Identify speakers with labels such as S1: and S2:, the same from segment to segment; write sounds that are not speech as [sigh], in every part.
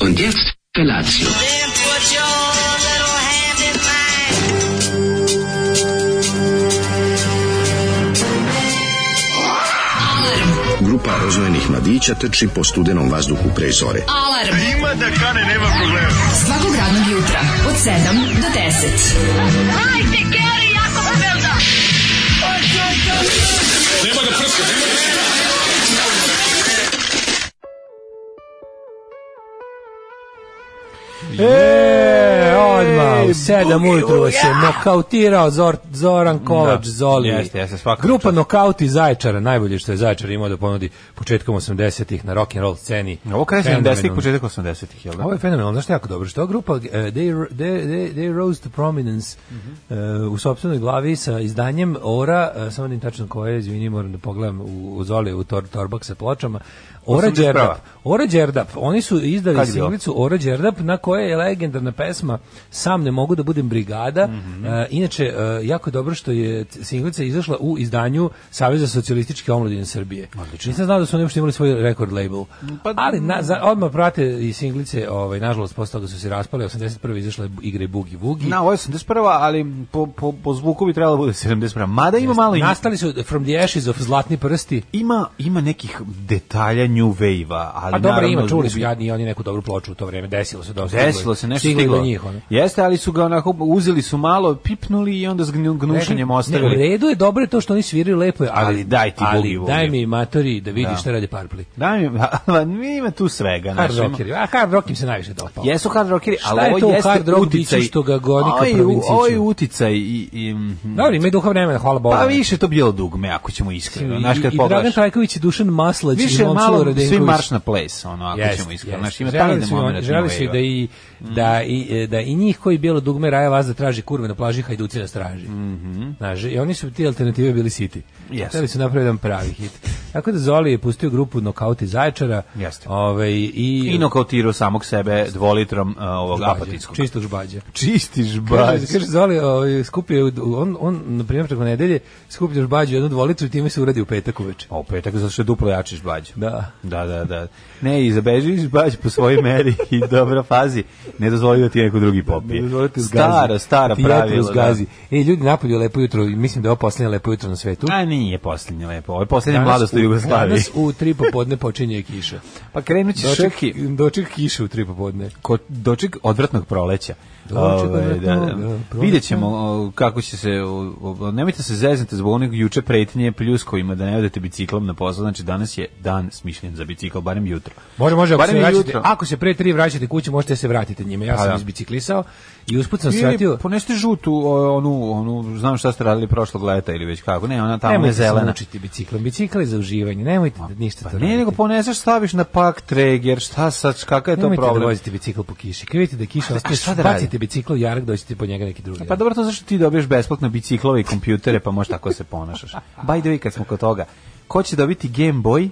S1: Und jetzt Felatio.
S2: Then put your little hand in mine.
S3: Grupa roznojenih mladića trči po studenom vazduhu pre zore.
S4: Alarm. A ima da kane, nema problema. Svakog radnog jutra, od 7 do 10.
S2: Hajde, Geri, jako se velda.
S5: E, odmah, u sedam ujutru vas je nokautirao Zor, Zoran Kovač
S6: Da,
S5: Zoli.
S6: jeste, jeste, svaka
S5: Grupa nokauti Zaječara, najbolje što je Zaječar imao da ponudi početkom 80-ih na rock'n'roll sceni.
S6: Ovo kraj 70-ih,
S5: Fenomenalno.
S6: početak 80-ih, jel da?
S5: Ovo je fenomenalno, znaš što je jako dobro, što je ova grupa eh, they, they, they, they rose to prominence eh, u sopstvenoj glavi sa izdanjem Ora, eh, samo da im tačno koje, izvini, moram da pogledam u, u Zoli, u tor, torbak sa pločama, Ora
S6: 81.
S5: Đerdap. Ora Đerdap, oni su izdali
S6: Kad je bilo?
S5: singlicu Ora Đerdap na koje je legendarna pesma Sam ne mogu da budem brigada. Eh, inače, eh, jako je dobro što je c- singlica izašla u izdanju Saveza socijalističke omladine Srbije. Nisam znao da su oni uopšte imali svoj record label.
S6: Pa-
S5: Ali na, za, odmah prate i singlice, ovaj, nažalost, posle toga su se raspale, 81. izašle igre Bugi Vugi.
S6: Na, ovo je 81 ali po, po, po zvuku bi trebalo da bude 71 Mada ima malo i...
S5: Nastali su From the Ashes of Zlatni prsti.
S6: Ima, ima nekih detalja New Wave-a, ali
S5: Pa dobro
S6: naravno,
S5: ima, čuli su
S6: zvuči-
S5: jadni i oni neku dobru ploču u to vreme, desilo se dosta.
S6: Desilo se nešto
S5: stiglo. je
S6: stiglo.
S5: do njih, ono.
S6: Jeste, ali su ga onako uzeli su malo, pipnuli i onda s gnu- gnušanjem
S5: Ne,
S6: ostavili.
S5: U redu je dobro je to što oni sviraju lepo, je, ali,
S6: Ali daj ti
S5: ali
S6: Boogie Woogie.
S5: daj mi matori da vidi
S6: Da.
S5: šta radi Parpli.
S6: Da, mi, [laughs] a, ima tu svega.
S5: Hard
S6: znaš, ima-
S5: rockeri, a hard rock im se najviše dopao.
S6: Jesu hard rockeri,
S5: Šta
S6: ali
S5: je
S6: ovo
S5: to
S6: jeste
S5: hard rock
S6: uticaj.
S5: biću što ga goni ka
S6: Ovo je-
S5: provinciji
S6: Ovo je
S5: ću.
S6: uticaj i... i mhm.
S5: Dobro, ima i duha vremena, hvala Bogu.
S6: Pa više to bilo dugme, ako ćemo iskreno. Znaš,
S5: I,
S6: kad
S5: i Dragan
S6: pogledaš,
S5: Trajković i Dušan Maslać
S6: više
S5: i
S6: je
S5: Momčilo
S6: malo
S5: Radenković.
S6: svi marš na ples, ono, ako
S5: Jest,
S6: ćemo iskreno.
S5: jest.
S6: Znaš, ima taj
S5: Želeli
S6: jedan
S5: su i oni-
S6: moment.
S5: Želeli su i da i,
S6: Mhm.
S5: da, i, e, da i njih koji bijelo dugme Raja vas da traži kurve na plaži Hajduci nas traži. Znaš, I oni su ti alternative bili siti.
S6: Mhm. Jeste.
S5: Hteli su napraviti jedan pravi hit. Tako da Zoli je pustio grupu Nokauti Zaječara.
S6: Jeste.
S5: Ovaj, i,
S6: I nokautirao samog sebe dvolitrom a, ovog
S5: žbađa,
S6: apatitskog.
S5: Čistog žbađa.
S6: Čisti žbađ.
S5: Kaže, kaže Zoli, ovaj, skupio, je u- on, on, na primjer, preko nedelje, skupio žbađu jednu dvolicu i time se uradi u petak uveče.
S6: A u petak zato što je duplo jači žbađ.
S5: Da.
S6: Da, da, da. Ne, i zabeži žbađ po svojoj meri i dobro fazi. Ne dozvoli da ti neko drugi popije.
S5: Dozvolite zgazi.
S6: stara, stara
S5: Ti jetru
S6: pravila. da.
S5: zgazi. E, ljudi napolju je lepo jutro, i mislim da je ovo posljednje lepo jutro na svetu.
S6: Da. A nije posljednje lepo. Ovo je posljednje
S5: Danas
S6: mladost u Jugoslaviji.
S5: Danas u tri popodne počinje
S6: [laughs]
S5: kiša.
S6: Pa krenut će
S5: Doček,
S6: šeki.
S5: doček kiše u tri popodne.
S6: Ko, doček odvratnog proleća.
S5: Doček
S6: Ovaj,
S5: odvratnog, da, proleća.
S6: Vidjet ćemo o, kako će se... o, o, nemojte se zezniti zbog onog juče pretnje pljuskovima da ne odete biciklom na posao. Znači, danas je dan smišljen za bicikl, barem jutro.
S5: Može, može, ako
S6: Barem
S5: se,
S6: je
S5: vraćate,
S6: jutro.
S5: ako se pre tri vraćate kući, možete da se vratiti njime. Ja
S6: Pa
S5: sam
S6: da.
S5: izbiciklisao i usput sam
S6: Ili
S5: shvatio...
S6: poneste žutu, o, onu, onu, znam šta ste radili prošlog leta ili već kako, ne, ona tamo je
S5: se
S6: zelena.
S5: mučiti biciklom. Bicikl je za uživanje. Nemojte da ništa
S6: Pa
S5: to
S6: ne, nego
S5: radite.
S6: poneseš, staviš na pak treger, šta sad, kakav je to
S5: Nemojte da
S6: problem?
S5: vozite bicikl po kiši. Kad vidite da je kiša ostaje,
S6: šta da
S5: bacite
S6: radim?
S5: bicikl u jarak, doćete po njega neki drugi.
S6: Pa
S5: dan.
S6: dobro, to zašto ti dobiješ besplatno biciklove i kompjutere, pa možeš tako se ponašaš. By the way, kad smo kod toga, ko će dobiti Game Boy,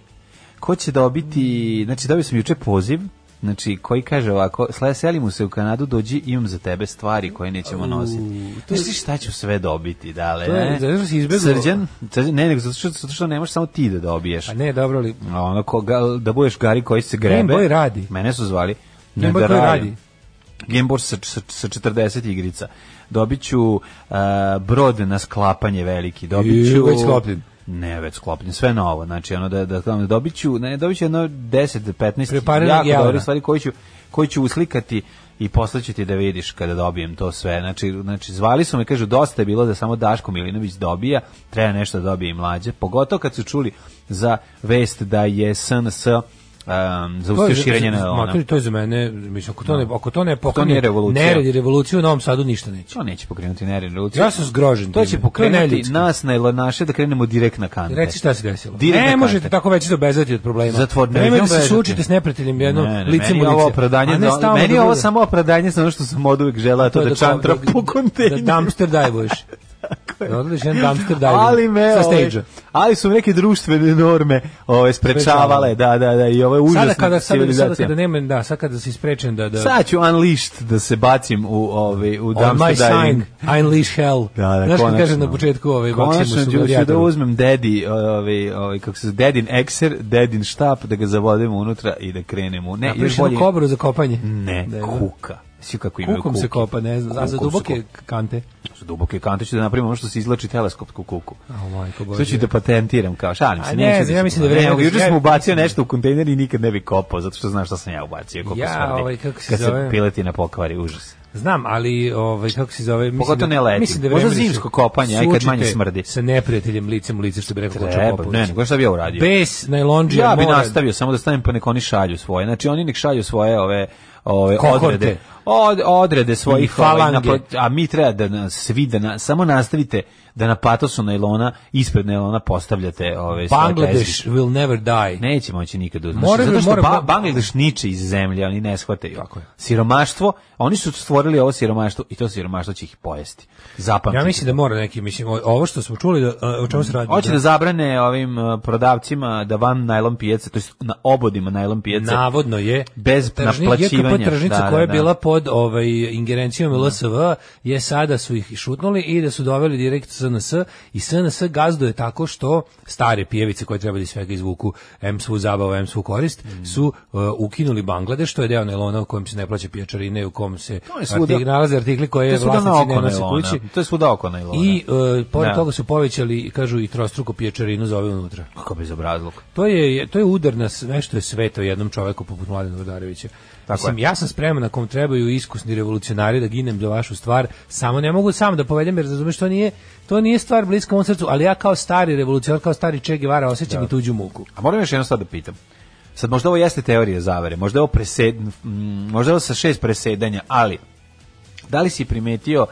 S6: ko će dobiti, znači dobio sam juče poziv, Znači, koji kaže ovako, "Sle- seli mu se u Kanadu, dođi, imam za tebe stvari koje nećemo nositi. Znaš ti šta ću sve dobiti, dale?
S5: To je-
S6: ne?
S5: zato što si izbegao.
S6: Srđan, Srđan- ne, nego zato što, zato što ne možeš samo ti da dobiješ.
S5: A ne, dobro li...
S6: A ono, ko, ga- da budeš Gari koji se grebe.
S5: Boy radi.
S6: Mene su zvali.
S5: Game
S6: Ne,
S5: Boy
S6: da
S5: koji
S6: radim.
S5: radi?
S6: Game Boy sa, sa, sa 40 igrica. Dobit ću uh, brod na sklapanje veliki. Dobit
S5: I,
S6: ću...
S5: već sklopljen.
S6: Ne, već sklopljen, sve novo. Znači, ono, da, da, da dobit ću, ne, dobit ću jedno 10, 15
S5: Prepariranog
S6: jako
S5: jauna.
S6: dobre stvari koji ću, koji ću uslikati i poslaću ti da vidiš kada dobijem to sve. Znači, znači zvali su me, kažu, dosta je bilo da samo Daško Milinović dobija, treba nešto da dobije i mlađe. Pogotovo kad su čuli za vest da je SNS um,
S5: To je
S6: zaustio
S5: za-
S6: širenje
S5: za-
S6: na ono. Da.
S5: Matori, to je za mene, mislim, ako to ne, ako to ne pokrene,
S6: nije revolucija.
S5: nered i revoluciju u Novom Sadu ništa neće.
S6: To neće pokrenuti nered revoluciju.
S5: Ja sam zgrožen.
S6: To
S5: time.
S6: će
S5: je
S6: pokrenuti
S5: neljudski.
S6: nas na naše da krenemo direkt na kante.
S5: Reci šta se desilo.
S6: Direkt na
S5: ne
S6: kante.
S5: možete tako već se obezati od problema.
S6: Zatvor- ne
S5: Nemojte
S6: idem
S5: se
S6: bezati.
S5: suočiti s neprijateljem jedno
S6: Ne, ne,
S5: lice
S6: meni
S5: mu
S6: je
S5: lice.
S6: ovo opravdanje,
S5: A ne
S6: za-
S5: stalno
S6: meni
S5: da
S6: je ovo
S5: bude-
S6: samo opravdanje za ono što sam od uvek želao, to, da,
S5: kao-
S6: čantra po kontejneru. [laughs]
S5: Da dumpster divuješ. Da odladiš jedan dumpster diving
S6: ali me
S5: sa
S6: ovaj,
S5: stage-a.
S6: ali su neke društvene norme ovaj sprečavale da da da i ovo je
S5: Sada
S6: užasna
S5: kada, sada,
S6: civilizacija
S5: sada kada nema, da, sad kada si sprečen da... da
S6: Sad ću unleashed da se bacim u ovaj u
S5: On my
S6: dumpster diving.
S5: sign, I unleash hell.
S6: Da, da,
S5: Znaš kad
S6: konačno.
S5: kaže na početku ovaj
S6: Konačno
S5: Maksimus u
S6: ću, ću da
S5: Gladiatoru?
S6: uzmem dedi, ovaj, ovaj, kako se zove, dedin ekser, dedin štap, da ga zavodim unutra i da krenemo. Ne, još
S5: Napriš jednu
S6: bolje...
S5: kobru za kopanje.
S6: Ne,
S5: Da, da.
S6: kuka. Svi kako imaju
S5: Kukom se
S6: kuke.
S5: kopa, ne znam, a za
S6: Kukom se
S5: duboke kante.
S6: kopa. Za duboke kante ću da napravim ono što se izlači teleskopsku kuku.
S5: O, majko Bože.
S6: Sve ću da patentiram, kao šalim
S5: A
S6: se.
S5: ne,
S6: neću
S5: znam, ja
S6: se-
S5: mislim da
S6: Ne,
S5: vreme-
S6: Juče
S5: ja-
S6: sam ubacio nešto u kontejner i nikad ne bi kopao, zato što znaš šta sam ja ubacio. Koliko
S5: Ja,
S6: smrdi.
S5: ovaj, kako se
S6: Kad se
S5: zove?
S6: piletina pokvari, užas.
S5: Znam, ali ovaj kako se zove, mislim
S6: Pogotovo ne leti.
S5: Mislim da
S6: Možda
S5: vremena
S6: zimsko
S5: su-
S6: kopanje, a i kad
S5: suočite
S6: manje smrdi.
S5: Sa neprijateljem licem u lice što bi rekao Koča
S6: Treba,
S5: Popović.
S6: ne, nego šta bi ja uradio?
S5: Bes najlonđija
S6: Ja bi
S5: mora-
S6: nastavio, samo da stavim pa nek oni šalju svoje. Znači oni nek šalju svoje ove ove
S5: Kohorte.
S6: odrede. Od, odrede svojih
S5: I falange.
S6: ovaj, napad- a mi treba da nas svi da na, samo nastavite da na patosu nailona ispred nailona postavljate ove svoje
S5: Bangladeš
S6: Bangladeš.
S5: will never die.
S6: Neće moći nikad od
S5: Moraju-
S6: zato što
S5: moraju-
S6: ba, Bangladeš niče iz zemlje, oni ne shvataju.
S5: Tako je.
S6: Siromaštvo, oni su stvorili ovo siromaštvo i to siromaštvo će ih pojesti. Zapamtite.
S5: Ja mislim da mora neki, mislim, o- ovo što smo čuli, da, a, o čemu se radi?
S6: Hoće da zabrane ovim e, prodavcima da van najlon pijace, to jest na obodima najlon pijace.
S5: Navodno je
S6: Bez
S5: tržni-
S6: naplaćivanja.
S5: JKP tržnica
S6: Da, da,
S5: koja je
S6: da.
S5: bila pod ovaj ingerencijom LSV je sada su ih šutnuli i da su doveli direkt SNS i SNS gazduje tako što stare pijevice koje treba da iz svega izvuku em svu zabavu, em svu korist
S6: Mm.
S5: su uh, ukinuli Bangladeš, što je deo nailona u kojem se ne plaća pijačarine, u kojem se
S6: To je svuda.
S5: artik- nalaze artikli koje
S6: To
S5: je
S6: je svuda na
S5: vlasnici ne
S6: oko
S5: nose
S6: nailona.
S5: kući.
S6: To je svuda oko nailona.
S5: I e, pored
S6: Da.
S5: toga su povećali, kažu, i trostruko pijačarinu za ove unutra.
S6: kako bez obrazlog.
S5: To je je- to je udar na sve što je sveto jednom čoveku poput Mladena Vodarevića.
S6: Tako
S5: Mislim,
S6: je.
S5: ja sam spreman na kom trebaju iskusni revolucionari da ginem za vašu stvar, samo ne mogu sam da povedem jer razumeš to nije to nije stvar bliska mom srcu, ali ja kao stari revolucionar, kao stari Che Guevara osjećam
S6: Da.
S5: i tuđu muku.
S6: A moram još jedno sad da pitam. Sad možda ovo jeste teorija zavere, možda je ovo presed, mm, možda je ovo sa šest presedanja, ali da li si primetio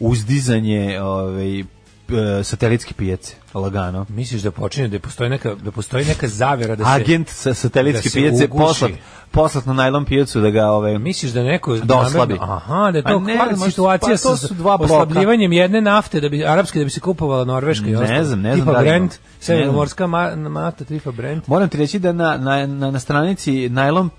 S6: uzdizanje ovaj p- e, satelitske pijace lagano?
S5: Misliš da počinje da postoji neka da postoji neka zavera da se
S6: Agent sa satelitske
S5: da se
S6: pijace
S5: uguši.
S6: poslat, poslat na najlon pijacu da ga ovaj
S5: Misliš da neko
S6: Da oslabi.
S5: namerno- Aha, da je
S6: A
S5: to
S6: ne,
S5: kvali
S6: možda-
S5: situacija
S6: pa to
S5: sa
S6: su dva bloka.
S5: oslabljivanjem jedne nafte da bi arapske da bi se kupovala norveška i
S6: Ne
S5: ostalo.
S6: znam, ne znam
S5: Tipa
S6: da li ima.
S5: Brent,
S6: Ne znam.
S5: severnomorska ma, mata, tipa Brent.
S6: Moram ti reći da na, na, na, na stranici Najlon p,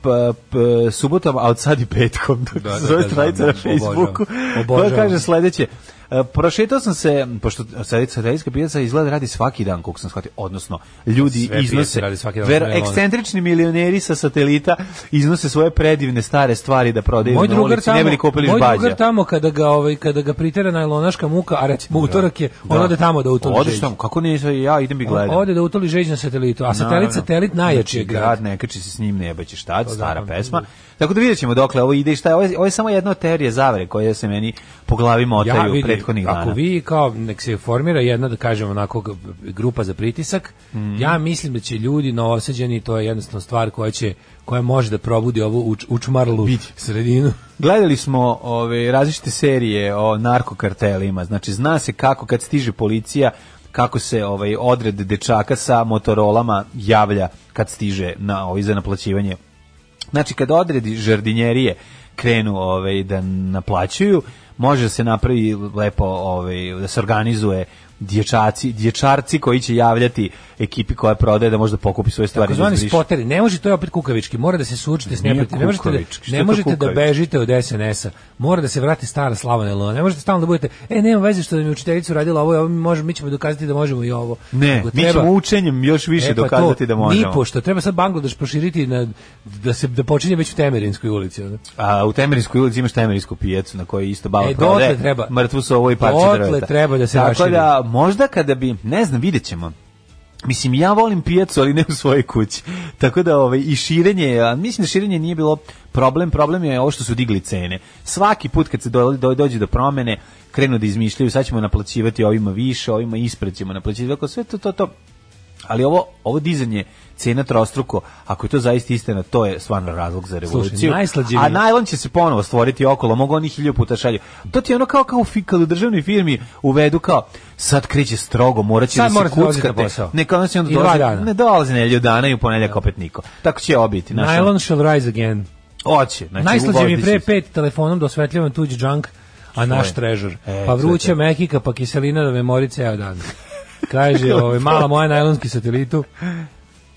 S6: p, subotom, a od sad i petkom, [laughs] da,
S5: da,
S6: da, zove
S5: da,
S6: stranica
S5: znam,
S6: na Facebooku,
S5: obožavam,
S6: koja
S5: obožavam.
S6: kaže sledeće. E, Prošetao sam se, pošto sad- satelitska pijaca izgleda da radi svaki dan, koliko sam shvatio, odnosno ljudi
S5: Sve pijace
S6: iznose,
S5: radi svaki dan,
S6: ver,
S5: nema ono.
S6: ekscentrični milioneri sa satelita iznose svoje predivne stare stvari da prodaju
S5: Moj
S6: na
S5: drugar
S6: ulici,
S5: tamo,
S6: ne bi li kupili
S5: moj
S6: žbađa.
S5: drugar tamo kada ga ovaj kada ga pritera najlonaška muka, a recimo utorak je, on ode tamo da utoli.
S6: Da. Odeš
S5: žeđ.
S6: tamo, kako ne, ja idem i
S5: On
S6: gledam.
S5: Ode da utoli žeđ na satelitu, a satelit satelit najjači je
S6: Znači,
S5: grad.
S6: Ne kači se s njim, ne baćeš šta, stara
S5: zapamtim.
S6: pesma. Tako da vidjet ćemo dokle ovo ide i šta je. Ovo je, ovo je samo jedna od teorije zavere koje se meni po glavi motaju
S5: vidim,
S6: prethodnih dana.
S5: Ako vi kao nek se formira jedna da kažemo onako g- grupa za pritisak,
S6: Mhm.
S5: ja mislim da će ljudi novoseđeni, to je jednostavno stvar koja će koja može da probudi ovu uč, učmarlu sredinu.
S6: Gledali smo ove različite serije o narkokartelima. Znači zna se kako kad stiže policija kako se ovaj odred dečaka sa motorolama javlja kad stiže na ovaj za naplaćivanje. Znači kad odredi žardinjerije krenu ovaj da naplaćuju, može da se napravi lepo ovaj da se organizuje dječaci, dječarci koji će javljati ekipi koja prodaje da možda pokupi svoje stvari.
S5: Takozvani
S6: izbriše.
S5: spoteri, ne može to je opet kukavički, mora da se suočite s
S6: Nije
S5: neprijateljem. Ne možete da,
S6: kukavički, šta je
S5: ne
S6: to
S5: možete da
S6: kukavički?
S5: bežite od SNS-a. Mora da se vrati stara slava na lona. Ne možete stalno da budete, e nema veze što nam je učiteljica uradila ovo, i ovo mi možemo mi ćemo dokazati da možemo i ovo.
S6: Ne,
S5: Nego
S6: mi
S5: treba-
S6: ćemo učenjem još više
S5: E, pa
S6: dokazati
S5: to,
S6: da možemo.
S5: Nipošto, treba sad Bangladeš proširiti na, da se da počinje već u Temerinskoj ulici. ono.
S6: A u Temerinskoj ulici imaš Temerinsku pijacu na kojoj isto baba
S5: E, dotle
S6: prodaje
S5: treba.
S6: mrtvu sovu i parče
S5: Dotle
S6: drveta.
S5: treba da se
S6: Tako
S5: raširi.
S6: da možda kada bi, ne znam, vidjet ćemo. Mislim, ja volim pijacu, ali ne u svojoj kući. Tako da ovaj, i širenje, a mislim da širenje nije bilo problem, problem je ovo što su digli cene. Svaki put kad se do, do, dođe do promene, krenu da izmišljaju, sad ćemo naplaćivati ovima više, ovima ispred ćemo naplaćivati, tako sve to, to, to. Ali ovo, ovo dizanje cena trostruko, ako je to zaista istina, to je stvarno razlog za revoluciju.
S5: najslađe mi
S6: A
S5: je-
S6: najlon će se ponovo stvoriti okolo, mogu oni hilju puta šalju. To ti je ono kao, kao u fi- kad u državnoj firmi uvedu kao, sad kreće strogo, morat će
S5: Sad
S6: da se
S5: morate dolaziti na
S6: kuckate.
S5: posao.
S6: Neka onda se onda
S5: I dva
S6: dolazi,
S5: dana. Da.
S6: ne dolazi nedelju dana i u ponedjeljak opet niko. Tako će ovo biti. Naša,
S5: Nylon shall rise again.
S6: Oće. Znači,
S5: Najslađe mi je
S6: uvodi
S5: pre
S6: se.
S5: pet telefonom da osvetljavam tuđi junk, a naš trežur.
S6: E,
S5: Pa vruća mehika, pa kiselina da me mori ceo dan. Kaže,
S6: [laughs]
S5: ovaj, mala moja najlonski satelitu.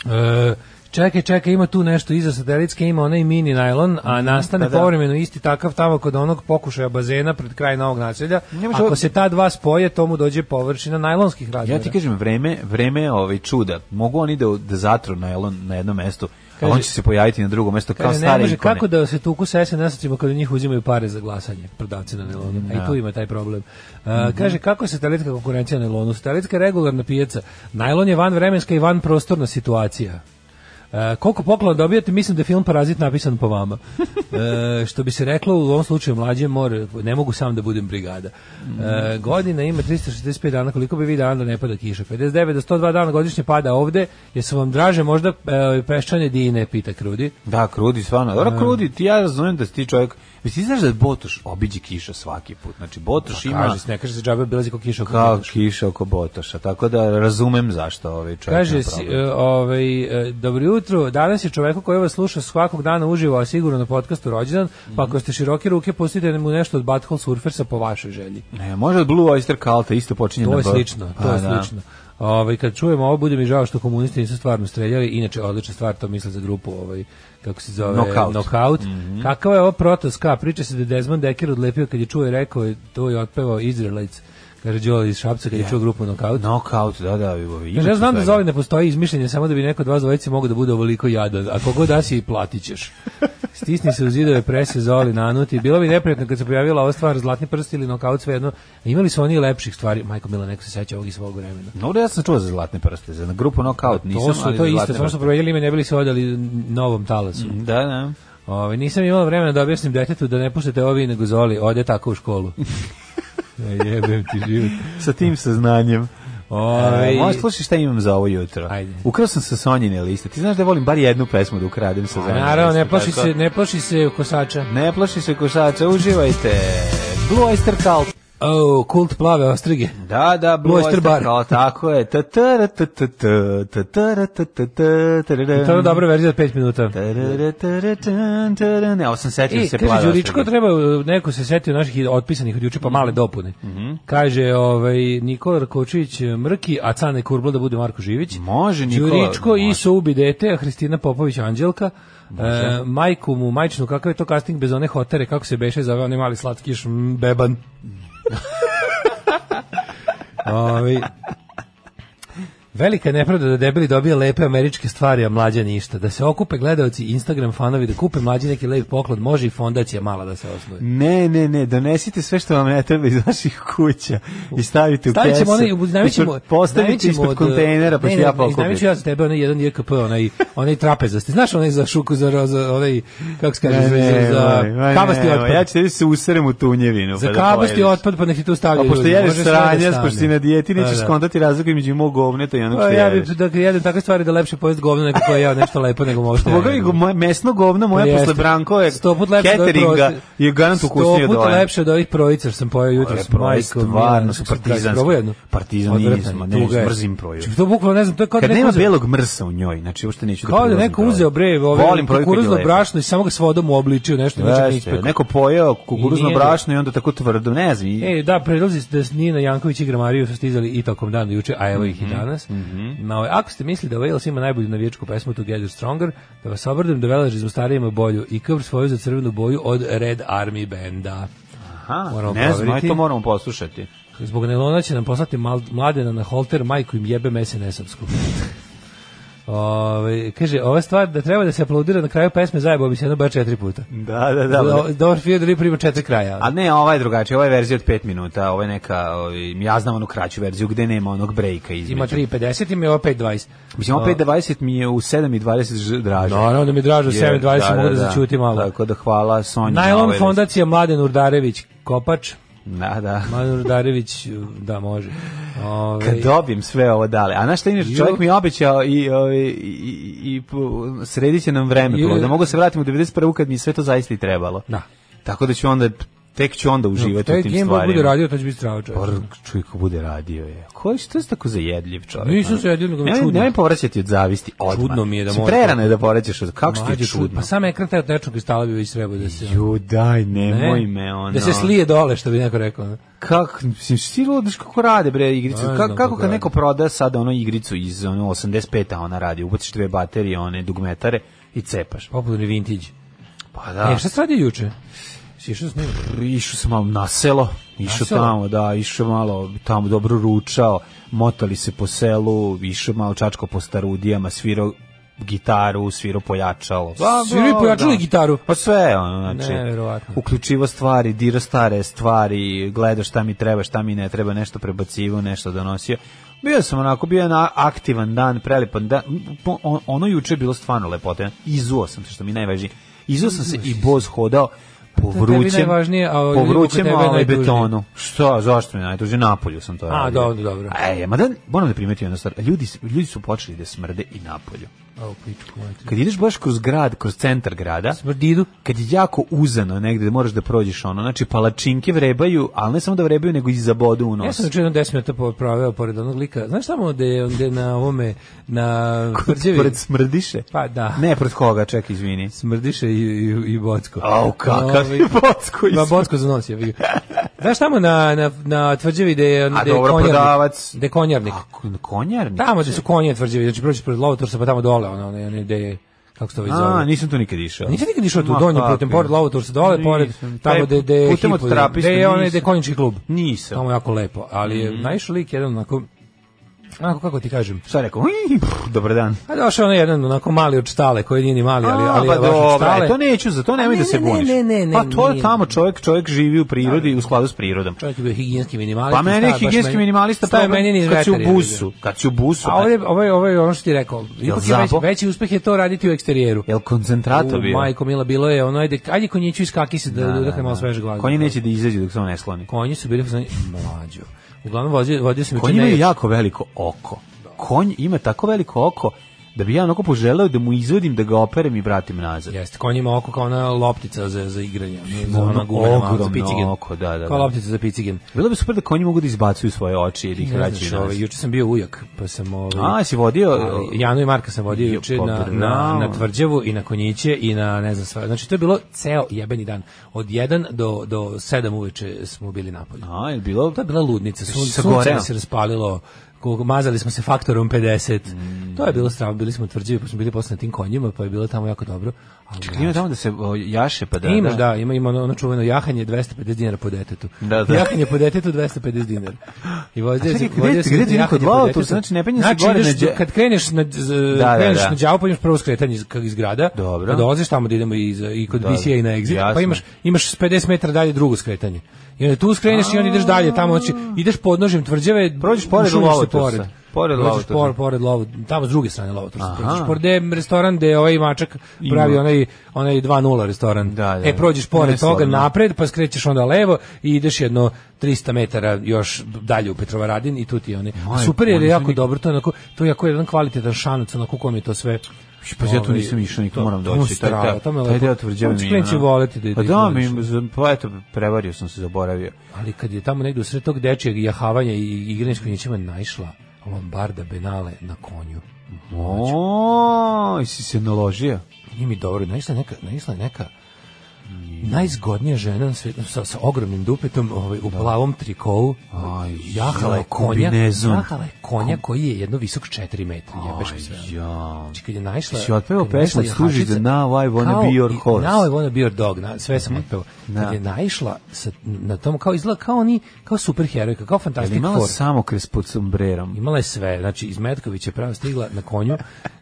S5: E, čekaj, čekaj, ima tu nešto iza satelitske, ima onaj mini najlon, a nastane
S6: da, da.
S5: povremeno isti takav tamo kod onog pokušaja bazena pred kraj novog naselja.
S6: Nemaš
S5: Ako
S6: ovo-
S5: se ta dva spoje, tomu dođe površina najlonskih razmjera.
S6: Ja ti kažem, vreme, vreme je ovaj, čuda. Mogu oni da, da zatru najlon na jednom mestu, a on će se pojaviti na drugom mestu kao
S5: Kaže, ne
S6: stare
S5: može,
S6: ikone.
S5: kako da se tuku sa SNS-ovcima kada njih uzimaju pare za glasanje, prodavci na nelonu.
S6: Da.
S5: A i tu ima taj problem. A,
S6: Mhm.
S5: Kaže, kako je satelitska konkurencija na nelonu? Satelitska je regularna pijaca. Najlon je vanvremenska i vanprostorna situacija. E, koliko poklona dobijate, mislim da je film Parazit napisan po vama. E, što bi se reklo, u ovom slučaju mlađe more, ne mogu sam da budem brigada. E,
S6: Mhm.
S5: godina ima 365 dana, koliko bi vi dana da ne pada kiša? 59 do 102 dana godišnje pada ovde, jesu vam draže možda e, peščane dine, pita Krudi.
S6: Da, krudi, stvarno. Dobro, krudi, ti ja razumijem da si ti čovjek... Mislim, ti znaš da Botoš obiđi kiša svaki put. Znači, Botoš ima...
S5: Pa Kaže, ne kaže se džabe bilazi ko kiša oko
S6: kao
S5: kiša.
S6: kiša oko Botoša, tako da razumem zašto ovaj čovjek
S5: Kaže,
S6: ima
S5: si,
S6: problem.
S5: e, ovaj, e, dobro jutro, danas je čoveku koji vas sluša svakog dana uživo, a sigurno na podcastu rođendan, pa ako ste široke ruke, pustite mu nešto od Butthole Surfersa po vašoj želji.
S6: Ne, može od Blue Oyster Culta, isto počinje
S5: To
S6: na
S5: je
S6: B.
S5: slično, to
S6: Pa,
S5: je
S6: da.
S5: slično. Ovaj kad čujem ovo bude mi žao što komunisti nisu stvarno streljali, inače odlična stvar to misle za grupu ovaj kako se zove
S6: Knockout. Mhm.
S5: Knockout. Kakava je ovo proto ska? Priča se da je Desmond Dekker odlepio kad je čuo i rekao je to je otpevao Israelites. Kaže Đole iz Šapca kad je čuo grupu Knockout.
S6: Knockout, da, da, ovi.
S5: Kaže, ja znam da za ovaj ne postoji izmišljenje, samo da bi neko od vas dvojice mogo da bude ovoliko jadan. Ako god da si, i platit
S6: [laughs]
S5: ćeš. Stisni se u zidove, prese, zoli, nanuti. Bilo bi neprijatno kad se pojavila ova stvar, zlatni prst ili nokaut, svejedno. Imali su oni i lepših stvari. Majko Mila, neko se seća ovog iz svog vremena.
S6: No, da ja sam čuo za zlatne prste, za grupu Knockout nisam,
S5: to su,
S6: ali
S5: to je
S6: za
S5: isto,
S6: Zlatne
S5: samo su
S6: prste.
S5: provedjeli ime, ne bili se odali novom talasu.
S6: Da, da.
S5: Ovaj, nisam imala vremena da objasnim detetu da ne puštate ovi nego zoli, ode tako u
S6: [laughs]
S5: školu. E, Jebem ti život.
S6: Sa tim saznanjem.
S5: Ovaj,
S6: Ovaj, Možeš slušati šta imam za ovo jutro.
S5: Ajde.
S6: Ukrao sam sa Sonjine liste. Ti znaš da volim bar jednu pesmu da ukradem sa Sonjine
S5: Naravno, ne
S6: liste,
S5: plaši
S6: tako?
S5: se, ne plaši se kosača.
S6: Ne plaši se košača, uživajte. Blue Oyster Cult.
S5: O, Oh, kult plave ostrige.
S6: Da, da, Blue,
S5: Blue Oyster
S6: Oyster
S5: Bar.
S6: Cult, tako je. Ta ta ta ta ta ta ta ta ta
S5: To je dobra verzija od 5 minuta.
S6: Ne, ovo sam setio
S5: E,
S6: se
S5: kaže,
S6: plave
S5: Đuričko
S6: ostrige.
S5: treba, uh, neko se setio naših otpisanih od juče, pa male dopune.
S6: Mhm.
S5: Kaže, ovaj, Nikola Rakočević e, Mrki, a Cane Kurbla da bude Marko Živić.
S6: Može, Nikola,
S5: Đuričko i
S6: može.
S5: Soubi dete, a Hristina Popović Anđelka. E, majku mu, majčinu, kakav je to casting bez one hotere, kako se beše zove, onaj mali slatkiš, mm, beban. [laughs] Ovi, Velika je nepravda da debeli dobije lepe američke stvari, a mlađa ništa. Da se okupe gledalci, Instagram fanovi, da kupe mlađi neki lep poklon, može i fondacija mala da se osnuje.
S6: Ne, ne, ne, donesite sve što vam ne treba iz vaših kuća i stavite u kesu.
S5: Stavit Da ćemo onaj, iznajmit ćemo-
S6: Ispod- Postavite
S5: iznajmit ćemo
S6: ispod
S5: od,
S6: kontejnera, pa
S5: ne,
S6: ću
S5: ne,
S6: ja
S5: ne, iznajmit ću
S6: pokupiti.
S5: ja za tebe onaj jedan JKP, onaj, onaj trapezasti. Znaš onaj za šuku, za, ro- za onaj, kako se kaže,
S6: Ne,
S5: za,
S6: ne,
S5: za
S6: moj, moj,
S5: kabasti
S6: ne,
S5: otpad.
S6: Ja ću tebi se userem u tunjevinu.
S5: za
S6: pa da
S5: kabasti
S6: pojedeš.
S5: otpad, pa nek ti tu
S6: Pa
S5: stavljaju.
S6: pošto
S5: ljudi,
S6: jedeš
S5: može sve da
S6: sranja,
S5: stane.
S6: pošto si na dijeti,
S5: Pa
S6: nećeš
S5: da.
S6: skontati razliku između mog govneta i onog
S5: Pa
S6: što
S5: ja bih
S6: jedeš.
S5: da jedem takve stvari da lepše pojesti govno nego koje ja nešto lepo nego možda.
S6: Boga mi, Pa moje mesno govno moje posle Branko je
S5: Pa sto put lepše od ovih
S6: cateringa
S5: prosti-
S6: je garant ukusnije
S5: Sto
S6: od
S5: puta
S6: ove.
S5: lepše od ovih projica što sam pojeo jutros.
S6: Ove, projice,
S5: Majko mila,
S6: stvarno su
S5: sam kad
S6: partizanske.
S5: probao jednu.
S6: Partizan nije
S5: Odvratan,
S6: nisam, ne,
S5: tuga je.
S6: mrzim proju.
S5: Znači, To bukvalno ne znam, to je kao da
S6: Kad
S5: neko
S6: nema
S5: uzeo-
S6: belog mrsa u njoj, znači uopšte neću da
S5: Kao da
S6: prilazim
S5: neko
S6: proju.
S5: uzeo bre,
S6: Volim
S5: ovaj
S6: proju kad je
S5: kukuruzno
S6: lepo.
S5: brašno i samo ga s vodom uobličio nešto, ničeg ne
S6: Jeste,
S5: ispekao.
S6: neko pojeo
S5: I
S6: kukuruzno
S5: nije-
S6: brašno i onda tako tvrdo, ne znam. i-
S5: E, da, predlazi da s Nina Janković i Gramariju su stizali i tokom dana juče, a evo
S6: Mhm,
S5: ih i danas. Na ovaj, ako ste mislili da Wales ima najbolju navijačku pesmu Together Stronger, da vas obradujem da velažizmu starijima bolju i kvrv svoju za crvenu boju od Red Army Benda.
S6: Aha,
S5: moramo
S6: ne znam, aj
S5: proveriti.
S6: to moramo poslušati.
S5: Zbog nelona će nam poslati mal- mladena na holter, majku im jebem SNS-ovsku. Ove, kaže, ova stvar da treba da se aplaudira na kraju pesme zajebao bi se jedno bar četiri puta.
S6: Da, da,
S5: Do- Dobar Fiat Rip ima četiri kraja.
S6: A ne, ova je drugačija, ova je verzija od 5 minuta, ova je neka, ovaj, ja znam onu kraću verziju gde nema onog brejka između.
S5: ima 3.50 i mi je opet 20.
S6: Mislim, opet 20 mi je u 7 i 20 ž- draže.
S5: Naravno da mi je draže,
S6: Jer,
S5: 7.20 mogu da ovaj zaćutim malo.
S6: Tako da hvala Sonji. na
S5: Najlon
S6: ovoj
S5: fondacija Mladen Urdarević Kopač.
S6: listi. Da, da.
S5: Mladen Urdarević, da može. Ove,
S6: Kad dobijem sve ovo dale. A znaš šta inače,
S5: Ju-
S6: čovjek mi je obećao i, ovaj, i, i, i po- sredit će nam vreme.
S5: Ju-
S6: Da mogu se vratim u 91. kad mi je sve to zaista i trebalo.
S5: Da.
S6: Tako da ću onda tek ću onda uživati u
S5: Taj
S6: tim
S5: Game Boy
S6: stvarima.
S5: bude radio, to će biti strava čovječe.
S6: Brr, čuj ko bude radio je. Ko je što je tako zajedljiv čovjek?
S5: Nisam zajedljiv, nego mi je
S6: Nemoj-
S5: čudno.
S6: Nemoj povraćati od zavisti odmah.
S5: Čudno mi je da
S6: Mislim,
S5: mora-
S6: Prerano je da povraćaš od kako što je
S5: Mlađe,
S6: čudno.
S5: Pa sam ekran taj od tečnog kristala bi već trebao da se...
S6: Ju, daj,
S5: ne?
S6: nemoj me, ono.
S5: Da se slije dole, što bi neko rekao. ne?
S6: Kako, mislim, ti ludiš kako rade, bre, igricu.
S5: Ne
S6: Ka,
S5: znam
S6: kako
S5: kako
S6: kad
S5: rade.
S6: neko proda sada ono igricu iz ono, 85-a, ona radi, ubaciš dve baterije, one dugmetare i cepaš.
S5: Popularni vintage.
S6: Pa
S5: Da.
S6: da,
S5: E, šta se radi juče? Si išao s njim?
S6: išao sam malo na selo, išao
S5: Na selo?
S6: tamo, da, išao malo, tamo dobro ručao, motali se po selu, išao malo čačko po starudijama, svirao gitaru, svirao pojačalo. Pa,
S5: Svirao i
S6: da,
S5: pojačalo
S6: da.
S5: i gitaru?
S6: Pa sve, ono, znači,
S5: Neverovatno.
S6: uključivo stvari, dirao stare stvari, gledao šta mi treba, šta mi ne treba, nešto prebacivo, nešto donosio. Bio sam onako, bio je jedan aktivan dan, prelipan dan. Po- on- Ono juče je bilo stvarno lepote. Izuo sam se, što mi je najvažnije. Izuo sam se i boz hodao po
S5: tebi
S6: vrućem,
S5: najvažnije, a
S6: po
S5: ljudi oko
S6: vrućem
S5: tebe je
S6: ovaj
S5: najtužnije.
S6: betonu. Šta, zašto mi je najtužnije? Napolju sam to
S5: A,
S6: radio.
S5: dobro, dobro.
S6: E, ma da, moram da primetim jednu stvar. Ljudi, s- ljudi su počeli da smrde i napolju.
S5: Au, pičku, majte.
S6: Kad ideš baš kroz grad, kroz centar grada,
S5: Smrdidu.
S6: kad je jako uzano negde da moraš da prođeš ono, znači palačinke vrebaju, ali ne samo da vrebaju, nego i zabodu u nos.
S5: Ja sam juče jedno 10 minuta po- proveo pored onog lika. Znaš tamo gde je gde je na ovome, na [laughs] tvrđevi?
S6: Pored smrdiše?
S5: Pa da.
S6: Ne, pred koga, ček, izvini.
S5: Smrdiše i, i, i bocko.
S6: Au, kakav [laughs]
S5: Ovaj,
S6: je bocko
S5: Ma
S6: iz...
S5: bocko za nos je bio. Znaš tamo na, na, na tvrđevi gde je, gde je
S6: dobro,
S5: konjarnik?
S6: prodavac.
S5: Gde je konjarnik?
S6: Ako- Konjarnik?
S5: Tamo gde su konje tvrđevi, znači prođeš pored lovotorsa pa tamo dole, ono, ono, ono, gde je, kako se to već zove.
S6: A, nisam tu nikad išao.
S5: Nisam nikad išao tu
S6: Ma,
S5: donju
S6: kakvi.
S5: putem, pored Lavotursa dole, pored
S6: Nisam.
S5: tamo
S6: Taj
S5: gde gde je
S6: putem od
S5: hipo-
S6: Trapista
S5: gde je onaj gde
S6: nisam.
S5: je konjički klub.
S6: Nisam.
S5: Tamo je jako lepo, ali je naišao lik jedan onako, onako kako ti kažem,
S6: Šta je rekao? Ui, pff, Dobar dan.
S5: A došao je onaj jedan onako mali od štale, koji nije ni mali, ali,
S6: A,
S5: ali
S6: pa
S5: je baš od
S6: dobro,
S5: štale.
S6: e, to neću, za to nemoj
S5: A,
S6: da
S5: ne,
S6: se
S5: ne, ne,
S6: buniš.
S5: ne, ne, ne,
S6: pa to je
S5: nije.
S6: tamo čovjek, čovjek živi u prirodi i u skladu s prirodom.
S5: Čovjek je bio higijenski minimalista.
S6: Pa meni je higijenski minimalista
S5: pa
S6: problem
S5: meni ni
S6: kad si u busu. Kad si u busu. pa
S5: A ovdje, ovo je, ovo je ono što ti rekao. Ipak je već,
S6: zabo?
S5: veći uspeh je to raditi u eksterijeru.
S6: Jel koncentrato
S5: U,
S6: bio?
S5: Majko Mila, bilo je ono, ajde, ajde konjiću iskaki se da, da, da, malo sveže glavu.
S6: Konji neće da izađe dok se on ne sloni.
S5: Konji su bili fazoni mlađo. Uglavnom vodio, vodio sam
S6: Konj
S5: juče
S6: ima
S5: nejač.
S6: jako veliko oko. Konj ima tako veliko oko da bi ja onako poželeo da mu izvodim, da ga operem i vratim nazad.
S5: Jeste, konj ima oko kao ona loptica za, za igranje. ne, Za
S6: Ono
S5: ona gumena malo, za
S6: ogromno
S5: picigen.
S6: oko, da, da,
S5: Kao
S6: da.
S5: loptica za picigen.
S6: Bilo bi super da konji mogu da izbacuju svoje oči i da ih
S5: Ne
S6: vraćaju
S5: znaš,
S6: nazad.
S5: ovaj, juče sam bio ujak, pa sam... Ovaj,
S6: A, si vodio...
S5: Ali Janu i Marka sam vodio
S6: Jo,
S5: juče
S6: pa
S5: na, na,
S6: bravo.
S5: na tvrđavu i na konjiće i na ne znam sva. Znači to je bilo ceo jebeni dan. Od 1 do, do 7 uveče smo bili napolju.
S6: A, je li bilo...
S5: To je bila ludnica. Sun,
S6: Sa
S5: sunce
S6: goreo.
S5: nam se raspalilo. Koliko, mazali smo se faktorom 50.
S6: Mm.
S5: To je bilo strava. Bili smo u tvrđavi, pa smo bili posle na tim konjima, pa je bilo tamo jako dobro. Ali,
S6: Čekaj, ima tamo da se o, jaše, pa da...
S5: Imaš, da, ima, ima ono, ono čuveno jahanje 250 dinara po detetu.
S6: Da, da.
S5: Jahanje po detetu 250 dinara. I vozio se
S6: A čekaj, gde-
S5: vozio se
S6: gde
S5: na
S6: ti neko
S5: jahanje
S6: od
S5: po
S6: Lautursa?
S5: detetu.
S6: Znači, ne penje se
S5: znači,
S6: gore na
S5: ideš,
S6: đe-
S5: kad kreneš na z-
S6: da,
S5: kreneš
S6: da.
S5: na đavo, pa imaš prvo skretanje iz, iz grada.
S6: Dobro.
S5: Pa dolaziš tamo da idemo iz, i kod BCA i na exit,
S6: jasno.
S5: pa imaš imaš s 50 metara dalje drugo skretanje. I onda tu skreneš i onda ideš dalje tamo, znači ideš podnožjem tvrđave,
S6: Prođeš pored
S5: ušuliš se
S6: Lautursa. Pored
S5: Prođeš
S6: Lautursa.
S5: por- pored lovo, tamo s druge strane Lovotorsa.
S6: Aha.
S5: Prođeš pored gde je restoran gde je ovaj mačak pravi onaj onaj 2:0 restoran.
S6: Da, da,
S5: e prođeš pored
S6: Neslavno.
S5: toga napred, pa skrećeš onda levo i ideš jedno 300 metara još dalje u Petrovaradin i tu ti je oni. A
S6: Maj,
S5: super jer je
S6: oni su
S5: jako
S6: nikad-
S5: dobro, to je onako to je jako jedan kvalitetan šanac na kom je to sve.
S6: Pa ja tu
S5: ovaj,
S6: nisam išao, nikad
S5: to-
S6: moram
S5: to mu
S6: doći. Taj,
S5: strava,
S6: taj,
S5: to me
S6: taj
S5: lepo-
S6: deo tvrđave
S5: Znači,
S6: mi
S5: klinci
S6: ono-
S5: voleti da ih
S6: Pa da, mi,
S5: izvoliš.
S6: pa eto, prevario sam se, zaboravio.
S5: Ali kad je tamo negde u sred tog dečijeg jahavanja i igranja s konjićima naišla Lombarda Benale na konju.
S6: O, si se naložio.
S5: Nije mi dobro, naišla je neka, naišla je neka najzgodnija žena na svijetu, sa, sa ogromnim dupetom ovaj,
S6: Da.
S5: u plavom trikovu
S6: Aj,
S5: jahala je
S6: joj,
S5: konja
S6: kombinezon.
S5: jahala je konja koji je jedno visok 4 metra jebeš mi sve
S6: Ja.
S5: znači kad je naišla
S6: Si otpevao
S5: kad je naišla
S6: pesmu od Služi
S5: jahačica,
S6: za Now I Wanna
S5: kao
S6: Be Your
S5: i-
S6: Horse.
S5: Now I Wanna Be Your Dog na, sve sam otpevao kad
S6: Da.
S5: je naišla sa, na tom kao izgleda kao oni kao superherojka kao
S6: Ali
S5: Fantastic
S6: imala
S5: Four
S6: samo kres pod sombrerom.
S5: Imala je sve, znači iz Metkovića pravo stigla na konju,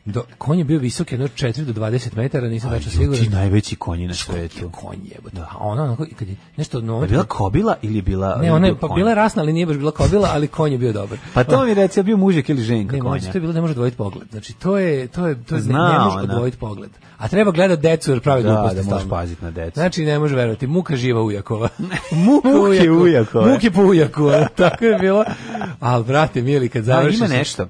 S5: do, konj je bio visok jedno 4 do 20 metara, nisam tačno siguran.
S6: Ti najveći konji na
S5: Konj je
S6: svetu. Da.
S5: konj jebote. A ona onako, i kad je nešto no,
S6: Je Pa bila kobila ili je bila...
S5: ne,
S6: ili
S5: ona je
S6: bio
S5: pa
S6: konj?
S5: bila je rasna, ali nije baš bila kobila, ali konj je bio dobar.
S6: Pa to mi reci, je bio mužek ili ženka
S5: Ne,
S6: konja.
S5: mlađe, to je bilo ne može odvojiti pogled. Znači to je to je to je ne, ne
S6: Zna
S5: može
S6: ona.
S5: odvojiti pogled. A treba gledati decu jer pravi
S6: Da,
S5: gluposti
S6: da možeš
S5: stalno.
S6: paziti na decu.
S5: Znači ne može verovati, muka živa
S6: [laughs]
S5: ujakova. muka
S6: Muk je
S5: ujakova.
S6: ujakova.
S5: [laughs] Muk je po ujaku, a, tako je bilo. Al brate mili kad
S6: Da,
S5: završi
S6: ima
S5: se-
S6: nešto.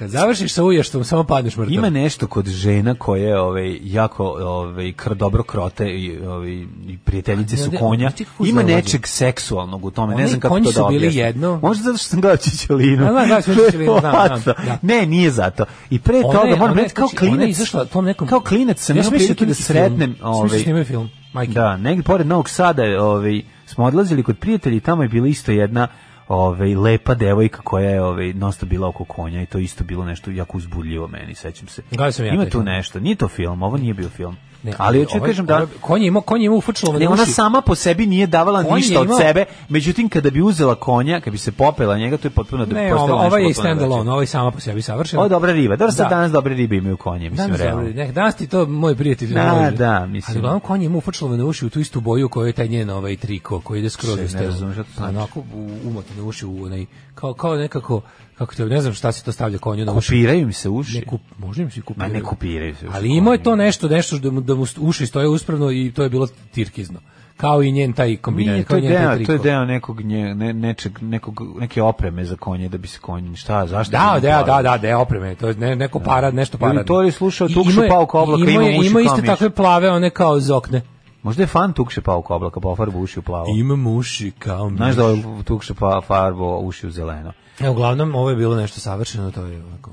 S5: Kad završiš sa ujaštom, samo padneš mrtav.
S6: Ima nešto kod žena koje ovaj jako ovaj kr, dobro krote i ovaj i prijateljice
S5: Ne,
S6: su
S5: ne,
S6: konja.
S5: ti kako
S6: Ima
S5: zalazi?
S6: nečeg seksualnog u tome, ne
S5: Oni
S6: znam kako
S5: konji
S6: to
S5: su
S6: da
S5: bili
S6: objasnim.
S5: jedno.
S6: Možda zato što sam gledao Čičelinu.
S5: Da, da, gledao sam Čičelinu, znam, znam,
S6: Verovatno.
S5: da.
S6: Ne, nije zato. I pre
S5: Ona
S6: toga
S5: je-
S6: moram
S5: ona je,
S6: reći kao
S5: znači, ona je
S6: klinac.
S5: izašla tom nekom-
S6: Kao klinac sam
S5: Ja
S6: ja
S5: sam
S6: imao
S5: mislio da
S6: priliku
S5: to
S6: da
S5: neki film.
S6: sretnem,
S5: Sam mislio da
S6: ovaj
S5: snimaju film, majke.
S6: Da, negdje pored Novog Sada, ovaj smo odlazili kod prijatelji, tamo je bila isto jedna ovaj lepa devojka koja je ovaj nosto bila oko konja i to je isto bilo nešto jako uzbudljivo meni, sećam se.
S5: Gledao Da sam ja
S6: Ima
S5: taj
S6: tu
S5: film.
S6: nešto, nije to film, ovo nije bio film.
S5: Ne,
S6: ali hoću da
S5: ovaj-
S6: kažem da
S5: ovaj- Konj je imao, konj je imao ufučilo.
S6: Ne, ona sama po sebi nije davala
S5: Konj je
S6: ništa od
S5: imao-
S6: sebe, međutim kada bi uzela konja, kada bi se popela njega, to je potpuno da
S5: Ne,
S6: postalo
S5: ova,
S6: nešto
S5: ova je
S6: potpuno
S5: stand alone,
S6: drugačije.
S5: ova je sama po sebi savršena.
S6: Ovo je dobra riba, dobro sad
S5: Da.
S6: danas dobre ribe imaju konje, mislim,
S5: Danas,
S6: realno.
S5: dobro, ne, danas ti to moj prijatelj
S6: Da,
S5: može.
S6: da, mislim.
S5: Ali uglavnom konj je mu ufačalo na uši u tu istu boju koju je taj njen ovaj triko koji ide skroz
S6: Še, ne
S5: uz telo.
S6: razumem šta to znači.
S5: Onako umotno na uši u onaj, kao, kao nekako, kako te, ne znam šta se to stavlja konju na uši.
S6: Kupiraju im se uši.
S5: Ne kup, možda im se
S6: Ma
S5: kupiraju.
S6: ne kupiraju se uši.
S5: Ali imao je to nešto, nešto da mu, da mu uši stoje uspravno i to je bilo tirkizno. Kao i njen taj
S6: Nije,
S5: kombinat,
S6: to
S5: kao
S6: je
S5: i njen taj
S6: deo, to
S5: triko.
S6: je deo nekog, nje, ne, nečeg, nekog, neke opreme za konje da bi se konj, šta, zašto?
S5: Da, da, da, da, da, opreme, to je ne, neko parad, nešto
S6: Ljudi,
S5: parad.
S6: to je slušao Tukšu Pauka oblaka, ima uši
S5: Ima
S6: kao
S5: isto
S6: miš.
S5: takve plave, one kao iz okne.
S6: Možda je fan tukše pauka oblaka, pa farbu uši u plavo.
S5: Imam uši kao miš.
S6: Znaš da je tukše pa farbu uši u zeleno.
S5: E, uglavnom, ovo je bilo nešto savršeno, to je ovako,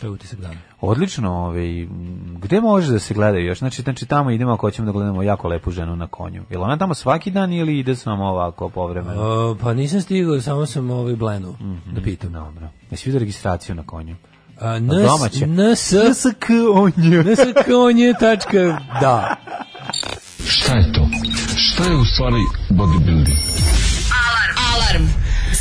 S5: to je utisak da. dana.
S6: Odlično, ovaj, m, gde može da se gledaju još? Znači, znači tamo idemo ako ćemo da gledamo jako lepu ženu na konju. Jel ona tamo svaki dan ili ide samo ovako povremeno?
S5: O, pa nisam stigao, samo sam ovaj blenu da pitam.
S6: Dobro. Jesi vidio registraciju na konju?
S5: A,
S6: domaće?
S5: ns, ns,
S6: K onju.
S5: nskonje tačka, da.
S1: Šta je to? Šta je u stvari bodybuilding?
S4: Alarm. Alarm.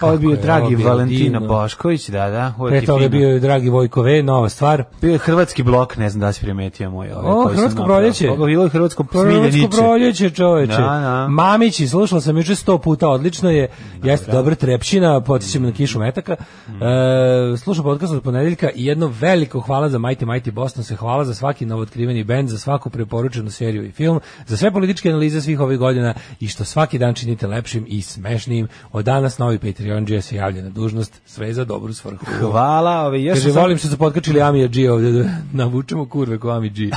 S6: Ovo je bio
S5: je, ovo
S6: dragi
S5: je bilo
S6: Valentino
S5: divno.
S6: Bošković, da, da. uvek
S5: Pre
S6: je
S5: toga je
S6: fino.
S5: bio je dragi Vojkove, nova stvar.
S6: Bio je hrvatski blok, ne znam da li si primetio moj. ovaj,
S5: O,
S6: koji sam
S5: Hrvatsko
S6: napravio.
S5: proljeće.
S6: Ovo je bilo je hrvatsko
S5: Hrvatsko
S6: smiljeniče.
S5: proljeće, čoveče.
S6: Da, da.
S5: Mamići, slušala sam juče sto puta, odlično je. Jeste dobra trepčina, podsjećam na kišu metaka.
S6: Mm.
S5: E, slušam podcast od ponedeljka i jedno veliko hvala za Mighty Mighty Boston, se hvala za svaki novootkriveni bend, za svaku preporučenu seriju i film, za sve političke analize svih ovih godina i što svaki dan činite lepšim i smešnijim. Od danas novi Patreon G se javlja na dužnost, sve za dobru svrhu.
S6: Hvala, ove, još
S5: Kaže,
S6: sam-
S5: volim što su potkačili Amija G ovdje, da [laughs] navučemo kurve ko Ami
S6: [laughs]
S5: G.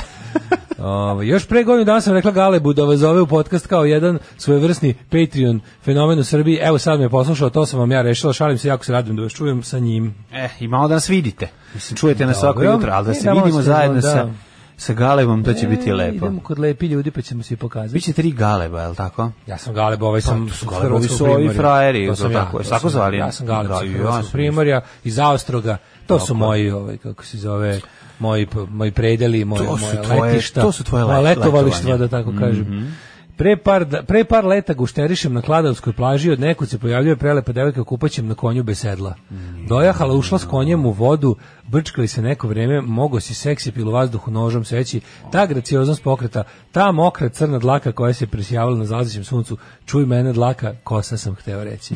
S5: Ovo, još pre godinu dana sam rekla Galebu da vas zove u podcast kao jedan svojevrsni Patreon fenomen u Srbiji. Evo sad me je poslušao, to sam vam ja rešila, šalim se, jako se radim da vas čujem sa njim.
S6: Eh, i malo da nas vidite. Mislim, čujete nas svako
S5: Dobro.
S6: jutro, ali da
S5: E,
S6: se
S5: da, malo
S6: vidimo
S5: se
S6: zajedno
S5: vidimo,
S6: sa,
S5: da.
S6: sa Galebom, to Da će biti
S5: E,
S6: lepo.
S5: Idemo kod lepi ljudi pa ćemo svi pokazati.
S6: Biće tri Galeba, je li tako?
S5: Ja sam Galeb, ovaj sam s
S6: Galebu,
S5: Hrvatskog
S6: ovi Pa, su ovi
S5: primorja.
S6: frajeri,
S5: To sam ja.
S6: tako je,
S5: to
S6: tako
S5: sam ja.
S6: zvali.
S5: Ja sam Galeb sa
S6: Da, i ja
S5: Hrvatskog
S6: sam
S5: primorja, iz Austroga. To su moji, ovaj, kako se zove, moji, moji predeli, moje,
S6: To su
S5: moje
S6: tvoje-
S5: letišta.
S6: to su tvoje
S5: moja
S6: let-
S5: letovalištva,
S6: letovanja. Mhm.
S5: da tako kažem. Pre par, da- pre par leta gušterišem na Kladovskoj plaži, od nekud se pojavljuje prelepa devojka kupaćem na konju bez sedla.
S6: Mm.
S5: Dojahala, ušla s konjem u vodu, brčkali se neko vrijeme, mogo si seksi pil u vazduhu nožom seći, ta gracioznost pokreta, ta mokra crna dlaka koja se prisjavala na zalazećem suncu, čuj mene dlaka, kosa sam hteo reći.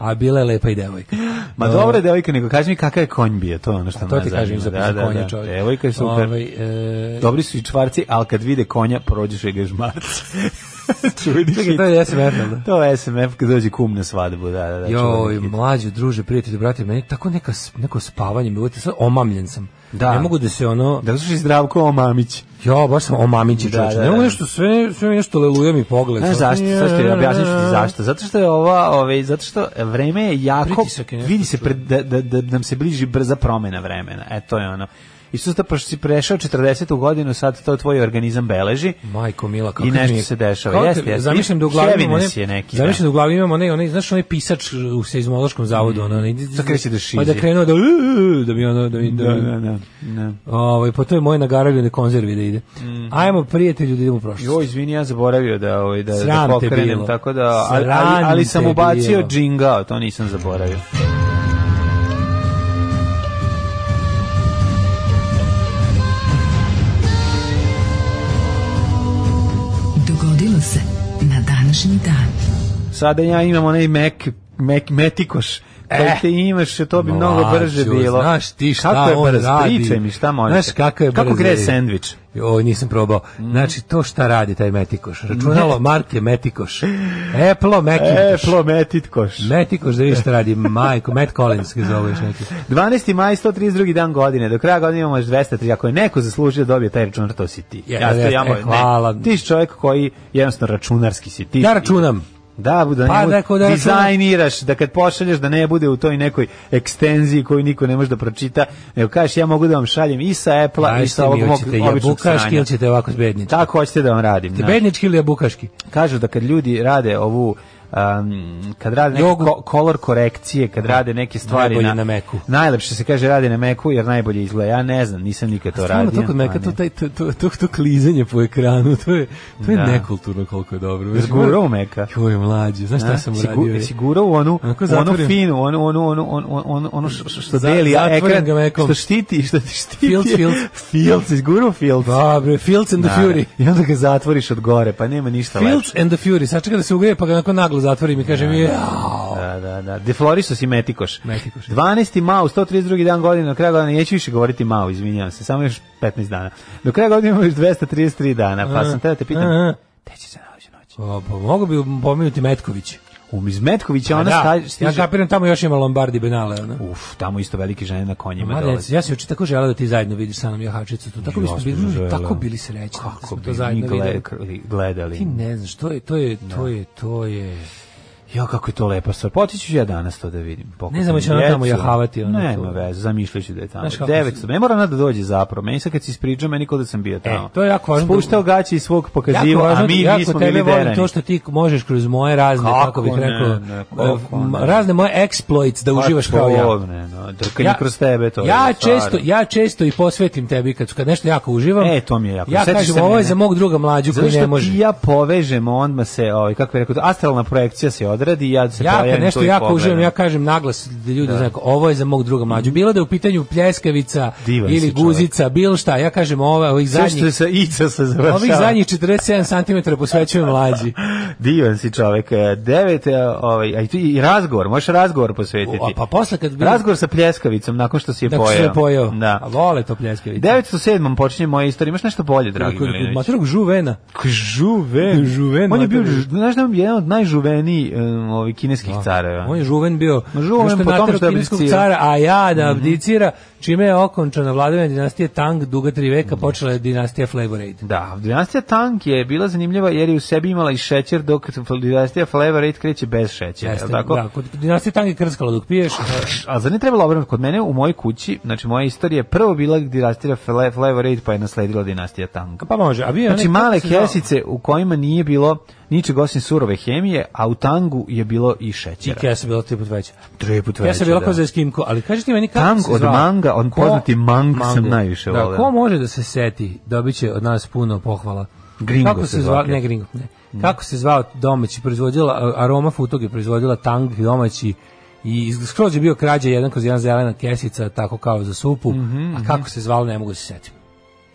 S5: A bila je lepa i devojka.
S6: Ma dobro je devojka, nego kaži mi kakav je konj bio, to je ono što
S5: To
S6: nas
S5: ti kažem za,
S6: zanima.
S5: za
S6: Da, da,
S5: konja
S6: da.
S5: čovjek.
S6: Devojka je super.
S5: Ovaj, e,
S6: Dobri su i čvarci, ali kad vide konja, prođeš i
S5: [laughs]
S6: žmarac. Čudiš
S5: čekaj, to je SMF, jel da?
S6: To je SMF kad dođe kum na svadbu, da, da, da.
S5: Joj,
S6: čuveni hit.
S5: mlađi druže, prijatelji, brate, meni je tako neka s- neko spavanje, mi uvijek sad omamljen sam.
S6: Da.
S5: Ne mogu da se ono,
S6: Da slušaj Zdravko Omamić.
S5: ja baš sam omamići
S6: Da,
S5: čovječe.
S6: da,
S5: ne mogu
S6: da.
S5: nešto sve, sve mi nešto leluje mi pogled.
S6: Znaš
S5: Sad,
S6: zašto?
S5: nije,
S6: Sad ću ti objasniti zašto. Zato što je ova, ovaj, zato što vreme je jako,
S5: Pritisak je nešto
S6: vidi se pred, da, da, da nam se bliži brza promena vremena. E, to je ono. I što zato pa što si prešao 40. godinu, sad to tvoj organizam beleži.
S5: Majko Mila, kako
S6: I nešto
S5: mi je-
S6: se dešava.
S5: kako-
S6: Jeste, jeste.
S5: Zamišljam da u glavi imam
S6: Heaviness
S5: one-
S6: je neki, da.
S5: Zamišljam da u glavi imam onaj, onaj, znaš onaj pisač u seizmološkom zavodu, ono, onaj-
S6: Sad kreće da šizi.
S5: Pa da krenuo da, da bi ono, da bi, da,
S6: Da,
S5: bi-
S6: da, da. da.
S5: Ovaj, po toj moje nagaravljene konzervi da ide.
S6: Mm.
S5: Ajmo, prijatelju, da idemo u prošlost.
S6: Jo, izvini, ja zaboravio da, ovaj, da, da
S5: Sram te
S6: pokrenem,
S5: bilo.
S6: tako da, ali, ali,
S5: Sram
S6: ali
S5: te
S6: sam ubacio
S5: bilo.
S6: džingao, to nisam zaboravio.
S4: Dogodilo se na današnji dan.
S6: Sada ja imam onaj mek, mek, metikoš da te imaš, to bi mnogo
S5: E, Mlađo,
S6: brže bilo.
S5: Znaš ti šta
S6: kako je
S5: on
S6: brz?
S5: radi?
S6: Pričaj mi šta može.
S5: Znaš kako je
S6: Kako
S5: brz
S6: gre
S5: radi?
S6: sendvič?
S5: Joj, nisam probao. Znači, to šta radi taj Metikoš? Računalo marke Metikoš. Apple
S6: E,
S5: Metikoš.
S6: plometitkoš.
S5: Metikoš da vidiš šta radi. Majko, Matt Collins ga zove još neki.
S6: 12. maj, 132. dan godine. Do kraja godine imamo još 203. Ako je neko zaslužio da dobije taj računar, to si ti.
S5: Ja,
S6: to
S5: ja,
S6: moj-
S5: e, hvala.
S6: Ti si čovjek koji jednostavno računarski si ti.
S5: Ja računam.
S6: Da, da
S5: Pa,
S6: njemu
S5: da, ako da računar-
S6: dizajniraš, da kad pošalješ da ne bude u toj nekoj ekstenziji koju niko ne može da pročita, nego kažeš ja mogu da vam šaljem i sa Apple-a i
S5: Znaš
S6: sa
S5: šta
S6: ovog
S5: mi
S6: mog
S5: hoćete,
S6: običnog
S5: jabukaški
S6: sranja.
S5: ili ćete ovako zbednički?
S6: Tako hoćete da vam radim. da.
S5: Bednički ili jabukaški?
S6: Kažu da kad ljudi rade ovu um, kad rade neke
S5: Jogu.
S6: ko, kolor korekcije, kad rade neke stvari
S5: Da. Najbolje na Macu.
S6: Najlepše se kaže radi na Meku jer najbolje izgleda. Ja ne znam, nisam nikad to
S5: Stvarno,
S6: radio.
S5: to kod meka,
S6: a
S5: to,
S6: ne.
S5: taj, to, to, to, to klizanje po ekranu, to je, to je
S6: Da.
S5: nekulturno koliko je dobro.
S6: Zgurao meka.
S5: Joj, mlađe, znaš šta
S6: A?
S5: sam
S6: Si gu-
S5: uradio?
S6: si gurao u onu,
S5: Onako
S6: onu
S5: zatvorim.
S6: finu, onu, onu, onu, onu, onu, onu š- š- što
S5: Za-
S6: deli a
S5: zatvorim
S6: ekran,
S5: ga mekom.
S6: što štiti, što ti štiti.
S5: Fields, Fields.
S6: Fields, izgurao Fields.
S5: Dobre, Pa, Fields and the
S6: Da.
S5: Fury.
S6: I onda ga zatvoriš od gore, pa nema ništa lepše.
S5: Fields and the Fury, sačekaj da se ugreje, pa ga onako naglo zatvorim i kažem, jao.
S6: Da, da, da. Deflorisos i Metikoš.
S5: Metikoš. da.
S6: 12. mau, 132. dan godine, do kraja godine neću više govoriti mau, izvinjavam se, samo još 15 dana. Do kraja godine imamo još 233 dana, pa sam te da te pitam,
S5: a.
S6: te će se naći noć?
S5: O, pa mogu bi pomenuti Metković.
S6: Um, iz Metkovića ona
S5: da,
S6: sta-
S5: ja
S6: stiže...
S5: kapiram, tamo još ima Lombardi Benale. Ono.
S6: Uf, tamo isto velike žene na konjima
S5: Mada,
S6: dolaze.
S5: ja se juče tako želeo da ti zajedno vidiš sa nam Jahačicu. tu. Tako bismo
S6: Gospođo
S5: bili, mm,
S6: Žela.
S5: tako bili srećni. da
S6: Kako
S5: smo
S6: bi
S5: to
S6: mi
S5: zajedno videli.
S6: gledali. gledali.
S5: Ti ne znaš, to je, to je,
S6: Da.
S5: to je, to je...
S6: Jo, kako je to lepa stvar. Potići ću ja danas to da vidim. Pokupim
S5: Ne znam, hoće ona
S6: djecu.
S5: tamo jahavati, ona
S6: Nema
S5: tu.
S6: veze, zamišljat ću da je tamo.
S5: Znaš kako
S6: Devet
S5: se-
S6: sam. Ne mora ona da dođe zapravo. Meni sad kad si ispričao, meni kod da sam bio tamo.
S5: E, to je jako važno.
S6: Spuštao gaće iz svog
S5: Jako
S6: pokaziva,
S5: važno,
S6: a mi
S5: jako
S6: nismo
S5: tebe
S6: bili
S5: volim
S6: derani.
S5: to što ti možeš kroz moje razne,
S6: Kako
S5: kako, bih
S6: ne,
S5: rekao,
S6: ne, kako
S5: m,
S6: ne.
S5: razne moje exploits da
S6: Pa
S5: uživaš
S6: to,
S5: kao ja.
S6: Ne, no, drkanje kroz tebe to
S5: ja
S6: je.
S5: često,
S6: stvarno.
S5: ja često i posvetim tebi kad, kad nešto jako uživam.
S6: E, to mi je jako.
S5: Ja
S6: Sjetiš
S5: kažem,
S6: se
S5: ovo je
S6: mene.
S5: za mog druga mlađu
S6: Zato
S5: koji ne
S6: što ti
S5: može.
S6: i ja povežemo, onda se, ovaj, kako je rekao, to, astralna projekcija se odradi i ja se
S5: Ja kad
S6: pojavim
S5: nešto
S6: tu i
S5: jako uživam,
S6: pogledam.
S5: ja kažem naglas da ljudi znaju, ovo je za mog druga mlađu. Bilo da je u pitanju pljeskavica
S6: Divan si
S5: ili
S6: čovjek.
S5: guzica, bilo šta, ja kažem ova, ovih
S6: Sve što
S5: zadnjih,
S6: se ica se završava.
S5: ovih zadnjih 47 cm posvećujem
S6: [laughs]
S5: mlađi.
S6: Divan si čovek. E, Devet, e, ovaj, a i, tu i razgovor, možeš razgovor posvetiti.
S5: O, a pa posle kad bi-
S6: Razgovor sa pljeskavicom nakon što si je
S5: Dakle,
S6: pojeo.
S5: što je pojeo. A
S6: Da.
S5: vole to pljeskavice.
S6: 907. počinje moja istorija. Imaš nešto bolje, dragi
S5: Kod- kod
S6: Milinović?
S5: Maturog žuvena.
S6: Žuven.
S5: Žuven,
S6: On je bio,
S5: mater.
S6: ž- znaš da je on jedan od najžuvenijih um, ovih kineskih careva.
S5: Da. On je žuven bio.
S6: Ma žuven
S5: zašto je
S6: po tome
S5: naterao
S6: što je
S5: kineskog
S6: abdicirao. Mhm.
S5: cara, a ja da abdicira, čime je okončana vladavina dinastije Tang duga tri
S6: Mhm.
S5: veka, počela je dinastija Flavorade.
S6: Da, dinastija Tang je bila zanimljiva jer je u sebi imala i šećer, dok dinastija Flavor 8 kreće bez šećera.
S5: Jeste,
S6: Jeste, tako?
S5: da, kod dinastije Tang je krskala dok piješ.
S6: [laughs] A zar ne trebalo obrnuti kod mene u mojoj kući, znači moja istorija je prvo bila dinastija Fle- Flavor 8 pa je nasledila dinastija Tang.
S5: Pa može, a bio je
S6: Znači
S5: onaj-
S6: male
S5: kako se zvao?
S6: kesice u kojima nije bilo ničeg osim surove hemije, a u Tangu je bilo
S5: I
S6: i šećera.
S5: kesa bila tri put veća.
S6: Tri put
S5: Kesa
S6: veće,
S5: bila
S6: da.
S5: kao za eskimko, ali kaži ti meni kako
S6: Tang
S5: se
S6: od
S5: zvao?
S6: manga, on
S5: Ko-
S6: poznati mang
S5: Mango.
S6: sam najviše
S5: Da,
S6: voleo.
S5: ko može da se seti, dobit će od nas puno pohvala.
S6: Gringo
S5: Kako
S6: se
S5: se zvao,
S6: zvao.
S5: ne Gringo, ne. Kako se zvao domaći proizvodila a- aroma futog je proizvodila Tang domaći i iz- skroz je bio krađa jedan kroz jedan zelena kesica tako kao za supu,
S6: Mhm,
S5: a kako se zvalo ne mogu da se setim.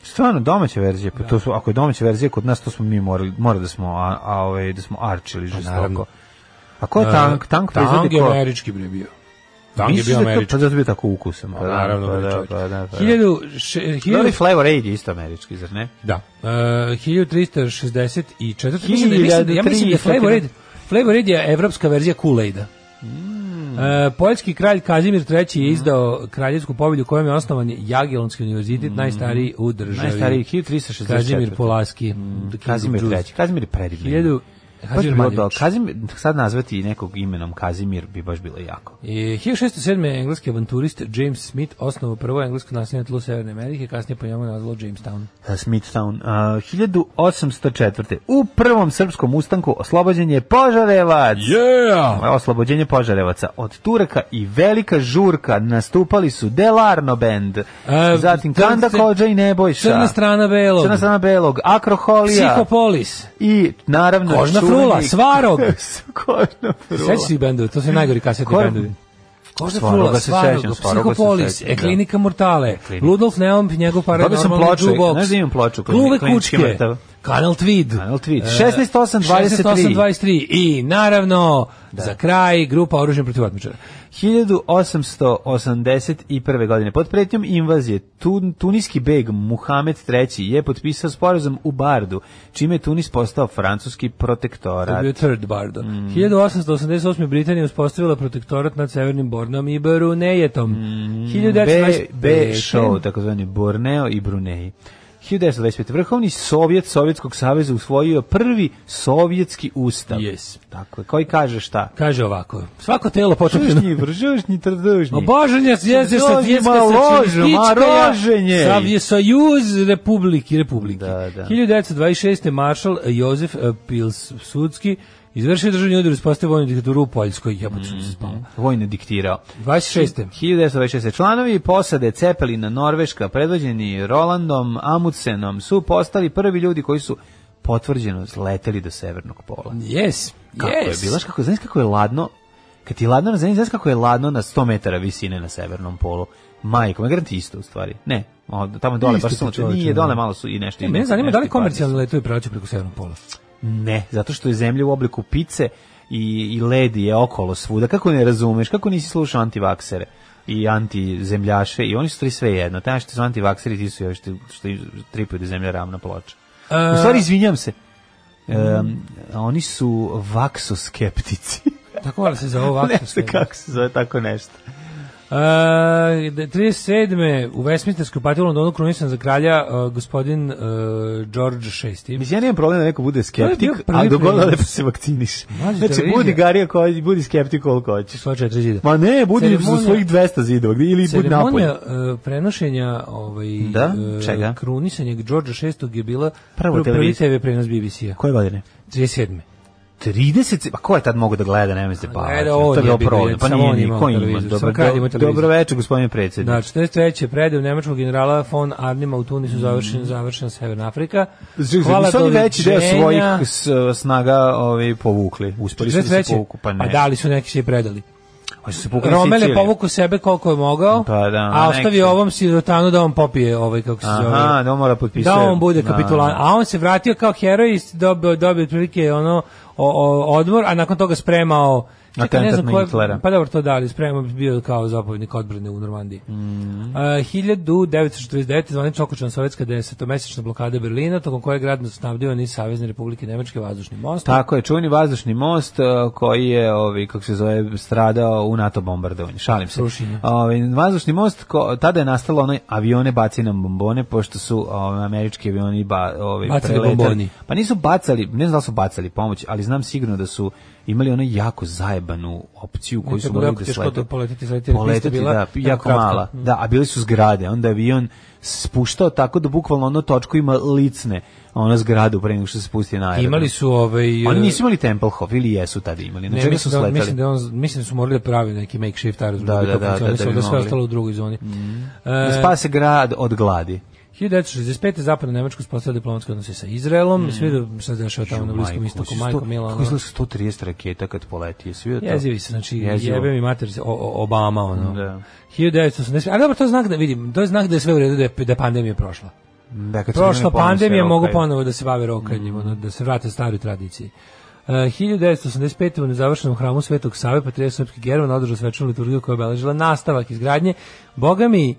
S6: Stvarno domaća verzija,
S5: Da.
S6: pa to su ako je domaća verzija kod nas to smo mi morali, mora da smo a, a ovaj da smo arčili
S5: Pa naravno. Da.
S6: žestoko. A ko je Tang? Tang
S5: Tang
S6: proizvodi
S5: je
S6: ko?
S5: američki bre bio. Tang je bio
S6: Misliš da je to-
S5: američki.
S6: Pa zato bi tako ukusan. Pa, da,
S5: Naravno,
S6: pa
S5: bre,
S6: da,
S5: čovječe.
S6: pa da, pa da.
S5: Hiljadu še- hiljadu-
S6: Dobro, i Flavor Aid je isto američki, zar ne?
S5: Da. Uh, 1364. Mislim da, mislim da, ja mislim da je
S6: 1300.
S5: Flavor Aid, Flavor Aid je evropska verzija Kool-Aida.
S6: Mm.
S5: E, poljski kralj Kazimir III
S6: Mhm.
S5: je izdao kraljevsku povelju kojom je osnovan Jagiellonski univerzitet, najstariji u državi.
S6: Mhm. Najstariji 1364.
S5: Kazimir Polaski.
S6: Mhm. Kazimir
S5: Kazimir
S6: III. Kazimir je predivno.
S5: 1000
S6: ime. Baš bi
S5: Kazimir
S6: bilo
S5: Manjević.
S6: dobro. Kazimir, sad nazvati nekog imenom Kazimir bi baš bilo jako.
S5: E, 1607. je engleski avanturist James Smith osnovao prvo englesko naselje na tlu Severne Amerike, kasnije po njemu nazvalo Jamestown.
S6: Uh, Smithtown. Uh, 1804. U prvom srpskom ustanku oslobođen je Požarevac.
S1: Yeah!
S6: Oslobođenje Požarevaca od Turaka i Velika Žurka nastupali su Delarno band, zatim
S5: crn-
S6: Kanda Kođa i Nebojša,
S5: E, Crna strana belog.
S6: Crna strana Belog, Akroholija
S5: Psihopolis.
S6: i naravno
S5: Kožna
S6: čuveni-
S5: frula, Svarog.
S6: [laughs] Kožna frula.
S5: Sveći si bendovi, to su najgori kasetni
S6: Kor-
S5: bendovi. Kožna
S6: Svaroga
S5: frula,
S6: se
S5: Svaroga,
S6: sećam, Svaroga se
S5: Psihopolis,
S6: sećam, da.
S5: E klinika Mortale,
S6: Klinika.
S5: Ludolf Neump, njegov
S6: Dobio sam
S5: paranormalni
S6: ploču,
S5: jukebox,
S6: znaš da imam ploču, klinik-
S5: Kluve
S6: klinički
S5: kučke,
S6: mrtav.
S5: Kanal Tweed,
S6: Kanal Tweed.
S5: e,
S6: 16.8.23.
S5: 16.8.23. i naravno,
S6: Da.
S5: za kraj, grupa oružja protiv otmičara.
S6: 1881. godine pod pretnjom invazije Tun, tuniski beg Muhamed III je potpisao sporazum u Bardu, čime je Tunis postao francuski
S5: To je
S6: protektorat.
S5: bio Third da. Bardo.
S6: Mm.
S5: 1888. Britanija uspostavila protektorat nad Severnim Bornom i Brunejetom.
S6: Mm. B, B
S5: 1925.
S6: show, takozvani Borneo i Brunei. 1925. Vrhovni Sovjet Sovjetskog saveza usvojio prvi sovjetski ustav.
S5: Yes.
S6: Tako je. Koji kaže šta?
S5: Kaže ovako, svako telo potopljeno.
S6: Žužnji, vržužnji, trdužnji.
S5: Oboženje jeze Pa sa
S6: Dođi,
S5: djetska
S6: ma
S5: sa
S6: ložu, ma roženje.
S5: Savje Sojuz Republiki Republike.
S6: Da, da.
S5: 1926. maršal Jozef eh, Pilsudski izvršio državni udar i uspostavio vojnu diktaturu u Poljskoj. Jebote, sam se spao.
S6: Vojno diktirao.
S5: 26.
S6: 1926. Članovi posade Cepelina Norveška, predvođeni Rolandom Amundsenom, su postali prvi ljudi koji su potvrđeno sleteli do severnog pola.
S5: Yes,
S6: Kako
S5: yes.
S6: je bilo, znaš kako, znaš kako je ladno, kad ti je ladno na zemlji, znaš kako je ladno na 100 metara visine na severnom polu. Majko, me garanti isto u stvari. Ne, o, tamo dole,
S5: Isto
S6: baš
S5: po
S6: sunce,
S5: čoveče,
S6: nije
S5: da.
S6: dole malo su i nešto.
S5: E, mene zanima
S6: nešto
S5: da li
S6: i padne
S5: komercijalni
S6: su.
S5: letovi prelaću preko severnog pola.
S6: Ne, zato što je zemlja u obliku pice i, i ledi je okolo svuda. Kako ne razumeš, kako nisi slušao antivaksere i antizemljaše i oni su tri sve jedno. Taj što su antivakseri, ti su još što, što im tripaju da je zemlja ravna ploča.
S5: E,
S6: U stvari, izvinjam se, em, oni su vaksoskeptici. [laughs]
S5: Tako valjda se za ovo
S6: ne znam
S5: ovako.
S6: kako se zove tako nešto.
S5: Uh, 37. E, u Westminstersku partiju u Londonu krunisan za kralja uh, gospodin uh, George VI.
S6: Mislim, ja nemam problem da neko bude skeptik,
S5: bio prvi
S6: ali dogodilo
S5: primer.
S6: da se vakciniš.
S5: Mlađe
S6: Znači,
S5: televizija.
S6: budi garija, koji- budi skeptik koliko hoćeš.
S5: Svoje četiri zida.
S6: Ma ne, budi za
S5: Ceremonija-
S6: svojih 200 zidova, gdje- ili budi napolje.
S5: Ceremonija uh, prenošenja ovaj,
S6: Da?
S5: uh,
S6: Čega?
S5: krunisanja George VI je bila prvo
S6: Prvo
S5: prvi
S6: televizija.
S5: TV prenos BBC-a.
S6: Koje godine?
S5: 37.
S6: 30, se- pa ko je tad mogu da gleda, nema se pa.
S5: gleda on
S6: to je
S5: je
S6: bio
S5: bio,
S6: problem. Pa
S5: samo
S6: nije
S5: on
S6: ni
S5: imao
S6: ko ima.
S5: televizor,
S6: Dobro,
S5: samo kralj ima
S6: do,
S5: televizor.
S6: dobro večer, gospodine predsjedniče.
S5: Da, 43. predaju nemačkog generala von Arnima u Tunisu završen, završena Severna Afrika.
S6: Znači, Mm. nisu oni veći deo
S5: doviđenja.
S6: svojih s, snaga ovaj, povukli. Uspeli su da se
S5: 43.
S6: povuku, pa ne.
S5: Pa da li su neki se i predali?
S6: Oni su se povukli na
S5: Romel je
S6: Siciliju.
S5: povukao sebe koliko je mogao,
S6: Pa da,
S5: a
S6: neki.
S5: ostavio ovom sirotanu da on popije ovaj, kako se zove.
S6: Aha, da on mora potpisati.
S5: da on bude
S6: Da,
S5: kapitulan.
S6: da.
S5: A on se vratio kao heroj i dobio, dobio otprilike ono o, o, odmor, a nakon toga spremao Čekaj, ne
S6: Atentat
S5: znam
S6: na
S5: ko je-
S6: Hitlera.
S5: Pa dobro, to da, ali spremao bi bio kao zapovjednik odbrane u Normandiji.
S6: Mhm.
S5: A, 1949. zvanično okučena sovjetska desetomesečna blokada Berlina, tokom koje je grad snabdio niz Savezne republike Nemačke vazdušnim mostom.
S6: Tako je, čuveni vazdušni most eh, koji je, ovaj, kako se zove, stradao u NATO bombardovanju. Šalim se.
S5: Srušenje.
S6: Ovaj, vazdušni most, ko, tada je nastalo onaj avione baci nam bombone, pošto su ovaj, američki avioni ba, ovaj,
S5: Bacali
S6: preletali.
S5: bomboni.
S6: Pa nisu bacali, ne znam da li su bacali pomoć, ali znam sigurno da su imali ono jako zajebanu opciju koju
S5: Nekad
S6: su
S5: bilo
S6: morali
S5: jako
S6: da
S5: teško
S6: slete.
S5: da poletiti, sletiti, jer pista
S6: Poletiti,
S5: bila
S6: da,
S5: jako
S6: jako
S5: kratka.
S6: mala. Da, a bili su zgrade, onda je avion spuštao tako da bukvalno ono točku ima licne ono zgradu pre nego što se spusti na aerodrom.
S5: Imali su ovaj...
S6: Oni da. Pa nisu imali Tempelhof ili jesu tada imali. Na
S5: Ne,
S6: čega su
S5: mislim, da,
S6: sletali?
S5: mislim, da je on, mislim da su morali da pravi neki makeshift aerodrom
S6: Da,
S5: da,
S6: da,
S5: bi to
S6: da, da, da
S5: funkcionisalo,
S6: bi
S5: da, sve
S6: mogli.
S5: ostalo u drugoj zoni.
S6: Da
S5: E,
S6: spase grad od gladi.
S5: 1965. zapadno Nemačko spostavio diplomatske odnose sa Izraelom, mm. sve do se dešava tamo na Bliskom istoku, majko Milano.
S6: Kako izgleda 130 raketa kad poleti? Jesi vidio to?
S5: Jezivi se, znači
S6: Da, Jezivo.
S5: jebe mi mater se, o, o, Obama, ono.
S6: Da.
S5: 1980. A dobro, to je znak da vidim, to je znak da je sve u redu, da je, da je pandemija prošla.
S6: Da, kad su
S5: Prošla
S6: bili ponosni,
S5: pandemija,
S6: evo,
S5: mogu
S6: kaj-
S5: ponovo da se bave rokanjem, ono,
S6: Mm.
S5: da se vrate staroj tradiciji. Uh, 1985. u nezavršenom hramu Svetog Save, Patrija Srpski German, održao svečanu liturgiju koja je obeležila nastavak izgradnje. Boga mi,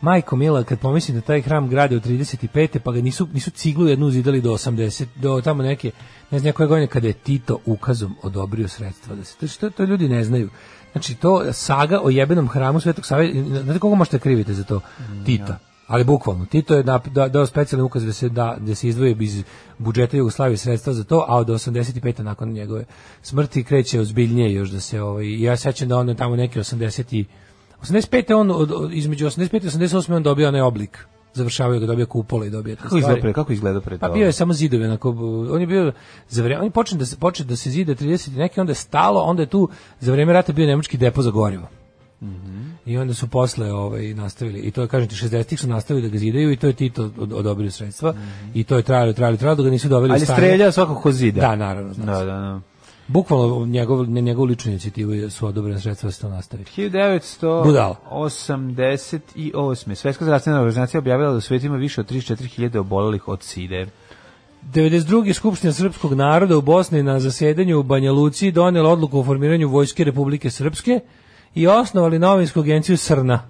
S5: Majko Mila, kad pomislim da taj hram grade od 35. pa ga nisu, nisu ciglu jednu zidali do 80, do tamo neke, ne znam koje godine, kada je Tito ukazom odobrio sredstva. Da se, to, što, to ljudi ne znaju. Znači, to saga o jebenom hramu Svetog Save, znate koga možete kriviti za to?
S6: Mm,
S5: Tita. Ali bukvalno, Tito je nap- da- dao specijalni ukaz da se, da, da se izdvoje iz budžeta Jugoslavije sredstva za to, a od 85. nakon njegove smrti kreće ozbiljnije još da se, ovaj, ja sećam da on je tamo neki 80. i- 85. on, od, od- između 85. i 88. on dobio onaj oblik, završavaju ga, dobio kupole i dobio te
S6: Kako izgleda
S5: stvari.
S6: pre, kako izgleda pre
S5: Pa
S6: toga?
S5: bio je samo zidovi onako, b- on je bio za vreme, on je počeo da se počeo da se zida 30 i neki onda je stalo, onda je tu za vreme rata bio nemački depo za gorivo. I onda su posle ovaj nastavili i to je kažem ti 60-ih su nastavili da ga zidaju i to je Tito od- odobrio sredstva i to je trajalo, trajalo, trajalo dok ga nisu doveli u
S6: Ali
S5: stanje.
S6: streljao svako ko zida.
S5: Da, naravno. zna
S6: Da,
S5: se.
S6: da, da.
S5: bukvalno njegov, na njegovu ličnu inicijativu su odobrene sredstva da se to nastavi.
S6: 1988. Svetska zdravstvena organizacija objavila da u svetu ima više od 34.000 obolelih od side.
S5: 92. Skupština Srpskog naroda u Bosni na zasedanju u Banja Luci donijela odluku o formiranju Vojske Republike Srpske i osnovali novinsku agenciju Srna.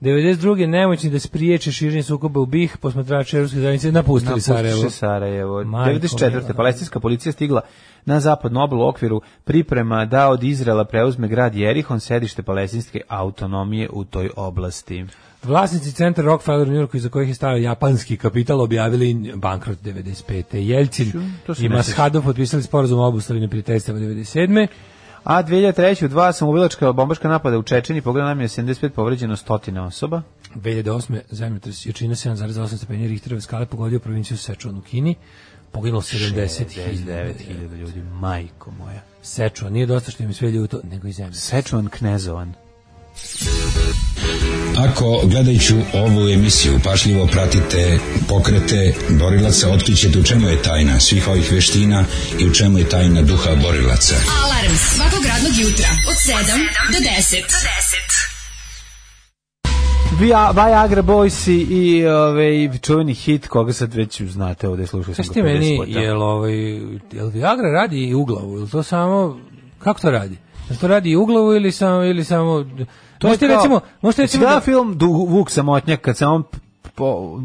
S5: 92. nemoćni da spriječe širenje sukoba u BiH, posmatrači Evropske zajednice napustili Sarajevo.
S6: Napustiše Sarajevo.
S5: Majko
S6: 94.
S5: mila.
S6: palestinska policija stigla na zapadnu obalu u okviru priprema da od Izraela preuzme grad Jerihon, sedište palestinske autonomije u toj oblasti.
S5: Vlasnici centra Rockefeller u Njurku iza kojih je stavio japanski kapital objavili bankrot 95. Jelcin
S6: To se
S5: i
S6: ne
S5: Mashadov potpisali sporazum o obustavljanju prijateljstava 97.
S6: A 2003. u dva samoubilačka bombaška napada u Čečeni pogledano nam je 75 povređeno stotine osoba.
S5: 2008. zemljotres jačina 7,8 stepeni Richterove skale pogodio provinciju Sečuan u Kini. Poginulo 70.000.
S6: 99.000 ljudi, majko moja.
S5: Sečuan nije dosta što im je sve ljuto, nego i zemlje.
S6: Sečuan Knezovan.
S7: Ako gledajući ovu emisiju pašljivo pratite pokrete borilaca, otkrićete u čemu je tajna svih ovih veština i u čemu je tajna duha borilaca.
S4: Alarm svakog radnog jutra od 7 do 10.
S6: Via- Viagra Boys i ovaj čuveni hit koga sad već znate ovde slušali smo
S5: Kaš
S6: ga
S5: ti
S6: 50
S5: meni,
S6: puta.
S5: jel, ovaj, jel Viagra radi i u glavu, jel to samo, kako to radi? Jel to radi i u glavu ili samo, ili samo, to
S6: To
S5: možete
S6: je kao-
S5: recimo, možete recimo,
S6: da
S5: da,
S6: film du, Vuk samotnjak kad se on p- po,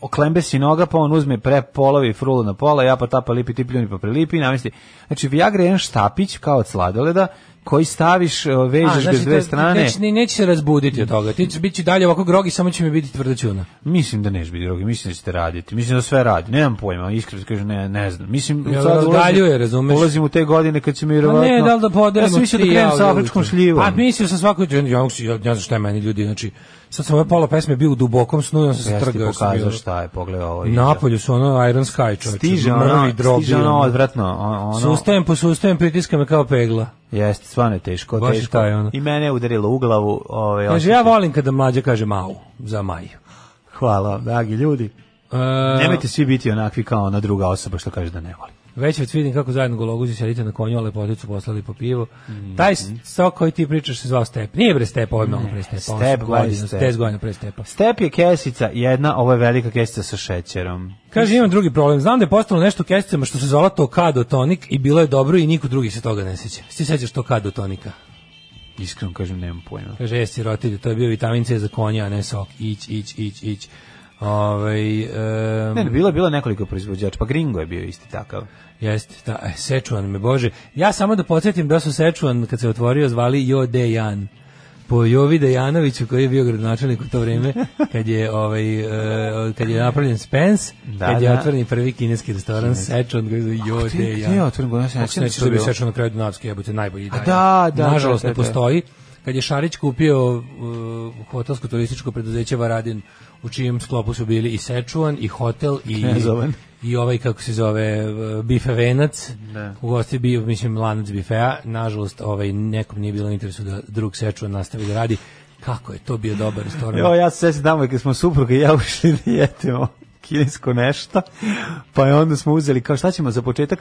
S6: oklembe si noga pa on uzme pre polovi frulu na pola ja pa tapa lipi ti pljuni pa prilipi namisli znači Viagra je jedan štapić kao od sladoleda koji staviš e, vežeš
S5: A,
S6: ga s
S5: znači,
S6: dve
S5: to-
S6: strane
S5: Neće, ne- neće se razbuditi od toga. Ti će biti dalje ovako grogi, samo će mi biti tvrdoćuna.
S6: mislim da neš biti drugi mislim da ćete raditi mislim da sve radi nemam pojma iskreno ti kažem ne ne znam mislim
S5: Jel
S6: sad ulazim-
S5: razdaljuje, razumeš?
S6: ulazim u te godine kad će mi
S5: Pa
S6: vjerovatno
S5: ne, da li da podelimo
S6: ja sam mislio da krenem sa afričkom šljivom
S5: A Pa mislio sam svako jutro, ja, mogu se- ja ne znam šta je meni ljudi, znači, sad sam ove pola pesme bio u dubokom snu, ja sam se
S6: ja sam ti
S5: trgao. jer sam bio-
S6: pokazao šta je pogledaj ovo
S5: Napolju su ono Iron Sky čovječe.
S6: stiže
S5: mrvi
S6: ono
S5: drobi,
S6: stiže ono odvratno ono, ono
S5: Sustajem, posustajem, pritiska me kao pegla.
S6: Jeste, stvarno je teško,
S5: Baš je
S6: teško.
S5: taj, ono.
S6: I mene je udarilo u glavu. Ovaj,
S5: Kaže,
S6: osjećaj.
S5: ja volim kada mlađa kaže mau za maj.
S6: Hvala vam, dragi ljudi.
S5: E,
S6: Nemojte svi biti onakvi kao ona druga osoba što kaže da ne voli.
S5: Već već vidim kako zajedno gologuzi sedite na konju, a lepoticu poslali po pivu. Taj
S6: Mhm.
S5: stok koji ti pričaš se zvao Step. Nije bre Step, ovo je mnogo pre Stepa. on
S6: Step,
S5: se
S6: gledaj
S5: godinu-
S6: Step.
S5: 10 godina pre Stepa.
S6: Step je kesica jedna, ovo je velika kesica sa šećerom.
S5: Kaže, imam drugi problem. Znam da je postalo nešto u kesicama što se zvala Tokado tonik i bilo je dobro i niko drugi se toga ne seća. Ti sećaš Tokado tonika?
S6: Iskreno kažem, nemam pojma.
S5: Kaže, jesi rotilje, to je bio vitamin C za konja, a ne sok. Ić, ić, ić, ić. Ovaj, em,
S6: Ne, ne, bilo je bilo je nekoliko proizvođača, pa Gringo je bio isti takav.
S5: Jeste, da, e, Sečuan me bože. Ja samo da podsjetim da su Sečuan kad se otvorio zvali Jo Dejan. Po Jovi Dejanoviću koji je bio gradonačelnik u to
S6: [laughs]
S5: vrijeme kad je ovaj e, kad je napravljen Spence,
S6: Da,
S5: kad je
S6: da.
S5: otvoren i prvi kineski restoran Sečuan koji je Jo Dejan.
S6: Ja, otvorim godinu,
S5: Kako se neće da bi Sečuan na kraju Dunavski jebote najbolji dan.
S6: da, da,
S5: Nažalost
S6: da, da,
S5: ne
S6: da.
S5: postoji. Kad je Šarić kupio uh, hotelsko turističko preduzeće Varadin u čijem sklopu su bili i Sečuan i hotel i
S6: Knezovan.
S5: i ovaj kako se zove e, bife venac
S6: Da.
S5: u gosti je bio mislim lanac bifea nažalost ovaj nekom nije bilo u interesu da drug sečuan nastavi da radi kako je to bio dobar restoran
S6: Jo, ja se sećam tamo kad smo supruga i ja ušli da jedemo kinesko nešto, pa je onda smo uzeli, kao šta ćemo za početak,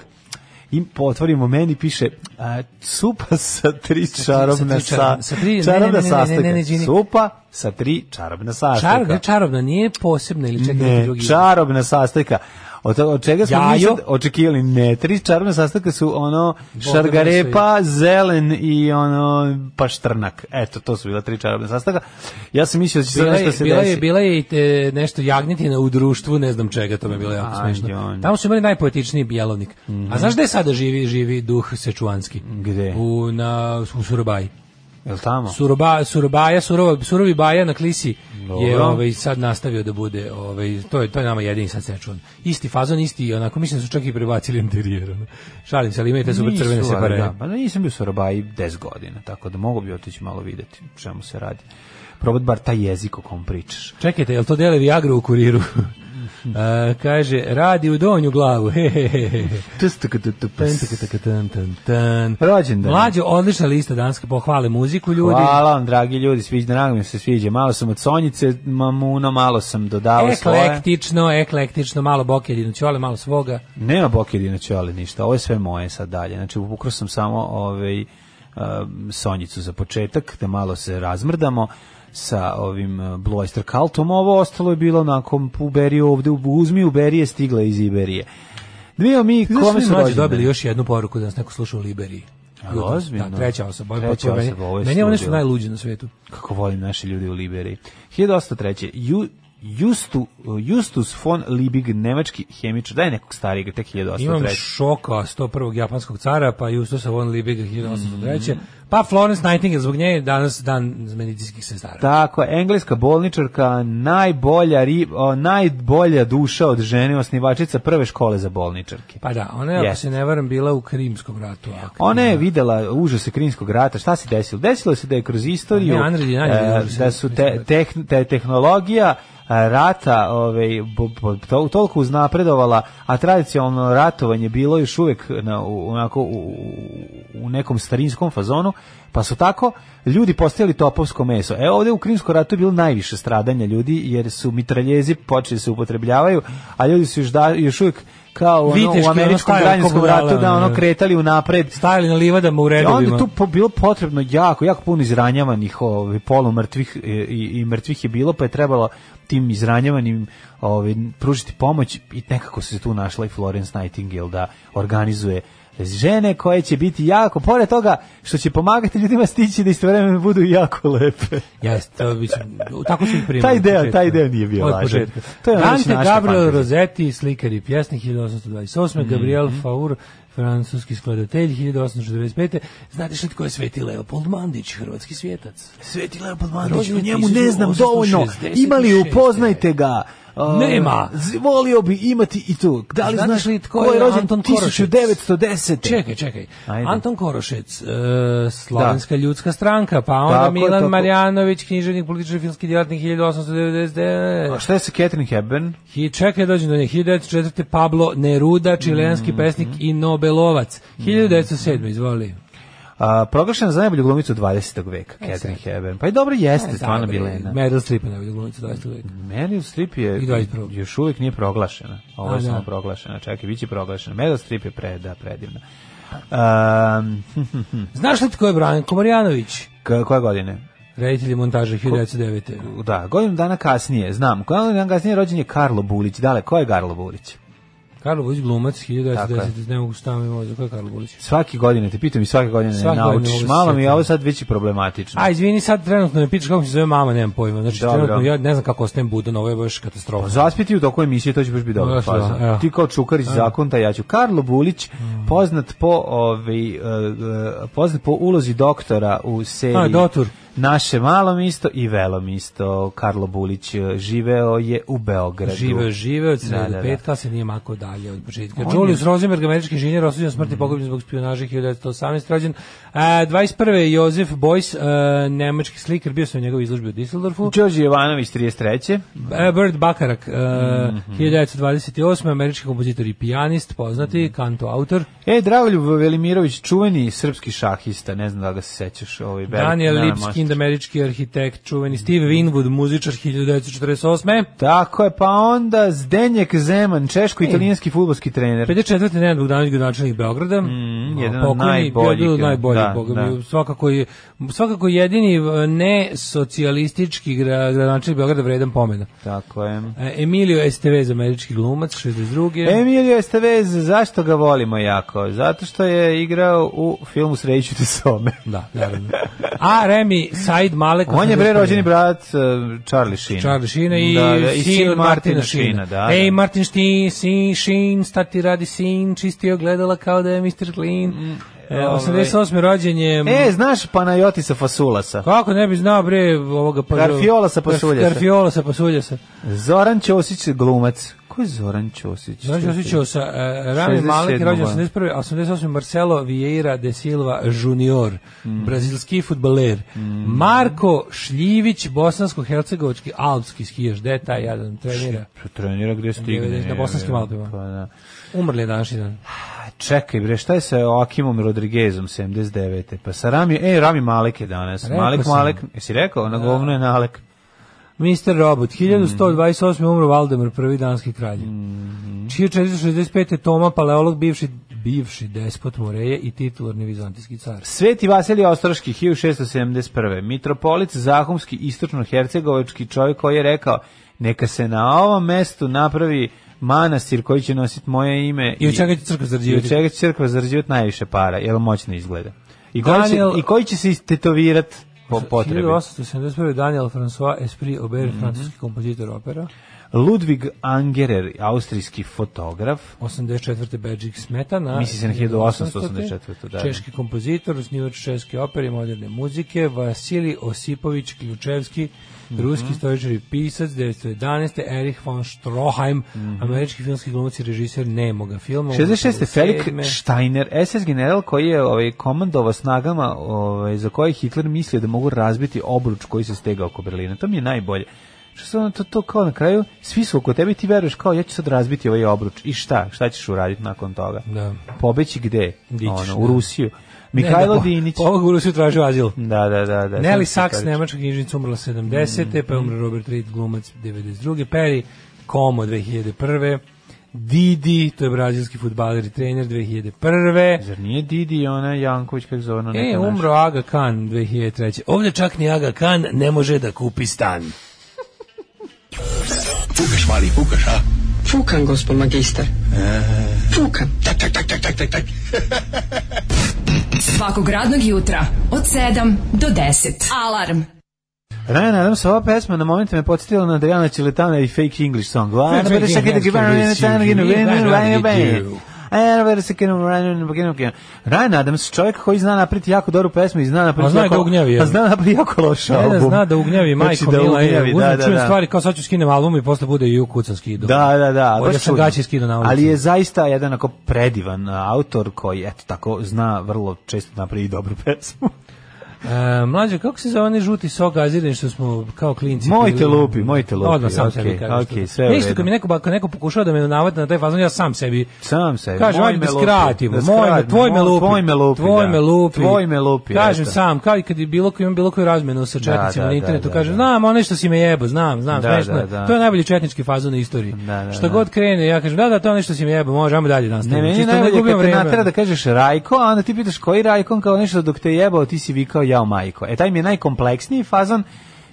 S6: im potvorimo meni piše a, supa sa tri čarobna
S5: tri čarobna- sa
S6: sa,
S5: tri- ne, ne,
S6: čarobna
S5: ne, ne, ne, ne, ne, ne,
S6: sastojka.
S5: izvini.
S6: Supa sa tri čarobna
S5: Čar, ne,
S6: sastojka.
S5: čarobna nije posebna ili čekaj neki
S6: Ne,
S5: drugi
S6: čarobna sastojka. Od, toga- od čega smo mi
S5: Jajo.
S6: sad očekivali? Ne, tri čarobna sastojka su ono
S5: Boga
S6: šargarepa, zelen i ono paštrnak. Eto, to su bila tri čarobna sastojka. Ja sam mislio da će sad
S5: Bila je,
S6: nešto se
S5: bila je,
S6: desi.
S5: bila je i te, nešto jagnjetina u društvu, ne znam čega, to mi je bilo jako
S6: Aj,
S5: smešno.
S6: on.
S5: Tamo su imali najpoetičniji bjelovnik. A znaš gde sada živi, živi duh sečuanski?
S6: Gde?
S5: U, na, u Surobaji.
S6: Jel tamo?
S5: Suroba, Surobaja, surova, Surovi Baja na Klisi je
S6: Dobro.
S5: ovaj, sad nastavio da bude, ovaj, to, je, to je nama jedini sad sečun. Isti fazon, isti, onako, mislim da su čak i prebacili interijer. ono. Šalim se, ali imaju te super
S6: Nisu,
S5: crvene
S6: ali
S5: separe.
S6: Da, pa nisam bio u Sarabaji 10 godina, tako da mogu bi otići malo videti o čemu se radi. Probat bar taj jezik o kom pričaš. [laughs]
S5: Čekajte, jel to dele Viagra u kuriru? E, kaže, radi u donju glavu. [laughs] He, he, he, he. Tan, taka, taka, tan, tan, tan.
S6: Rođendan.
S5: Mlađo, odlična lista danska, pohvale muziku ljudi.
S6: Hvala vam, dragi ljudi, sviđa, drago mi da se sviđa. Malo sam od Sonjice, mamuna, malo sam
S5: E,
S6: dodavao svoje.
S5: Eklektično, eklektično, malo Bokedinu ćole, malo svoga.
S6: Nema Bokedina Ćole ništa, ovo je sve moje sad dalje. Znači, ukrao sam samo ovaj, um, Sonjicu za početak, da malo se razmrdamo sa ovim uh, Blue Oyster Cultom. Ovo ostalo je bilo onako uberi ovde, uzmi uberi je stigla iz Iberije. Dvije mi kome
S5: Kome
S6: su
S5: smo mlađi
S6: rođendani?
S5: dobili još jednu poruku da nas neko sluša u Liberiji.
S6: A,
S5: Jutros.
S6: ozbiljno?
S5: Da, treća osoba.
S6: Treća
S5: potpuno meni-
S6: osoba, ovo je
S5: Meni je ovo nešto
S6: sludilo.
S5: najluđe na svetu.
S6: kako volim naše ljude u Liberiji. 1803. Ju, Justu, Justus von Liebig, nemački hemičar, daj nekog starijeg, tek 1803.
S5: Imam šoka 101. japanskog cara, pa Justusa von Liebiga 1803.
S6: Mhm.
S5: Pa Florence Nightingale, zbog nje je danas dan medicinskih sestara.
S6: Tako, engleska bolničarka, najbolja, ri, o, najbolja duša od žene, osnivačica prve škole za bolničarke.
S5: Pa da, ona je, ako
S6: Jeste.
S5: se ne varam, bila u Krimskom ratu. aktivna.
S6: Ona je videla užase Krimskog rata. Šta se desilo? Desilo se da je kroz istoriju
S5: Ne, Andrej je najbolji
S6: e,
S5: užas
S6: da su te,
S5: Krimskog
S6: tehn- te tehnologija a, rata ovaj, bo- bo- to, toliko uznapredovala, a tradicionalno ratovanje bilo još uvek na, u, onako, u, u nekom starinskom fazonu, pa su tako ljudi postajali topovsko meso. E ovde u Krimskom ratu je bilo najviše stradanja ljudi, jer su mitraljezi počeli da se upotrebljavaju, a ljudi su još, da, još uvek kao ono,
S5: Viteški,
S6: u
S5: ono,
S6: američkom
S5: staro
S6: građanskom
S5: kobudala,
S6: ratu da ono
S5: ono.
S6: kretali u napred
S5: Stajali na livadama u
S6: E,
S5: redovima.
S6: onda je tu po, bilo potrebno jako, jako puno izranjavanih, ovaj, polumrtvih e, i, i mrtvih je bilo, pa je trebalo tim izranjavanim ovaj, pružiti pomoć i nekako se tu našla i Florence Nightingale da organizuje žene koje će biti jako, pored toga što će pomagati ljudima stići da istovremeno budu jako lepe.
S5: Jeste, to bi se- tako su ih primali.
S6: Taj
S5: od
S6: deo-
S5: početka.
S6: taj deo nije bio
S5: Od
S6: lažan.
S5: početka.
S6: To je ono što
S5: Dante
S6: je naša Mhm.
S5: Gabriel
S6: fantazija.
S5: Rosetti, slikar i pjesnik 1828. Gabriel Faur, francuski skladatelj 1895. Znate što tko je Sveti Leopold Mandić, hrvatski svjetac?
S6: Sveti Leopold Mandić,
S5: Rođen
S6: o
S5: je
S6: Znači, njemu ne znam
S5: 1866.
S6: dovoljno. Imali upoznajte ga. Uh,
S5: e. Nema.
S6: z- Volio bi imati i tu. Da li
S5: Znate
S6: znaš
S5: li
S6: ko je rođen
S5: Anton Korošec?
S6: 1910.
S5: Čekaj, čekaj.
S6: Ajde. Da.
S5: Anton Korošec, e, Slovenska ljudska stranka, pa onda
S6: Tako je,
S5: Milan
S6: tako.
S5: Marjanović, književnik, politički filmski djelatnik 1899.
S6: A šta je sa Catherine Hepburn?
S5: Hi, čekaj, dođem do nje. 1904. Pablo Neruda,
S6: Mhm,
S5: čilenski pesnik i Nobelovac. 1907. izvoli.
S6: A, proglašena za najbolju glumicu 20. veka,
S5: E,
S6: Catherine Hepburn. Pa i dobro jeste, stvarno
S5: Dobre,
S6: Bilena.
S5: Meryl Streep je najbolja glumica 20. veka.
S6: Meryl Streep je
S5: I 21..
S6: još uvijek nije proglašena. Ovo
S5: A,
S6: je
S5: da.
S6: samo proglašena. Čekaj, bit će proglašena. Meryl Streep je pre, da, predivna. Um,
S5: Znaš li tko je Brian Komorjanović?
S6: [laughs] k- koje godine?
S5: Reditelj i montaža 1909.
S6: Da, godinu dana kasnije, znam. Godinu dana kasnije rođen je Karlo Bulić. Dale, ko je Karlo Bulić?
S5: Karlo Bulić glumac,
S6: Tako je.
S5: 1910. Ne mogu staviti mozak. Ko je Karlo Bulić?
S6: Svake godine, te pitam i svake godine
S5: Svake
S6: ne
S5: godine
S6: naučiš.
S5: ovo se
S6: Malo mi je
S5: sjetim.
S6: ovo sad već i problematično.
S5: A, izvini, sad trenutno me pitaš kako mi se zove mama, nemam pojma. Znači,
S6: Dobro.
S5: trenutno ja ne znam kako ostajem budan, ovo je baš katastrofa.
S6: Pa Zaspiti u toku emisije, to će baš biti dobra
S5: Baš da,
S6: faza.
S5: evo. Mm.
S6: Ti kao Čukarić zakonta, ja ću. Karlo Bulić, poznat po, ovaj, e, e, poznat po ulozi doktora u seriji
S5: A, Dotur.
S6: Naše malo misto i velo misto. Karlo Bulić e, živeo je u Beogradu.
S5: Živeo, živeo, od sreda
S6: Da, da, da.
S5: petka se nije mako dalje od početka.
S6: On Mm.
S5: Julius Rosenberg, američki inženjer, osuđen na smrt i pogubljen zbog špijunaže 1918. rođen. E, 21. je Josef Beuys, e, nemački slikar, bio sam u njegovoj izložbi u Düsseldorfu.
S6: Đorđe Jovanović, 33.
S5: E, Bert Bakarak, e,
S6: Mhm.
S5: 1928. američki kompozitor i pijanist, poznati,
S6: Mhm.
S5: kanto autor.
S6: E, Dragoljub Velimirović, čuveni srpski šahista, ne znam da li ga se sećaš. Ovaj, velik-
S5: Daniel
S6: ne, možda.
S5: Lipskind, američki arhitekt, čuveni Steve Winwood, muzičar 1948.
S6: Tako je, pa onda Zdenjek Zeman, češko-italijanski
S5: E.
S6: futbolski trener.
S5: 54. Nenad Bogdanović gradonačelnik Beograda. Mm,
S6: jedan od najboljih,
S5: najbolji,
S6: da,
S5: da,
S6: da.
S5: Svakako je svakako jedini e, ne socijalistički gra- gradonačelnik Beograda vredan pomena.
S6: Tako je.
S5: E, Emilio Estevez, američki glumac, 62.
S6: Emilio Estevez, zašto ga volimo jako? Zato što je igrao u filmu Sreću ti some.
S5: Da, naravno. A Remi Said Malek.
S6: On je bre
S5: 88.
S6: rođeni brat uh, Charlie Sheen.
S5: Charlie Šina i,
S6: Da, da,
S5: sin, od Martina Šina.
S6: da,
S5: Ej,
S6: da.
S5: Martin Štin, sin, Šin, stati radi sin, čistio gledala kao da je Mr. Clean. E,
S6: ovaj.
S5: 88. rođen je...
S6: E, znaš Panajotisa Fasulasa?
S5: Kako ne bi znao bre ovoga pa
S6: Karfiola sa pasuljasa.
S5: Karfiola sa pasuljasa.
S6: Zoran Ćosić glumac Ko je Zoran Ćosić?
S5: Zoran Ćosić je sa Znači, e, Rami
S6: 67.
S5: Malek je rođen 81. a 88. Marcelo Vieira de Silva junior, brazilski futbaler. Marko Šljivić, bosansko-hercegovački alpski skijaš, gde taj jadan trenira?
S6: Pa Trenira gde stigne.
S5: Na Bosanskim
S6: ja,
S5: Alpima.
S6: Pa da.
S5: Umrli je današnji dan.
S6: A Čekaj bre, šta je sa Joakimom Rodriguezom 79. Pa sa Rami, ej, Rami Malek je danas.
S5: Rekao
S6: Malek,
S5: sam. Da.
S6: Malek, jesi rekao? Na govno je Nalek.
S5: Mr. Robot, 1128. umro Valdemar, prvi danski kralj. Čije 465. Toma, paleolog, bivši bivši despot Moreje i titularni vizantijski car.
S6: Sveti Vasilij Ostroški 1671. Mitropolit Zahumski istočno-hercegovački čovjek koji je rekao neka se na ovom mestu napravi manastir koji će nositi moje ime
S5: I od čega će crkva
S6: i od
S5: zarađivati?
S6: čega će crkva zarađivati najviše para, jer moćno izgleda. I koji,
S5: Daniel-
S6: će, i koji će se istetovirati po potrebi. Mhm.
S5: 1871. Daniel François Esprit Aubert, francuski kompozitor opera.
S6: Ludwig Angerer, austrijski fotograf,
S5: 84. Bedžik Smetana.
S6: Misli se na 1884., da.
S5: Češki kompozitor, osnivač češke opere i moderne muzike. Vasili Osipović Ključevski,
S6: Mhm.
S5: ruski istoričar i pisac, 1911. Erich von Stroheim,
S6: Mhm.
S5: američki filmski glumac i režiser nemoga filma.
S6: 66. Felik
S5: 87..
S6: Steiner, SS general koji je ovaj, komandovao snagama ovaj, za koje je Hitler mislio da mogu razbiti obruč koji se stegao oko Berlina. To mi je najbolje. Što se ono, to, to kao na kraju, svi su oko tebe i ti veruješ kao ja ću sad razbiti ovaj obruč. I šta? Šta ćeš uraditi nakon toga?
S5: Da.
S6: Pobeći gde?
S5: Di ćeš,
S6: ono,
S5: da.
S6: u Rusiju.
S5: Ne,
S6: Mihajlo
S5: da, po-
S6: Dinić.
S5: po Ovog urusi tražio azil.
S6: Da, da, da. da
S5: Nelly
S6: Sam
S5: Sachs,
S6: se
S5: nemačka knjižnica, umrla
S6: Mm.
S5: 70. Pa je umro Robert Reed, glumac 92. Perry Como 2001. Didi, to je brazilski futbaler i trener 2001.
S6: Zar nije Didi ona Janković kako zove ona
S5: E,
S6: neka naša?
S5: umro Aga Khan 2003. Ovdje čak ni Aga Khan ne može da kupi stan.
S8: Fukan, gospod magister. Fukan.
S4: Svakog radnog jutra od 7 do 10. Alarm.
S6: Ryan Adams, da, ova pesma na momente me podsjetila na Adriana Čeletana i Fake English song.
S5: Fake English song.
S6: Ryan Adams, čovjek koji zna napriti jako dobru pesmu i zna napriti
S5: A zna i
S6: jako,
S5: da ugnjavi, je.
S6: a zna napriti jako loš
S5: Ne
S6: album.
S5: da zna da ugnjavi majko
S6: znači, da
S5: Mila
S6: ugnjavi,
S5: je, uzmem
S6: da, da,
S5: čujem
S6: da.
S5: stvari kao sad ću skinem album i posle bude i ju kucan skidao.
S6: Da, da, da.
S5: Ovdje
S6: baš
S5: sam
S6: čudno.
S5: gaće skidao na ulicu.
S6: Ali je zaista jedan ako predivan a, autor koji, eto tako, zna vrlo često napraviti dobru pesmu.
S5: E, mlađe, kako se zove onaj žuti sok gazirani što smo kao klinci?
S6: Moj
S5: pili?
S6: te lupi, moj te lupi,
S5: Odmah sam
S6: okej,
S5: sebi kažem.
S6: okej,
S5: što-
S6: sve u
S5: Ništa,
S6: redu.
S5: kad mi neko, ba- kad neko pokušava da me navati na taj fazon, ja sam sebi
S6: Sam sebi.
S5: Kažem,
S6: moj
S5: ajde
S6: me
S5: da
S6: lupi,
S5: skratimo,
S6: da
S5: moj me,
S6: skratimo,
S5: tvoj me
S6: moj-
S5: lupi,
S6: tvoj me lupi,
S5: tvoj
S6: da.
S5: me lupi,
S6: Tvoj me lupi,
S5: Kažem
S6: eto.
S5: sam, kao i kad je bilo ko imam bilo koju razmenu sa četnicima
S6: da,
S5: na
S6: da,
S5: internetu,
S6: da,
S5: kažem,
S6: da.
S5: znam, onaj što si me jebo, znam, znam,
S6: Da,
S5: smešno je.
S6: da, da.
S5: To je najbolji četnički fazon u istoriji.
S6: Da, da,
S5: Šta
S6: da.
S5: god krene, ja kažem, da, da, to je nešto si me jebo, može, ajmo dalje Znači, nastavimo.
S6: Ne, meni je
S5: Čisto
S6: najbolje
S5: gubimo
S6: kad te
S5: vreme.
S6: natera da kažeš Rajko, a onda ti pitaš koji Rajko, on kao nešto dok te je jebao, ti si vikao jao majko. E, taj mi je najkompleksniji fazon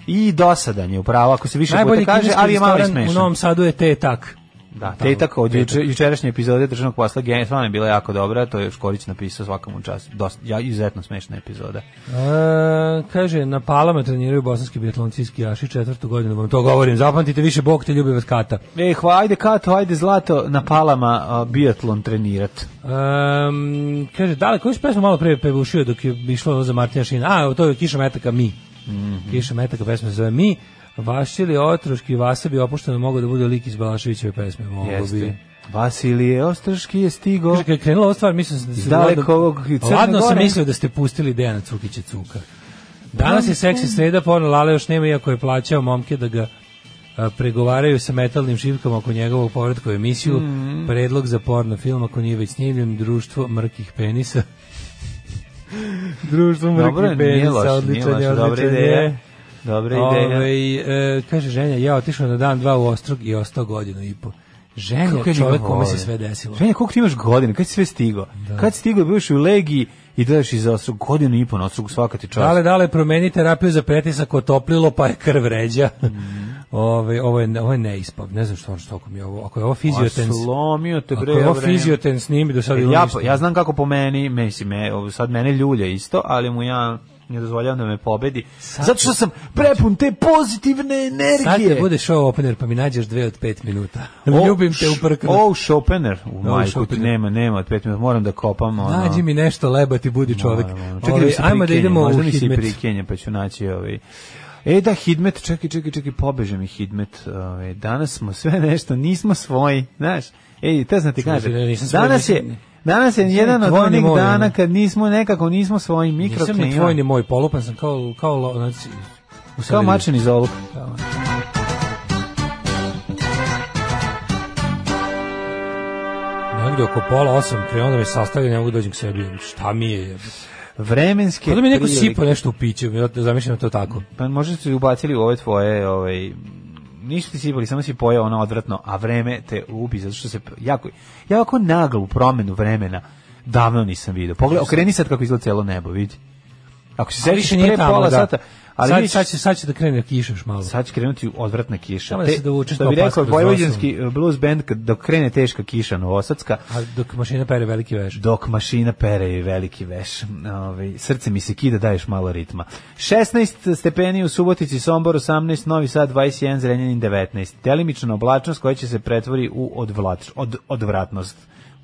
S6: i dosadan je upravo, ako se više
S5: Najbolji
S6: puta kaže,
S5: kineski
S6: ali je malo i
S5: restoran u
S6: smešan.
S5: Novom Sadu je te tak.
S6: Da, tetak od juče, jučerašnje epizode državnog posla Gen- stvarno je bila jako dobra, to je Škorić napisao svakom času. Dosta, ja, izuzetno smešna epizoda.
S5: E, kaže, na Palama treniraju bosanski biatlonci i skijaši četvrtu godinu, vam to govorim, zapamtite više, Bog te ljubi vas kata.
S6: E, hva, ajde Kato, ajde Zlato, na Palama a, biatlon trenirat.
S5: Um, kaže, da li, koju si pesmu malo pre pevušio dok je išlo ovo za Martina Šina? A, evo, to je Kiša Metaka Mi. Kiša Metaka pesma se zove Mi. Vašili otroški vasa bi opušteno mogao da bude lik iz Balaševićeve pesme. Mogu bi.
S6: Jeste. Vasilije Ostrški je stigo.
S5: Kaže, kad je krenula ova stvar, mislio sam da ste...
S6: Daleko
S5: ladno-
S6: ovog i Crne
S5: Ladno sam
S6: Gore.
S5: mislio da ste pustili Dejana Cukića Cuka. Danas je seksi sreda, ponela Lale još nema, iako je plaćao momke da ga a, pregovaraju sa metalnim šivkama oko njegovog povratka u emisiju, predlog za porno film, ako nije već snimljen, društvo mrkih penisa. društvo mrkih
S6: Dobro, nije
S5: penisa,
S6: loš, nije
S5: odličan
S6: loš,
S5: je,
S6: dobra
S5: odličan
S6: ideja.
S5: je.
S6: Dobra ideja.
S5: Ove, e, kaže ženja, ja otišao na dan dva u Ostrog i ostao godinu i po. Ženja,
S6: Kako je
S5: čovjek
S6: njegov
S5: kome se
S6: volim.
S5: sve desilo. Da.
S6: Ženja, ovaj. koliko ti imaš godina? Kad si sve stigo? Kad si stigo, bioš u Legiji i gledaš iza osrug godinu i po na osrug svaka ti čast.
S5: Dale, dale, promeni terapiju za pretisak, otoplilo, pa je krv ređa.
S6: Mhm.
S5: [laughs] Ove, ovo, je, ovo je neispav, ne znam što on što mi je ovo. Ako je ovo fiziotens,
S6: Slomio te
S5: ako
S6: bre.
S5: je ovo
S6: bre.
S5: fiziotens, nije mi do sada bilo
S6: Ja,
S5: ništa.
S6: ja znam kako po meni, mislim, me, ovo sad mene ljulje isto, ali mu ja ne dozvoljavam da me pobedi. Zato što sam prepun te pozitivne
S5: Sad
S6: energije.
S5: te bude show opener, pa mi nađeš dve od pet minuta. Ljubim te u prknu.
S6: O, Schopener. U majku ti
S5: Schopener.
S6: nema, nema, od pet minuta moram da kopam. Ono.
S5: Nađi mi nešto leba, ti budi čovek.
S6: Moram, moram.
S5: Ove,
S6: Čekaj da mi se
S5: ajmo da
S6: prikenje,
S5: idemo u
S6: možda mi se i
S5: hidmet.
S6: prikenje, pa ću naći ovaj. E da, Hidmet, čekaj, čekaj, čekaj, pobeže mi Hidmet. Ove, danas smo sve nešto, nismo svoji, znaš. Ej, te znam ti
S5: Čuo
S6: kaže,
S5: si da nisam svoj,
S6: danas je,
S5: nisam-
S6: danas je
S5: nisam
S6: jedan
S5: ni
S6: od
S5: tvoj, ni
S6: onih
S5: moj,
S6: dana
S5: ono.
S6: kad nismo nekako, nismo svoji
S5: Nisam ni
S6: mikroklima.
S5: tvoj ni moj, polupan sam kao, kao lo- znači, u
S6: Kao
S5: Savidu.
S6: mačen iz oluk.
S5: Negde oko pola osam, krenuo da me sastavlja, ne mogu da dođem k sebi. Šta mi je? jebote?
S6: Vremenske
S5: Kao da mi je neko
S6: prilike.
S5: sipao nešto u piću, ja zamišljam da to tako.
S6: Pa možda su ubacili u ove tvoje, ovaj, nisu ti sipali, samo si pojao ono odvratno, a vreme te ubi, zato što se jako, ja ovako naglu promenu vremena davno nisam vidio. Pogledaj, okreni sad kako izgleda celo nebo, vidi. Ako se
S5: Sad
S6: sediš pre pola sata, ali
S5: da. sad,
S6: vidiš,
S5: sad, će, sad će da krene kiša još malo.
S6: sad će krenuti odvratna kiša.
S5: Samo da se dovučeš
S6: što
S5: kao
S6: bi rekao,
S5: pas kroz
S6: vojvođanski eh, blues band, kad, dok krene teška kiša novosadska,
S5: A dok mašina pere veliki veš.
S6: dok mašina pere i veliki veš. Ove, srce mi se kida, daješ malo ritma. 16 stepeni u Subotici, Sombor 18, Novi Sad 21, Zrenjanin 19. Delimična oblačnost koja će se pretvori u odvlač, od, odvratnost.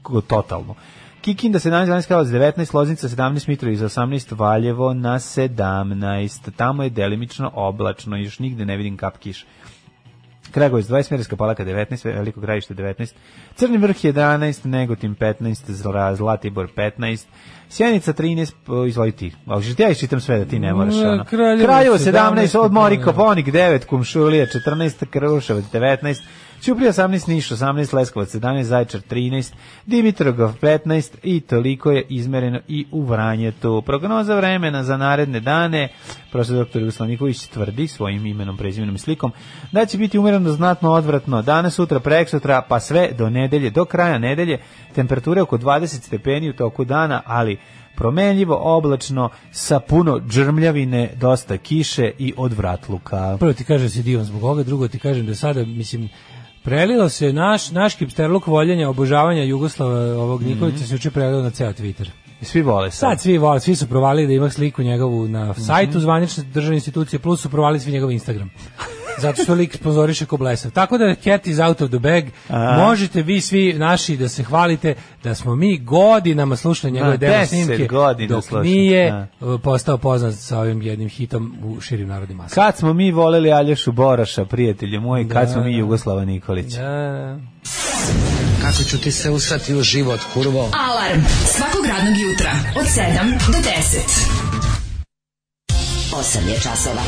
S6: Ko- Totalno. Kikinda 17, 12, Kralac 19, Loznica 17, Mitrovica 18, Valjevo na 17. Tamo je delimično oblačno, još nigde ne vidim kap kiše. Kragovic 20, Smederska Palaka 19, Veliko Gradište 19, Crni vrh 11, Negotin 15, Zla- Zlatibor 15, Sjenica 13, p- izvoli ti. Ali što ja iščitam sve da ti ne moraš.
S5: Ne,
S6: Ono.
S5: Kraljevo
S6: Kraljevo
S5: 17,
S6: 17, Odmori Koponik 9, Kumšulija 14, Krvuševac 19, Ćuprija 18, Niš 18, Leskovac 17, Zaječar 13, Dimitrogov 15 i toliko je izmereno i u Vranjetu. Prognoza vremena za naredne dane, prof. dr. Jugoslav Nikolić tvrdi svojim imenom, prezimenom i slikom, da će biti umjereno do znatno odvratno danas, sutra, preksutra, pa sve do nedelje, do kraja nedelje, temperature oko 20 stepeni u toku dana, ali promenljivo, oblačno, sa puno džrmljavine, dosta kiše i odvratluka.
S5: Prvo ti kažem da si divan zbog ovoga, drugo ti kažem da sada, mislim, prelilo se naš, naš kipsterluk voljenja, obožavanja Jugoslava ovog Nikolića se juče prelilo na ceo Twitter.
S6: Svi vole sad.
S5: Sad svi vole, svi su provalili da ima sliku njegovu na sajtu zvanične državne institucije, plus su provalili svi njegov Instagram. Zato što lik sponzoriše ko blesav. Tako da cat is out of the bag. Možete vi svi naši da se hvalite da smo mi godinama slušali njegove
S6: Da,
S5: demo
S6: deset
S5: snimke
S6: godina
S5: dok
S6: slušam,
S5: nije
S6: da.
S5: uh, postao poznat sa ovim jednim hitom u širim narodnim masama.
S6: Kad smo mi voleli Aljošu Boraša, prijatelje moji, kad smo mi Jugoslava Nikolića.
S5: Da,
S9: Kako ću ti se usrati u život, kurvo?
S4: Alarm svakog radnog jutra od 7 do 10.
S10: 8 je časova.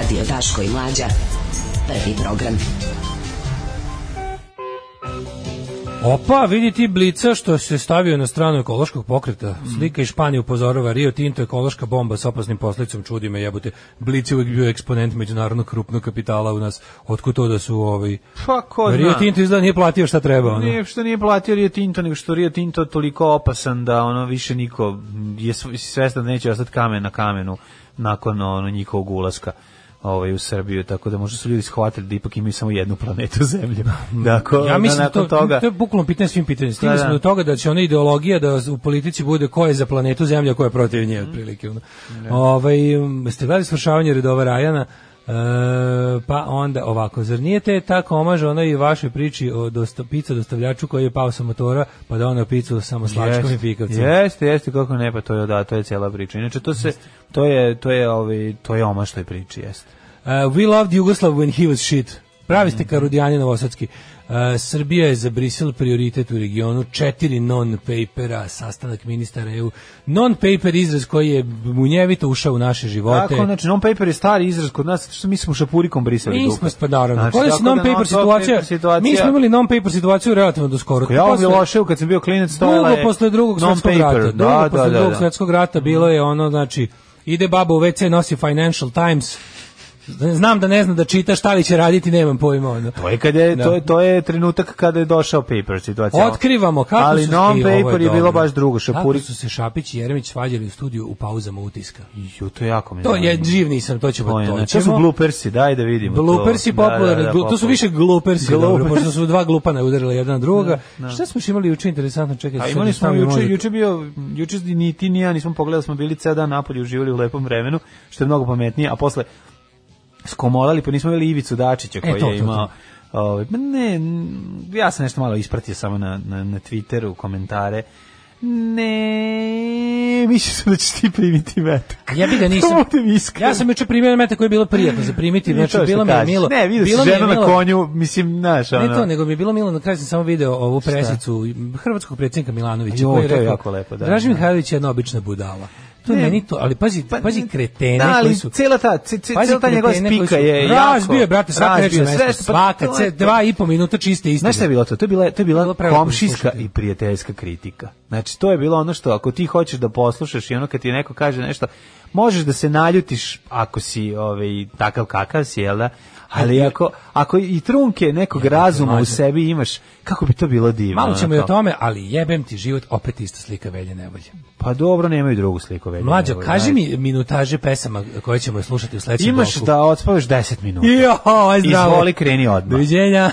S10: Radio Daško i Mlađa. Prvi program.
S5: Opa, vidi ti blica što se stavio na stranu ekološkog pokreta. Slika iz Španije upozorava Rio Tinto ekološka bomba s opasnim posledicom. Čudi me jebote. Blic je uvijek bio eksponent međunarodnog krupnog kapitala u nas. Otkud to da su ovaj...
S6: Pa ko
S5: Rio Tinto izgleda nije platio šta treba. Ono.
S6: Nije što nije platio Rio Tinto, nego što Rio Tinto toliko opasan da ono više niko je sv- svestan da neće ostati kamen na kamenu nakon ono njihovog ulaska ovaj u Srbiju, tako da možda su ljudi shvatili da ipak imaju samo jednu planetu [laughs] zemlju. Da, ako,
S5: ja mislim
S6: da
S5: da
S6: nakon
S5: to,
S6: toga...
S5: to je bukvalno pitanje svim pitanjima. Stigli
S6: Da,
S5: smo
S6: da.
S5: do toga da će ona ideologija da u politici bude ko je za planetu Zemlja, a ko je protiv nje, otprilike. ono.
S6: Da.
S5: Ovaj, um, ste gledali svršavanje redova Rajana? E, pa onda ovako, zar nije te ta komaž onoj i vašoj priči o dosta, pizza dostavljaču koji je pao sa motora pa da ono picu samo slačkom i pikavcem?
S6: Jeste, jeste, kako ne, pa to je, da, to je cijela priča. Inače, to se, to je, to je, ovaj, to je omaš toj priči, jeste.
S5: Uh, we loved Yugoslav when he was shit. Pravi
S6: Mhm.
S5: ste Karudijani Novosadski. Uh, Srbija je za Brisel prioritet u regionu. Četiri non-papera, sastanak ministara EU. Non-paper izraz koji je munjevito ušao u naše živote.
S6: Tako, znači, non-paper je stari izraz kod nas, što mi smo šapurikom brisali
S5: Mi
S6: dupe.
S5: smo pa naravno.
S6: Znači,
S5: Koja
S6: tako
S5: je
S6: da
S5: non-paper situacija?
S6: non-paper situacija-
S5: Mi smo imali non-paper situaciju relativno do skoro.
S6: Ja u
S5: Posle-
S6: Miloševu kad sam bio klinac stojala
S5: Dugo
S6: je
S5: posle drugog svetskog
S6: non-paper.
S5: rata. Dugo
S6: Da,
S5: posle
S6: da, da,
S5: drugog
S6: da.
S5: svetskog rata bilo je ono, znači, ide baba u WC, nosi Financial Times, Znam da ne zna da čita šta li će raditi, nemam pojma. Ono.
S6: To je, kad je,
S5: Da.
S6: to, je, to je trenutak kada je došao paper situacija.
S5: Otkrivamo kako
S6: Ali
S5: su se- i, ovo
S6: non-paper je,
S5: dobro.
S6: bilo baš drugo. Šapuri...
S5: Kako su se Šapić i Jeremić svađali u studiju u pauzama utiska.
S6: Ju, to jako mi
S5: To je
S6: zanima.
S5: živ nisam, to ćemo
S6: Mm. To
S5: to.
S6: je, znači, to
S5: ćemo.
S6: su glupersi, daj da vidimo. to.
S5: Glupersi popularni, glu- to su
S6: popularni.
S5: više glupersi, dobro,
S6: Glupers.
S5: pošto su dva glupana udarila jedna na druga. Šta smo još imali juče interesantno, čekaj.
S6: A
S5: sad
S6: imali
S5: mi
S6: smo
S5: stavim
S6: juče,
S5: muziku.
S6: juče bio, juče ni ti ni ja nismo pogledali, da smo bili ceo dan napolje, uživali u lepom vremenu, što je mnogo pametnije, a posle skomolali, pa nismo imali Ivicu Dačića koji
S5: E, to, to,
S6: je
S5: to.
S6: imao Ovaj, ma ne, n- ja sam nešto malo ispratio samo na, na, na Twitteru, komentare Ne, mislio sam da ćeš ti primiti metak.
S5: Ja
S6: [laughs]
S5: bi ga nisam.
S6: To budem iskren.
S5: Ja sam juče primio meta koja je bila prijatno za primiti,
S6: Nije
S5: znači
S6: to što
S5: bilo mi je
S6: kažeš.
S5: milo.
S6: Ne, vidio si
S5: bilo mi je
S6: ženu na
S5: milo.
S6: konju, mislim, znaš, ono.
S5: Ne to, nego mi je bilo milo, na kraju sam samo video ovu presicu hrvatskog predsjednika Milanovića.
S6: Jo,
S5: koji
S6: to je
S5: rekao,
S6: jako lepo, da.
S5: Draži Mihajlović je jedna obična budala. To
S6: Ne.
S5: je meni to, ali pazi,
S6: Pa,
S5: pazi kretene
S6: da, ali
S5: koji su...
S6: cela ta- ce- ce- cela ta njegova
S5: kretene koji
S6: spika
S5: su-
S6: je jako-
S5: Razbio je, brate, svaka
S6: razbio
S5: reč na
S6: je
S5: mesto,
S6: sve što- pa
S5: svaka,
S6: to je-
S5: ce- dva i po minuta čiste istine.
S6: Znaš šta je bilo to? To je bila, to je
S5: To je
S6: bila
S5: bilo da prelepo
S6: komšijska
S5: slušati.
S6: i prijateljska kritika. Znači, to je bilo ono što ako ti hoćeš da poslušaš i ono kad ti neko kaže nešto, možeš da se naljutiš ako si ovaj, takav kakav si, jel da? Ali ako, ako i trunke nekog razuma u
S5: mlađe.
S6: sebi imaš, kako bi to bilo divno?
S5: Malo ćemo
S6: ono
S5: i o
S6: kao.
S5: tome, ali jebem ti život, opet ista slika velje nevolje.
S6: Pa dobro, nemaju drugu sliku. Velja,
S5: Mlađo,
S6: nego,
S5: kaži
S6: znaš.
S5: mi minutaže pesama koje ćemo slušati u sledećem
S6: Imaš
S5: bloku.
S6: da odspavaš 10 minuta.
S5: Jo, aj zdravo.
S6: Izvoli, kreni odmah.
S5: Doviđenja.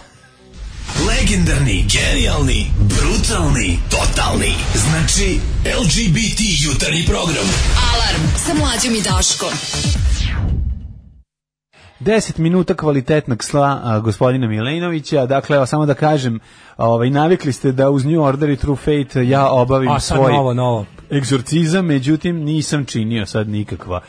S11: Legendarni, genijalni, brutalni, totalni. Znači, LGBT jutarnji program.
S4: Alarm sa mlađom i Daškom.
S6: 10 minuta kvalitetnog sla a, gospodina Milenovića. Dakle, evo, samo da kažem, ovaj, navikli ste da uz New Order i True Fate ja obavim
S5: A sad
S6: svoj
S5: novo, novo.
S6: egzorcizam, međutim, nisam činio sad nikakva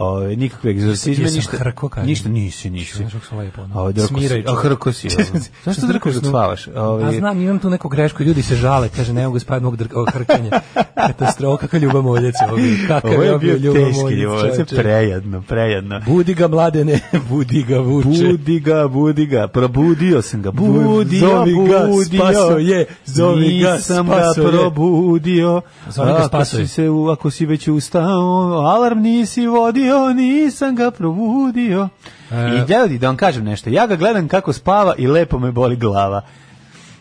S6: ovaj, nikakve egzorcizme,
S5: jesam
S6: ništa,
S5: hrko, kažem.
S6: ništa nisi, nisi.
S5: Znaš kako sam lepo, ono,
S6: Ovaj, drko si.
S5: smiraj
S6: A,
S5: čovjek.
S6: hrko
S5: [laughs]
S6: si. ovaj. Znaš što drkaš da spavaš?
S5: A
S6: Ovaj,
S5: znam, imam tu neku grešku, ljudi se žale, kaže, ne mogu spavati mog drka, ovog hrkanja. Katastrofa, kakav ljubamoljec je ovo. bio, Kakav
S6: Ovo je
S5: ovo
S6: bio teški ljubav,
S5: čovječe.
S6: [laughs] prejedno, prejedno.
S5: Budi ga, mladene, [laughs] budi ga, vuče.
S6: Budi ga, budi ga, probudio sam ga, budio,
S5: Zovi ga,
S6: budio,
S5: spaso je, zovi ga,
S6: nisam
S5: spaso
S6: ga
S5: je.
S6: probudio,
S5: Zovi ga,
S6: ako
S5: spaso
S6: si,
S5: je.
S6: se, u- ako si već ustao, alarm nisi vodio, nisam ga probudio.
S5: E.
S6: I ljudi, da vam kažem nešto, ja ga gledam kako spava i lepo me boli glava.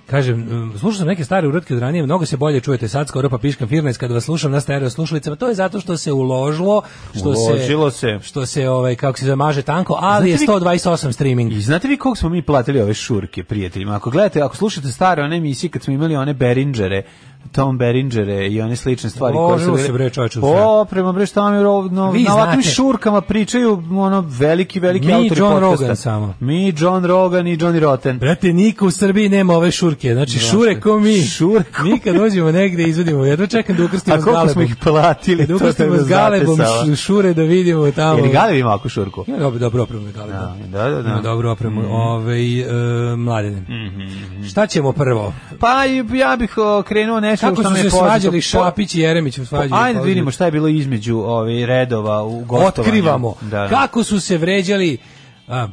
S5: Kažem, mm, slušao sam neke stare uratke od ranije, mnogo se bolje čujete sad, skoro pa piškam firnes kada vas slušam na stereo slušalicama, to je zato što se uložilo, što
S6: Uložilo
S5: se,
S6: se.
S5: što se ovaj, kako se zamaže tanko, ali
S6: Znate vi-
S5: je 128 streaming.
S6: I znate vi koliko smo mi platili ove šurke prijateljima? Ako gledate, ako slušate stare one emisije kad smo imali one Beringere, Tom Beringere i one slične stvari
S5: Uložilo
S6: bile-
S5: se, bre, čoveče, u sve.
S6: O, prema bre šta mi ro- no,
S5: Vi
S6: na ovakvim
S5: znate.
S6: šurkama pričaju ono veliki veliki
S5: Mi i
S6: autori
S5: John
S6: podcasta.
S5: Rogan samo.
S6: Mi John Rogan i Johnny Rotten.
S5: Brate, niko u Srbiji nema ove šurke. Znači, šure ko mi.
S6: Šure ko
S5: mi. kad dođemo negde i izvodimo. Jedva čekam da ukrstimo
S6: A
S5: s
S6: koliko smo
S5: galebom.
S6: ih platili?
S5: Da
S6: to treba
S5: ukrstimo s
S6: znate
S5: galebom š-
S6: samo.
S5: šure da vidimo tamo.
S6: Jer i Galeb ima ovakvu šurku.
S5: Ima dobro, dobro opremu galeb.
S6: da, da, Mhm, da.
S5: Ima dobro opremu. Ove, e, mladene. Šta ćemo prvo?
S6: Pa i- ja bih o, krenuo nešto
S5: Kako
S6: što
S5: su
S6: me
S5: se
S6: poznato.
S5: svađali
S6: Po-
S5: Šapić i Jeremić u svađi?
S6: Ajde da vidimo šta je bilo između ovih redova u gostovanju.
S5: Otkrivamo
S6: Da, da.
S5: kako su se vređali a,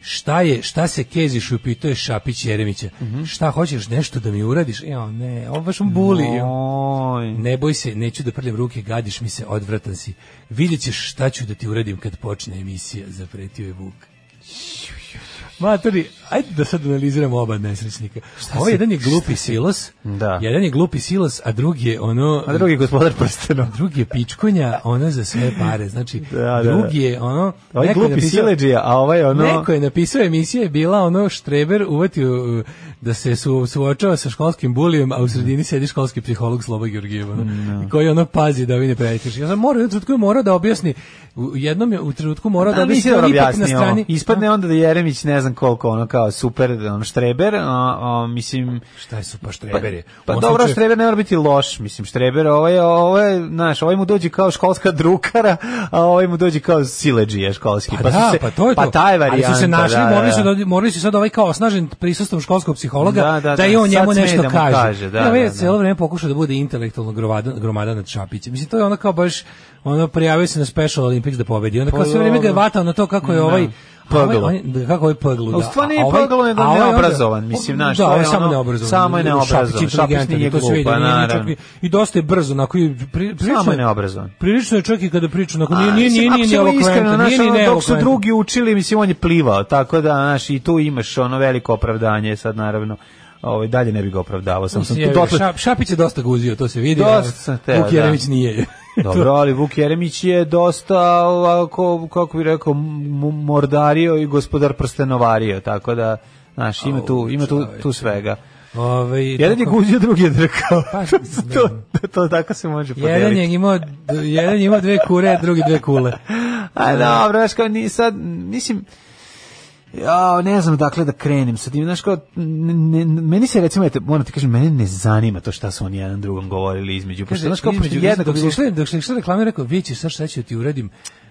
S5: šta je, šta se keziš upitao je Šapić Jeremića.
S6: Mhm.
S5: Šta hoćeš nešto da mi uradiš? Ja, ne, on baš mu buli.
S6: Oj.
S5: Ne boj se, neću da prljam ruke, gadiš mi se, odvratan si. Vidjet ćeš šta ću da ti uradim kad počne emisija, zapretio je Vuk. Matori, ajde da sad analiziramo oba nesrećnika. Ovo jedan je glupi silos,
S6: Da.
S5: jedan je glupi silos, a drugi je ono...
S6: A drugi gospodar prsteno.
S5: Drugi je pičkonja, ona za sve pare. Znači,
S6: Da, da, da.
S5: drugi je ono...
S6: Ovaj
S5: neko je
S6: glupi
S5: napisao-
S6: sileđija, a ovaj ono...
S5: Neko je napisao emisija je bila ono štreber uvatio uh, da se su, suočava sa školskim bulijem, a u sredini sedi školski psiholog Sloba Georgijeva, ono, koji ono pazi da vi ne prekrši. Ja sam morao, u jednom trenutku je morao da objasni, u jednom je u trenutku morao da,
S6: Da, nisi
S5: objasni, on
S6: dobro
S5: ipak na
S6: objasnio.
S5: strani...
S6: Ispadne onda da Jeremić ne znam koliko ono kao super ono štreber, a, a, mislim
S5: Šta je su pa
S6: pa,
S5: štreber je?
S6: pa
S5: U ovom
S6: dobro
S5: slučaju-
S6: štreber ne mora biti loš, mislim štreber ovaj je- ovaj je, znaš, ovaj mu dođe kao školska drukara, a ovaj mu dođe kao sileđija školski.
S5: Pa, da,
S6: su se,
S5: pa to je to.
S6: pa taj varijanta,
S5: Ali su se našli,
S6: da, da,
S5: morali, su,
S6: da.
S5: da, morali su sad ovaj kao osnažen prisustvom školskog psihologa
S6: Da,
S5: da,
S6: da,
S5: i
S6: da,
S5: on
S6: sad
S5: njemu
S6: sme
S5: nešto
S6: da mu
S5: kaže.
S6: kaže, da,
S5: I ovaj je
S6: da, da.
S5: cijelo vreme pokušao da bude intelektualno gromada, gromada nad Šapićem. Mislim, to je ono kao baš, ono, prijavio se na Special Olympics da pobedi. Onda
S6: Pa
S5: kao sve vreme ga je
S6: dobro. Da.
S5: vatao na to kako je ovaj...
S6: Paglo.
S5: a Ovaj, on je- da, kako je paglu,
S6: A
S5: da.
S6: u
S5: A
S6: stvari nije
S5: ovaj-
S6: paglo, nego
S5: a ovaj onda-
S6: neobrazovan, mislim, znaš,
S5: Da,
S6: to je
S5: ovaj samo
S6: ono-
S5: neobrazovan.
S6: samo je neobrazovan.
S5: Šapić je
S6: Šapić
S5: inteligentan,
S6: nije
S5: to se vidi,
S6: glup, pa
S5: nije čak
S6: naravno.
S5: i- I dosta je brzo, onako, i pri, prilično
S6: je neobrazovan.
S5: Prilično je čovjek i kada priča, onako, nije,
S6: A,
S5: nije,
S6: Pa, mislim,
S5: nije,
S6: ako
S5: nije,
S6: ćemo
S5: ni elokventan,
S6: iskreno, znaš,
S5: nije ni
S6: ono, dok su
S5: neelokventan.
S6: drugi učili, mislim, on je plivao, tako da, znaš, i tu imaš ono veliko opravdanje, sad naravno, ovaj, dalje ne bi ga opravdavao, sam sam tu
S5: Jevi,
S6: dotle...
S5: Šap- Šapić je dosta guzio, to se vidi.
S6: Dosta sam teo,
S5: Vuk Jeremić
S6: da. [laughs]
S5: nije.
S6: Dobro, ali Vuk Jeremić je dosta, ovako, kako bi rekao, mu- mordario i gospodar prstenovario, tako da, znaš, ima tu, ima tu, tu svega.
S5: Ove,
S6: Jedan je guzio, drugi je drkao.
S5: Pa,
S6: [laughs] to, to, to tako se može podeliti.
S5: jedan je imao, jedan je imao dve kure, a drugi dve kule.
S6: A dobro, znaš kao, ni sad, mislim, ja ne znam dakle da krenem sa tim znaš kao ne, ne, meni se recimo eto moram ti kažem mene ne zanima to šta su oni jedan drugom govorili između pošto
S5: Kaže,
S6: [laughs] znaš kao
S5: između-
S6: između jednog
S5: dok se
S6: bilo
S5: išli, dok se išli reklame, rekao, vidjet ćeš sad šta ću ti uradim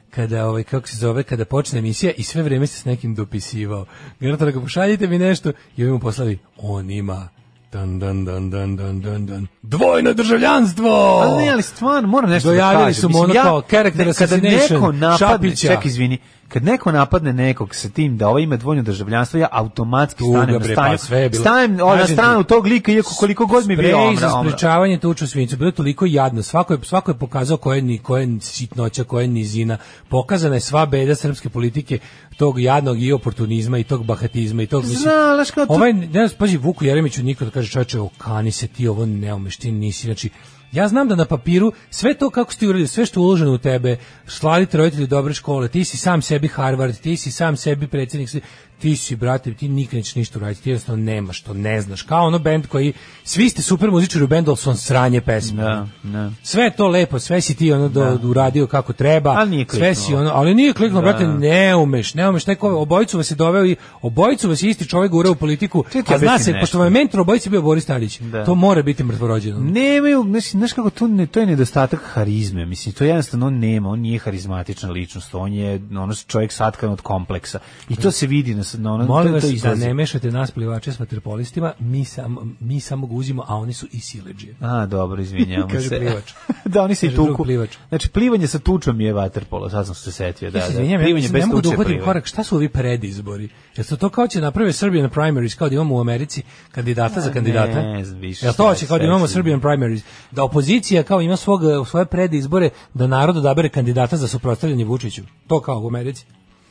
S5: kada, ovaj, kako se zove, kada počne emisija i sve vreme se s nekim dopisivao. Garanta rekao, pošaljite mi nešto i ovi mu poslali, on ima dan, dan, dan, dan, dan, dan, dan. Dvojno državljanstvo!
S6: Ali Pa ne, ali stvarno moram nešto da
S5: Dojavili
S6: kažem.
S5: su mu ono
S6: Mislim,
S5: kao character
S6: ne, Kada
S5: assassination
S6: neko napadne,
S5: Šapića.
S6: ček, izvini, kad neko napadne nekog sa tim da ovaj ima dvojno državljanstvo, ja automatski
S5: Tuga,
S6: stanem na
S5: bre,
S6: stranu.
S5: pa sve je bilo.
S6: Stanem ovaj, na
S5: Kažem ti,
S6: stranu tog lika, iako koliko god mi je bio
S5: Sprej
S6: omra,
S5: za
S6: omra.
S5: sprečavanje tuče u svinjcu. Bilo je toliko jadno. Svako je, svako je pokazao koje ni koje sitnoća, koje nizina. Pokazana je sva beda srpske politike tog jadnog i oportunizma i tog bahatizma i tog mislim.
S6: Zna, znaš kao to-
S5: Ovaj ne znam, pazi Vuku Jeremiću niko da kaže čoveče, okani se ti ovo ne umeš ti nisi. Znači Ja znam da na papiru sve to kako ste uradili, sve što je uloženo u tebe, slaviti roditelji dobre škole, ti si sam sebi Harvard, ti si sam sebi predsjednik, sve- ti si, brate, ti nikad nećeš ništa uraditi, ti jednostavno nemaš to, ne znaš. Kao ono bend koji, svi ste super muzičari u bendu, ali su on sranje pesme.
S6: Da, da.
S5: Sve je to lepo, sve si ti ono do, uradio kako treba,
S6: Ali nije
S5: sve si
S6: kliknulo. Da.
S5: ono, ali nije kliknulo, brate, ne umeš, ne umeš, taj ko, obojicu vas je doveo i obojicu vas je isti čovjek gurao u politiku,
S6: Čekaj, ti
S5: a zna
S6: objasni
S5: se,
S6: nešto. Da.
S5: pošto vam je mentor obojici bio Boris Tadić, to mora biti mrtvorođeno.
S6: Nemaju, znači, znaš kako to ne, to je nedostatak harizme, mislim, to jednostavno on nema, on nije harizmatična ličnost, on je ono čovjek satkan od kompleksa. I to se vidi na na ono,
S5: Molim
S6: to,
S5: vas
S6: to
S5: da
S6: izlazi.
S5: ne mešate nas plivače s vaterpolistima, mi, sam, mi samo ga uzimo, a oni su i sileđe.
S6: A, dobro, izvinjavam
S5: [laughs] Kaže
S6: se.
S5: plivač.
S6: [laughs] da, oni se i
S5: Kaže drug
S6: tuku.
S5: plivač.
S6: Znači, plivanje sa tučom je vaterpolo, sad sam se setio. Da,
S5: Ja se
S6: da.
S5: izvinjam, ja
S6: Plivanje
S5: mislim,
S6: bez
S5: ne mogu da
S6: tuče je
S5: uhvatim
S6: plivanje.
S5: korak. Šta su ovi predizbori? Jel su to kao će naprave Serbian primaries, kao da imamo u Americi kandidata za kandidata?
S6: ne znam više
S5: Jel
S6: šta
S5: to će kao da
S6: sve
S5: imamo
S6: su-
S5: Serbian primaries? Da opozicija kao ima svog, svoje predizbore, da narod odabere kandidata za suprotstavljanje Vučiću. To kao u Americi.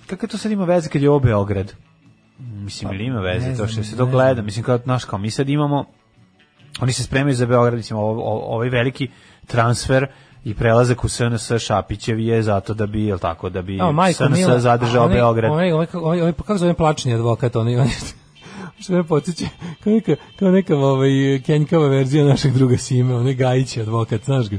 S6: Kako to sad ima veze kad je ovo Beograd? Mislim, ili ima veze
S5: Pa, ne
S6: to što
S5: znam,
S6: se to
S5: ne
S6: gleda?
S5: znam.
S6: Mislim, kao, znaš, kao mi sad imamo, oni se spremaju za Beograd, mislim, ovo- o- ovaj veliki transfer i prelazak u SNS Šapićev je zato da bi, jel tako, da bi
S5: Evo, majko
S6: SNS
S5: mila,
S6: zadržao
S5: onaj-
S6: Beograd.
S5: Onaj, onaj, onaj, onaj, kako zove plačni advokat, onaj, [laughs] onaj, što me podsjeća, kao neka, kao neka ovaj, kenjkava verzija našeg druga Sime, onaj Gajić je advokat, znaš ga?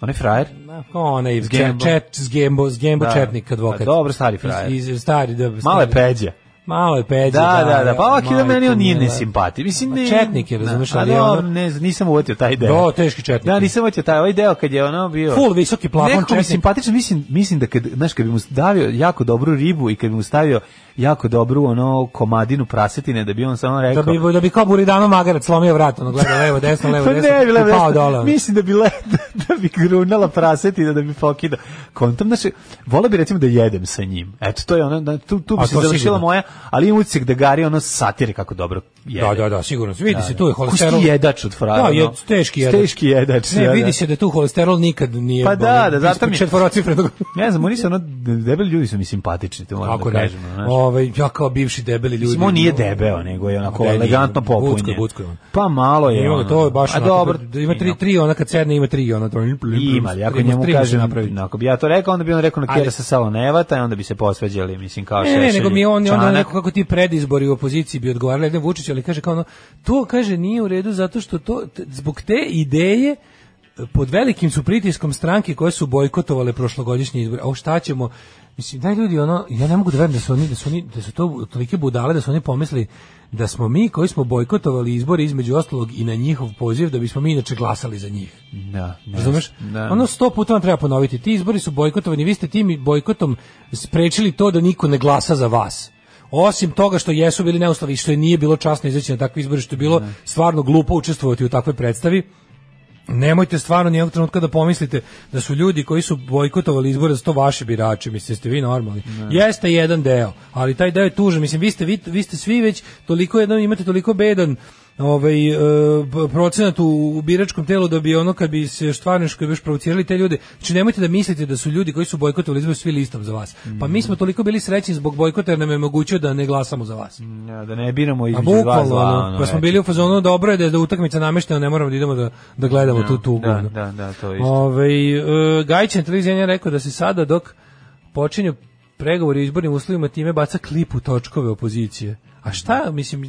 S6: Onaj frajer?
S5: Na, kao onaj,
S6: S
S5: s
S6: Da. Gembo.
S5: Gembo, čet, s Gembo, s Gembo
S6: Da.
S5: Četnik advokat.
S6: A dobro, stari frajer.
S5: Iz, iz, stari, da, stari.
S6: Malo je peđa.
S5: Malo je peđa.
S6: Da, da, da, pa ovak je da
S5: majko
S6: meni on nije
S5: mila.
S6: nesimpati. Mislim,
S5: Ma
S6: ne,
S5: Četnik je,
S6: Da,
S5: razumeš,
S6: a
S5: ali je
S6: dobro,
S5: ono-
S6: ne znam, nisam uvatio taj deo.
S5: Do, teški četnik.
S6: Da, nisam hoćeo taj ovaj deo kad je ono bio...
S5: Full visoki plafon
S6: Nekako mi
S5: četnik.
S6: simpatično, mislim, mislim da kad, znaš, kad bi mu davio jako dobru ribu i kad bi mu stavio jako dobru ono komadinu prasetine, da bi on samo rekao...
S5: Da bi, da bi kao Buridano Magarac slomio vrat, ono gleda levo, desno, levo,
S6: [laughs] Pa
S5: desno,
S6: ne, bi
S5: i
S6: lepo
S5: pao
S6: desno.
S5: dole. ono.
S6: Mislim da bi le, [laughs] da bi grunala prasetina, da bi pokidao. Kontam, znači, vole bi recimo da jedem sa njim. Eto, to je ono, da- tu, tu bi
S5: A
S6: se
S5: to
S6: završila
S5: sigurno.
S6: moja, ali imam utisak da Gari ono satire kako dobro jede.
S5: Da, da, da, sigurno. Vidi se tu je holesterol.
S6: Kusti jedač od frajera.
S5: Da, je
S6: ono.
S5: teški jedač.
S6: Teški jedač.
S5: Ne,
S6: da, da.
S5: vidi se da tu holesterol nikad nije...
S6: Pa da,
S5: ono,
S6: da, zato mi je-
S5: Četvorocifrenog.
S6: Ne znam, oni su ono, debeli ljudi su mi simpatični, to moram
S5: Kako
S6: da
S5: ne?
S6: kažem. ono, znaš.
S5: Ovaj ja kao bivši debeli ljudi.
S6: Mislim, on nije debeo, nego je onako
S5: Ne, nije,
S6: elegantno
S5: bucko je,
S6: popunjen.
S5: bucko je on.
S6: Pa malo je.
S5: Ima
S6: ono.
S5: ga, to je baš
S6: A
S5: onako,
S6: dobro,
S5: da ima tri tri ona kad sedne ima tri ona to
S6: Ima, ali ako
S5: tri-
S6: njemu
S5: tri mu se
S6: kažem,
S5: napravi.
S6: ako bi ja to rekao, onda bi on rekao na
S5: Ali-
S6: kjera sa salonevata i onda bi se posveđali, mislim, kao
S5: Ne, ne,
S6: šešelj
S5: nego mi je on
S6: i
S5: i onda
S6: Čanak.
S5: neko kako ti predizbori u opoziciji bi odgovarali ne Vučić, ali kaže kao ono, to kaže nije u redu zato što to t- zbog te ideje e, pod velikim su pritiskom stranke koje su bojkotovale prošlogodišnje izbore. O šta ćemo? Mislim, daj ljudi, ono, ja ne mogu da verujem da su oni, da su oni, da su to tolike budale da su oni pomisli da smo mi koji smo bojkotovali izbore između ostalog i na njihov poziv da bismo mi inače glasali za njih.
S6: Da, ne,
S5: Razumeš?
S6: Da.
S5: Ono sto puta vam treba ponoviti. Ti izbori su bojkotovani, vi ste tim bojkotom sprečili to da niko ne glasa za vas. Osim toga što jesu bili neustavi i što je nije bilo časno izaći na takve izbore, što je bilo stvarno glupo učestvovati u takvoj predstavi, nemojte stvarno nijednog trenutka da pomislite da su ljudi koji su bojkotovali izbore da su to vaši birači, mislim ste vi normalni. Jeste jedan deo, ali taj deo je tužan, mislim vi ste vi, vi ste svi već toliko jednom imate toliko bedan ovaj e, b- procenat u, u biračkom telu da bi ono kad bi se štvarniško još provocirali te ljude. Znači nemojte da mislite da su ljudi koji su bojkotovali izbore svi listom za vas. Pa mi smo toliko bili srećni zbog bojkota jer nam je omogućio da ne glasamo za vas.
S6: Ja, da ne biramo
S5: A
S6: između dva
S5: bukvalno,
S6: zla,
S5: ono,
S6: ono,
S5: pa smo
S6: reći.
S5: bili u fazonu dobro je da je da utakmica nameštena, ne moramo da idemo da, da gledamo tu tu.
S6: Da,
S5: govno.
S6: da, da, to je isto.
S5: Ovaj e, Gajić na televiziji N1 je rekao da se sada dok počinju pregovori o izbornim uslovima time baca klip u točkove opozicije. A šta, mislim,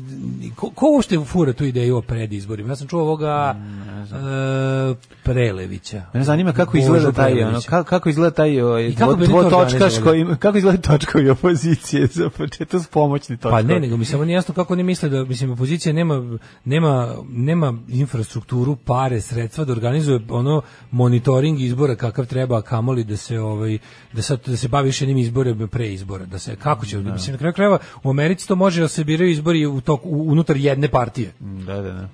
S5: ko, ko uopšte fura tu ideju o predizborima? Ja sam čuo ovoga, e, Prelevića.
S6: Mene zanima kako
S5: Božu
S6: izgleda taj ono
S5: Prelevića.
S6: kako kako izgleda taj ovaj
S5: I kako bi oni to
S6: dvo točkaš
S5: organizovali?
S6: koji kako izgleda točkovi opozicije [laughs] za početak s pomoćni točkovi.
S5: Pa ne, nego mi samo nije jasno kako oni misle da mislim opozicija nema nema nema infrastrukturu, pare, sredstva da organizuje ono monitoring izbora kakav treba, a kamoli da se ovaj da sad da se bavi još jednim izborima pre izbora, da se kako će mislim na kraju krajeva u Americi to može da se biraju izbori u toku u- unutar jedne partije.
S6: Da, da, da.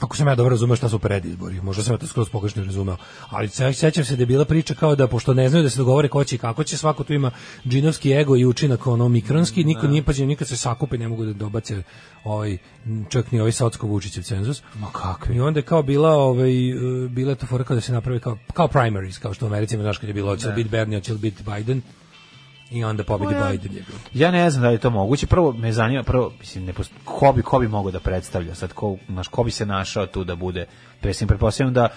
S5: Ako sam ja dobro razumeo šta su predizbori, možda sam ja to skroz pogrešno razumeo, ali se, sećam se da je bila priča kao da, pošto ne znaju da se dogovore ko će i kako će, svako tu ima džinovski ego i učinak ono mikronski, niko
S6: Da.
S5: nije pađen, nikad se sakupe, ne mogu da dobace ovaj, m, čak ni ovaj Socko-Vučićev cenzus. Ma kakvi? I onda je kao bila, ovaj, e, bila je to fora kao da se naprave kao, kao primaries, kao što u Americi ima, znaš, kad je bilo,
S6: Da.
S5: hoće li biti Bernie, hoće li biti Biden, i onda pobedi Biden je bilo.
S6: Ja ne znam da li je to moguće. Prvo me zanima, prvo mislim ne post... ko bi ko bi mogao da predstavlja sad ko naš ko bi se našao tu da bude. Mislim pretpostavljam da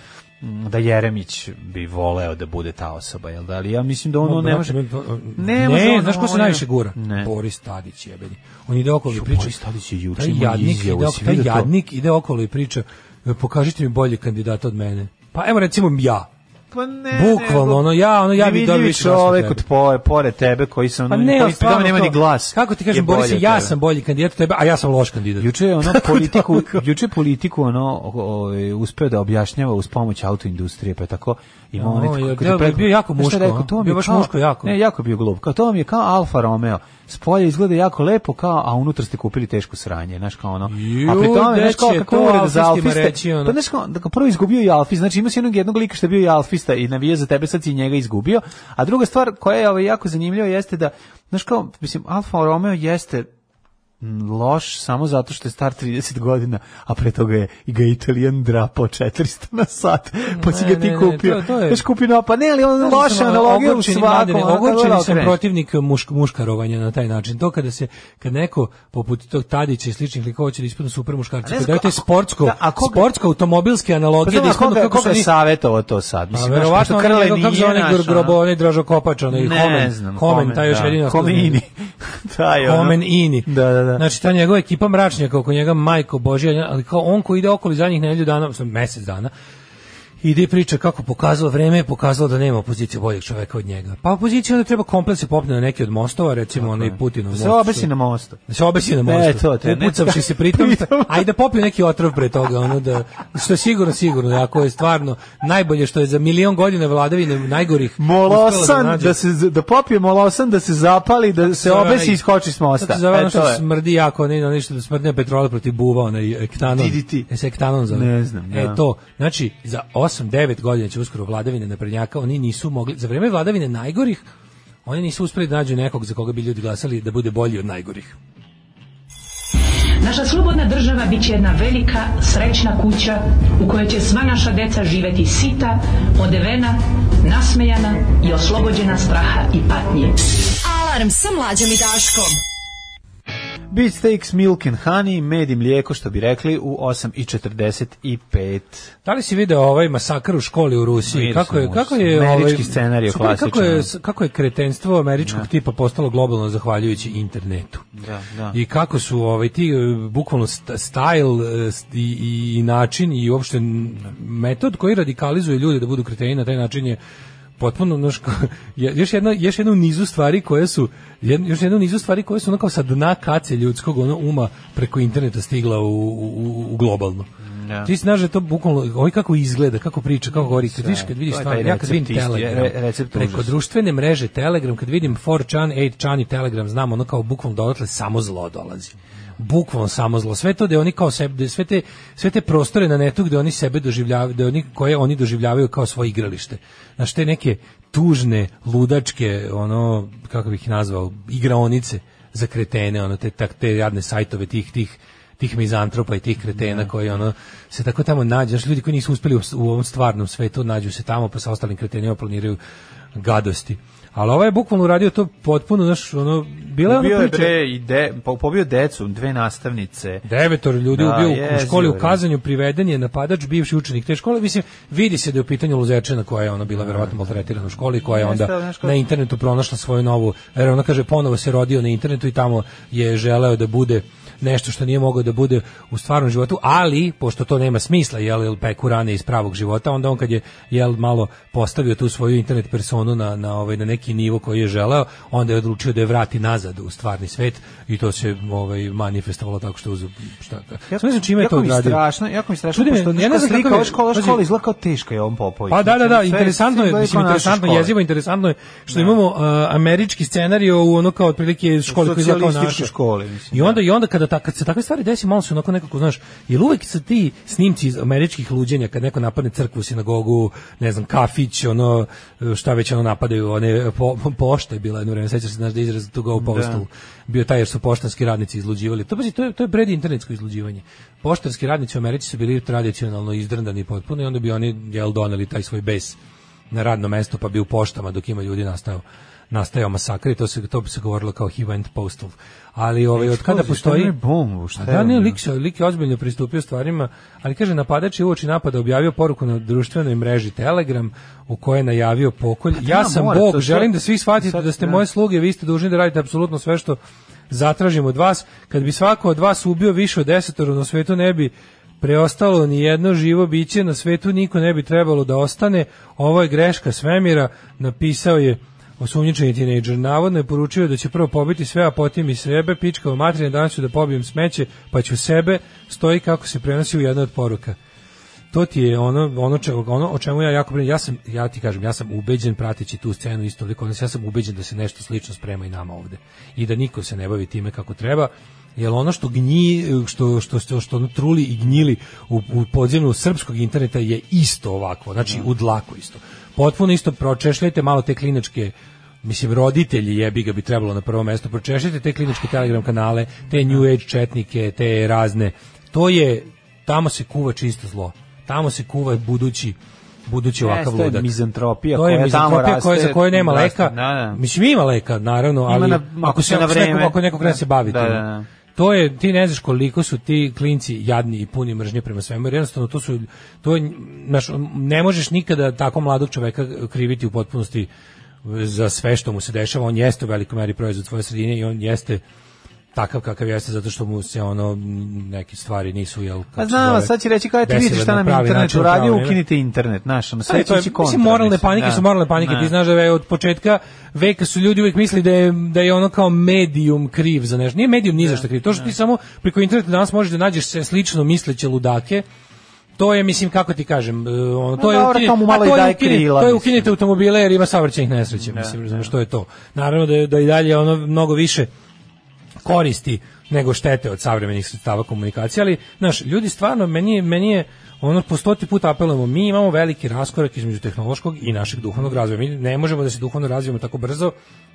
S6: mm, da Jeremić bi voleo da bude ta osoba, jel da? Ali ja mislim da ono
S5: Ma,
S6: ne
S5: brate,
S6: može...
S5: meni to-
S6: Ne
S5: Ne,
S6: može ono,
S5: znaš ko
S6: on
S5: se
S6: je-
S5: najviše gura?
S6: Ne.
S5: Boris Tadić jebeni. On ide okolo i
S6: Ju,
S5: priča.
S6: Boris Tadić je da juče
S5: Taj
S6: imao
S5: jadnik,
S6: izjavu,
S5: ide,
S6: si
S5: taj
S6: vidio to?
S5: jadnik ide okolo i priča "E, pokažite mi bolje kandidata od mene. Pa evo recimo ja.
S6: Pa ne,
S5: Bukvalno, ono, ja, ono, ja bi dobio više glasa od
S6: čovek
S5: tebe.
S6: od poje, pored tebe koji sam
S5: Pa ne, ali
S6: koji pri tome
S5: stvarno
S6: nema
S5: to-
S6: ni glas.
S5: Kako ti
S6: je
S5: kažem,
S6: bolji
S5: Boris,
S6: od
S5: ja
S6: tebe.
S5: sam bolji kandidat od tebe, a ja sam loš kandidat. da
S6: Juče je ono politiku, juče je politiku ono o- ovaj uspeo da objašnjava uz pomoć autoindustrije, pa je tako ima
S5: O,
S6: onaj
S5: je
S6: koji ti
S5: delo-
S6: preko-
S5: bio jako
S6: Znaš šta je
S5: muško,
S6: rekao,
S5: a?
S6: to mi je
S5: Bio baš
S6: kao-
S5: muško jako.
S6: Ne, jako je bio glup. Kao to mi je kao Alfa Romeo. Spolje izgleda jako lepo, kao a unutra ste kupili teško sranje, znaš kao ono. a pri
S5: Ju,
S6: tome
S5: gde
S6: znaš kao
S5: će
S6: kako
S5: to
S6: ured za
S5: alfistima
S6: alfiste.
S5: reći, ono?
S6: Pa znaš kao da kao prvo izgubio i alfis, znači ima si jednog jednog lika što je bio i alfista i navija za tebe, sad si i njega izgubio. A druga stvar koja je ovaj jako zanimljiva jeste da znaš kao mislim Alfa Romeo jeste loš samo zato što je star 30 godina, a pre toga je i ga Italijan drapao 400 na sat, pa si ga
S5: Ne,
S6: ti
S5: ne, ne,
S6: kupio.
S5: to- to je-
S6: Znaš, kupi no, pa ne, ali on loša analogija u
S5: Ogorčeni,
S6: svakom.
S5: Mladene,
S6: ono, kako
S5: Ogorčeni
S6: da
S5: sam
S6: okreneš.
S5: protivnik mušk, muškarovanja na taj način. To kada se, kad neko poput tog Tadića i sličnih likova će da ispadnu super muškarci,
S6: A ne
S5: kada
S6: znam
S5: daju te
S6: ako-
S5: sportsko,
S6: da, a koga-
S5: sportsko automobilske
S6: Pa
S5: analogije da
S6: znam,
S5: ispadnu
S6: koga,
S5: kako su
S6: koga je
S5: oni
S6: savjetovao to sad?
S5: Pa
S6: Mislim,
S5: verovatno
S6: verovatno
S5: onaj
S6: krle
S5: kako se onaj gro- grobo, onaj Dražo Kopač, onaj
S6: ne
S5: Homen,
S6: znam.
S5: Homen, taj još
S6: da.
S5: jedino.
S6: Homini. [laughs] taj, E, ono.
S5: Komen Ini.
S6: Da, da, da.
S5: Znači, ta njegova ekipa mračnjaka oko njega, majko Božija, ali kao on koji ide okoli zadnjih nedelju dana, mislim, mesec dana, ide i priča kako pokazalo vreme, pokazalo da nema opozicije boljeg čoveka od njega. Pa opozicija onda treba komplet se popne na neki od mostova, recimo onaj Putinov
S6: Da
S5: most.
S6: Se obesi na mostu.
S5: Da se obesi na mostu.
S6: E, to te, ne.
S5: Upucavši se pritom,
S6: Pritom.
S5: a i da popiju neki otrov pre toga, ono da, što je sigurno, sigurno, ako je stvarno najbolje što je za milion godina vladavine najgorih uspela
S6: Molosan, da,
S5: nađe.
S6: se, z- da popije molosan, da se zapali, da se
S5: Zove
S6: obesi
S5: onaj-
S6: i iskoči s mosta.
S5: Kako se zove
S6: E,
S5: ono
S6: to
S5: što
S6: je.
S5: smrdi jako, ne, ono što smrdi na petrole protiv buva, onaj ektanon.
S6: DDT.
S5: E se ektanon zove.
S6: Ne znam, da.
S5: E to, znači, za 8-9 godina će uskoro vladavine naprednjaka, oni nisu mogli, za vreme vladavine najgorih, oni nisu uspeli da nađu nekog za koga bi ljudi glasali da bude bolji od najgorih.
S12: Naša slobodna država bit će jedna velika, srećna kuća u kojoj će sva naša deca živeti sita, odevena, nasmejana i oslobođena straha i patnje.
S4: Alarm sa mlađom i Daškom.
S6: Beefsteaks, milk and honey, med i mlijeko, što bi rekli, u 8.45.
S5: Da li si video ovaj masakr u školi u Rusiji?
S6: Vidio
S5: kako je
S6: sam
S5: kako
S6: užas.
S5: je ovaj
S6: Američki scenarij
S5: super, Kako je
S6: klasičan.
S5: kako je kretenstvo američkog tipa postalo globalno zahvaljujući internetu.
S6: Da, da.
S5: I kako su ovaj ti e, bukvalno st- style e, st- i, i, i način i uopšte n- metod koji radikalizuje ljude da budu kreteni na taj način je potpuno znaš, ko- je- još jedna još jednu nizu stvari koje su jed- još jednu nizu stvari koje su onako sa dna kace ljudskog ono uma preko interneta stigla u, u, u- u globalno.
S6: Da.
S5: Ti znaš da je to bukvalno, ovaj kako izgleda, kako priča, kako govori, kad vidiš, kad vidiš
S6: Da, To je taj
S5: stvarno, ja kad vidim
S6: recept isti,
S5: Telegram,
S6: re- recept
S5: preko
S6: užas.
S5: društvene mreže Telegram, kad vidim 4chan, 8chan i Telegram, znam ono kao bukvalno da odatle samo zlo dolazi. Bukvalno samo zlo. Sve to da oni kao sebe, da sve te, sve te prostore na netu gde oni sebe doživljavaju, da oni, koje oni doživljavaju kao svoje igralište. Znaš, te neke tužne, ludačke, ono, kako bih ih nazvao, igraonice za kretene, ono, te, tak, te jadne sajtove tih, tih, tih mizantropa i tih
S6: Da.
S5: kretena koji ono se tako tamo nađu, znaš, ljudi koji nisu uspeli u, u ovom stvarnom svetu nađu se tamo pa sa ostalim kretenima planiraju gadosti. Ali ovaj je bukvalno uradio to potpuno, znaš, ono, bila je
S6: Ubio
S5: ona
S6: je
S5: priča,
S6: bre i de, po- pobio decu, dve nastavnice.
S5: devetor ljudi
S6: Da,
S5: ubio u- u
S6: jezivo
S5: školi
S6: je.
S5: u Kazanju, priveden je napadač, bivši učenik te škole, mislim, vidi se da je u pitanju Luzečena koja je ona bila verovatno maltretirana u školi, koja je
S6: Jeste, ali
S5: onda
S6: znaš kako-
S5: na internetu pronašla svoju novu, jer ona kaže, ponovo se rodio na internetu i tamo je želeo da bude nešto što nije mogao da bude u stvarnom životu, ali pošto to nema smisla, jel, jel peku rane iz pravog života, onda on kad je jel malo postavio tu svoju internet personu na, na, ovaj, na neki nivo koji je želeo, onda je odlučio da je vrati nazad u stvarni svet i to se ovaj, manifestovalo tako što uz... Šta,
S6: Jako-
S5: Sve ne znam čime je
S6: jako
S5: to
S6: mi
S5: uradio.
S6: strašno, jako mi strašno,
S5: Čudi me,
S6: pošto
S5: ja ne znam
S6: slika,
S5: kakav je-
S6: ova škola,
S5: pazi.
S6: škola izgleda kao teška je on Popović.
S5: Pa da, da,
S6: Znači,
S5: da,
S6: sve-
S5: interesantno
S6: sve
S5: je,
S6: izgleda
S5: mislim,
S6: kao naša
S5: interesantno,
S6: škola.
S5: jezivo interesantno je što
S6: Da.
S5: imamo uh, američki scenarijo u ono kao otprilike školi koji izgleda kao
S6: Socijalističke
S5: naša.
S6: škole, mislim,
S5: I onda, i onda kada, ta, kad se takve stvari desi, malo se onako nekako, znaš, jer uvek su ti snimci iz američkih luđenja, kad neko napadne crkvu, sinagogu, ne znam, kafić, ono, šta već ono napadaju, one, po, pošta je bila jedno vreme, sećaš se, znaš, da je izraz to go postal, bio taj jer su poštanski radnici izluđivali. To, pazi, to je, to je pred internetsko izluđivanje. Poštanski radnici u Americi su bili tradicionalno izdrndani potpuno i onda bi oni, jel, doneli taj svoj bes na radno mesto pa bi u poštama dok ima ljudi nastao nastajao masakr i to se to bi se govorilo kao he went postal. Ali ovaj od kada
S6: Eksplozija, šta je
S5: postoji
S6: ono, bombu, šta
S5: A
S6: je
S5: da ne
S6: ono?
S5: lik se lik je ozbiljno pristupio stvarima, ali kaže napadač je uoči napada objavio poruku na društvenoj mreži Telegram u kojoj je najavio pokolj. ja
S6: da,
S5: sam
S6: mora,
S5: bog,
S6: to je sve-
S5: želim da svi shvatite
S6: sad,
S5: da ste
S6: da.
S5: moje sluge, vi ste dužni da radite apsolutno sve što zatražim od vas. Kad bi svako od vas ubio više od desetoro na svetu ne bi preostalo ni jedno živo biće na svetu niko ne bi trebalo da ostane ovo je greška svemira napisao je osumnjičeni tinejdžer navodno je poručio da će prvo pobiti sve a potom i sebe pička u materine danas ću da pobijem smeće pa ću sebe stoji kako se prenosi u jednoj od poruka to ti je ono ono če- ono o čemu ja jako brinem. Ja sam ja ti kažem, ja sam ubeđen prateći tu scenu isto toliko nas, ja sam ubeđen da se nešto slično sprema i nama ovde i da niko se ne bavi time kako treba. Jer ono što gnji, što, što, što, što ono truli i gnjili u, u podzemlju srpskog interneta je isto ovakvo, znači u dlaku isto. Potpuno isto pročešljajte malo te kliničke mislim roditelji jebi ga bi trebalo na prvo mesto pročešljajte te kliničke telegram kanale, te new age četnike, te razne. To je tamo se kuva čisto zlo. Tamo se kuva budući budući
S6: Jeste,
S5: ovakav
S6: to je
S5: ludak.
S6: mizantropija
S5: to je
S6: koja tamo
S5: mizantropija koja
S6: raste,
S5: za koju nema
S6: raste,
S5: leka.
S6: da, da.
S5: Mislim ima leka naravno, ali
S6: na-
S5: ako se
S6: na
S5: na
S6: vreme.
S5: ako nekog krene se baviti.
S6: Da, da, da.
S5: To je ti ne znaš koliko su ti klinci jadni i puni mržnje prema svemu. Jer jednostavno to su to je, znaš, ne možeš nikada tako mladog čoveka kriviti u potpunosti za sve što mu se dešava. On jeste u velikoj meri proizvod svoje sredine i on jeste takav kakav jeste zato što mu se ono m, neke stvari nisu jel kako
S6: Pa
S5: se
S6: znam,
S5: zove,
S6: sad će reći kao eto
S5: desile
S6: vidite šta
S5: na
S6: nam je
S5: pravi
S6: internet
S5: način, u
S6: uradio,
S5: pravo vreme.
S6: ukinite internet, znaš, ono, sve
S5: Ali
S6: će
S5: to je,
S6: ići kontra.
S5: Mislim, moralne
S6: mislim,
S5: panike
S6: da.
S5: su moralne panike.
S6: Da.
S5: Ti znaš da je od početka veka su ljudi uvijek mislili da je, da je ono kao medijum kriv za nešto. Nije medijum
S6: Da,
S5: ni za što kriv. To što ti samo preko interneta danas možeš da nađeš sve slično misleće ludake, to je mislim kako ti kažem e, ono to
S6: Ma
S5: je
S6: dobro,
S5: ukini-
S6: to mu malo
S5: a
S6: i
S5: to je
S6: daje
S5: ukini-
S6: krila,
S5: to je
S6: mislim. Da,
S5: ukinite automobile jer ima saobraćajnih nesreća mislim razumeš što je to naravno da je, da i dalje ono mnogo više koristi nego štete od savremenih sredstava komunikacije, ali znaš, ljudi stvarno meni je, meni je ono po stoti put apelujemo, mi imamo veliki raskorak između tehnološkog i našeg duhovnog razvoja. Mi ne možemo da se duhovno razvijemo tako brzo,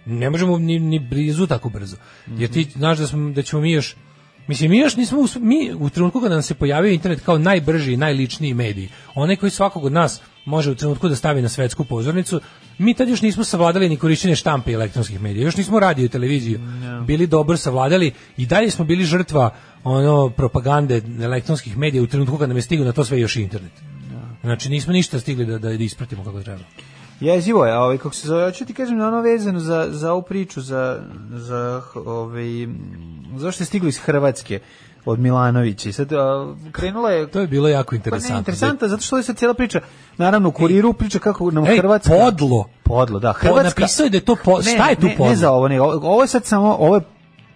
S5: ne možemo ni, ni blizu tako brzo. Jer ti znaš da, smo, da ćemo mi još Mislim, mi još nismo, usp- mi u trenutku kada nam se pojavio internet kao najbrži i najličniji medij, onaj koji svakog od nas može u trenutku da stavi na svetsku pozornicu, mi tad još nismo savladali ni korišćenje štampe i elektronskih medija, još nismo radio i televiziju, bili dobro savladali i dalje smo bili žrtva ono propagande elektronskih medija u trenutku kada nam je stigao na to sve još i internet.
S6: Da.
S5: Znači nismo ništa stigli da, da, da ispratimo kako treba.
S6: Jezivo je, ovaj, kako se zove, hoću ti kažem na ono vezano za, za ovu priču, za, za ovaj, m, zašto je stiglo iz Hrvatske od Milanovića i sad a, krenula je...
S5: To je bilo jako
S6: Pa ne,
S5: interesantno.
S6: interesantno, zato što je sad cijela priča, naravno u kuriru priča kako nam
S5: Ej,
S6: Hrvatska...
S5: podlo.
S6: Podlo, da,
S5: Po,
S6: Hrvatska...
S5: napisao je da je to po, šta je tu
S6: ne,
S5: podlo?
S6: Ne za ovo, ne, ovo ovo je sad samo, ovo je,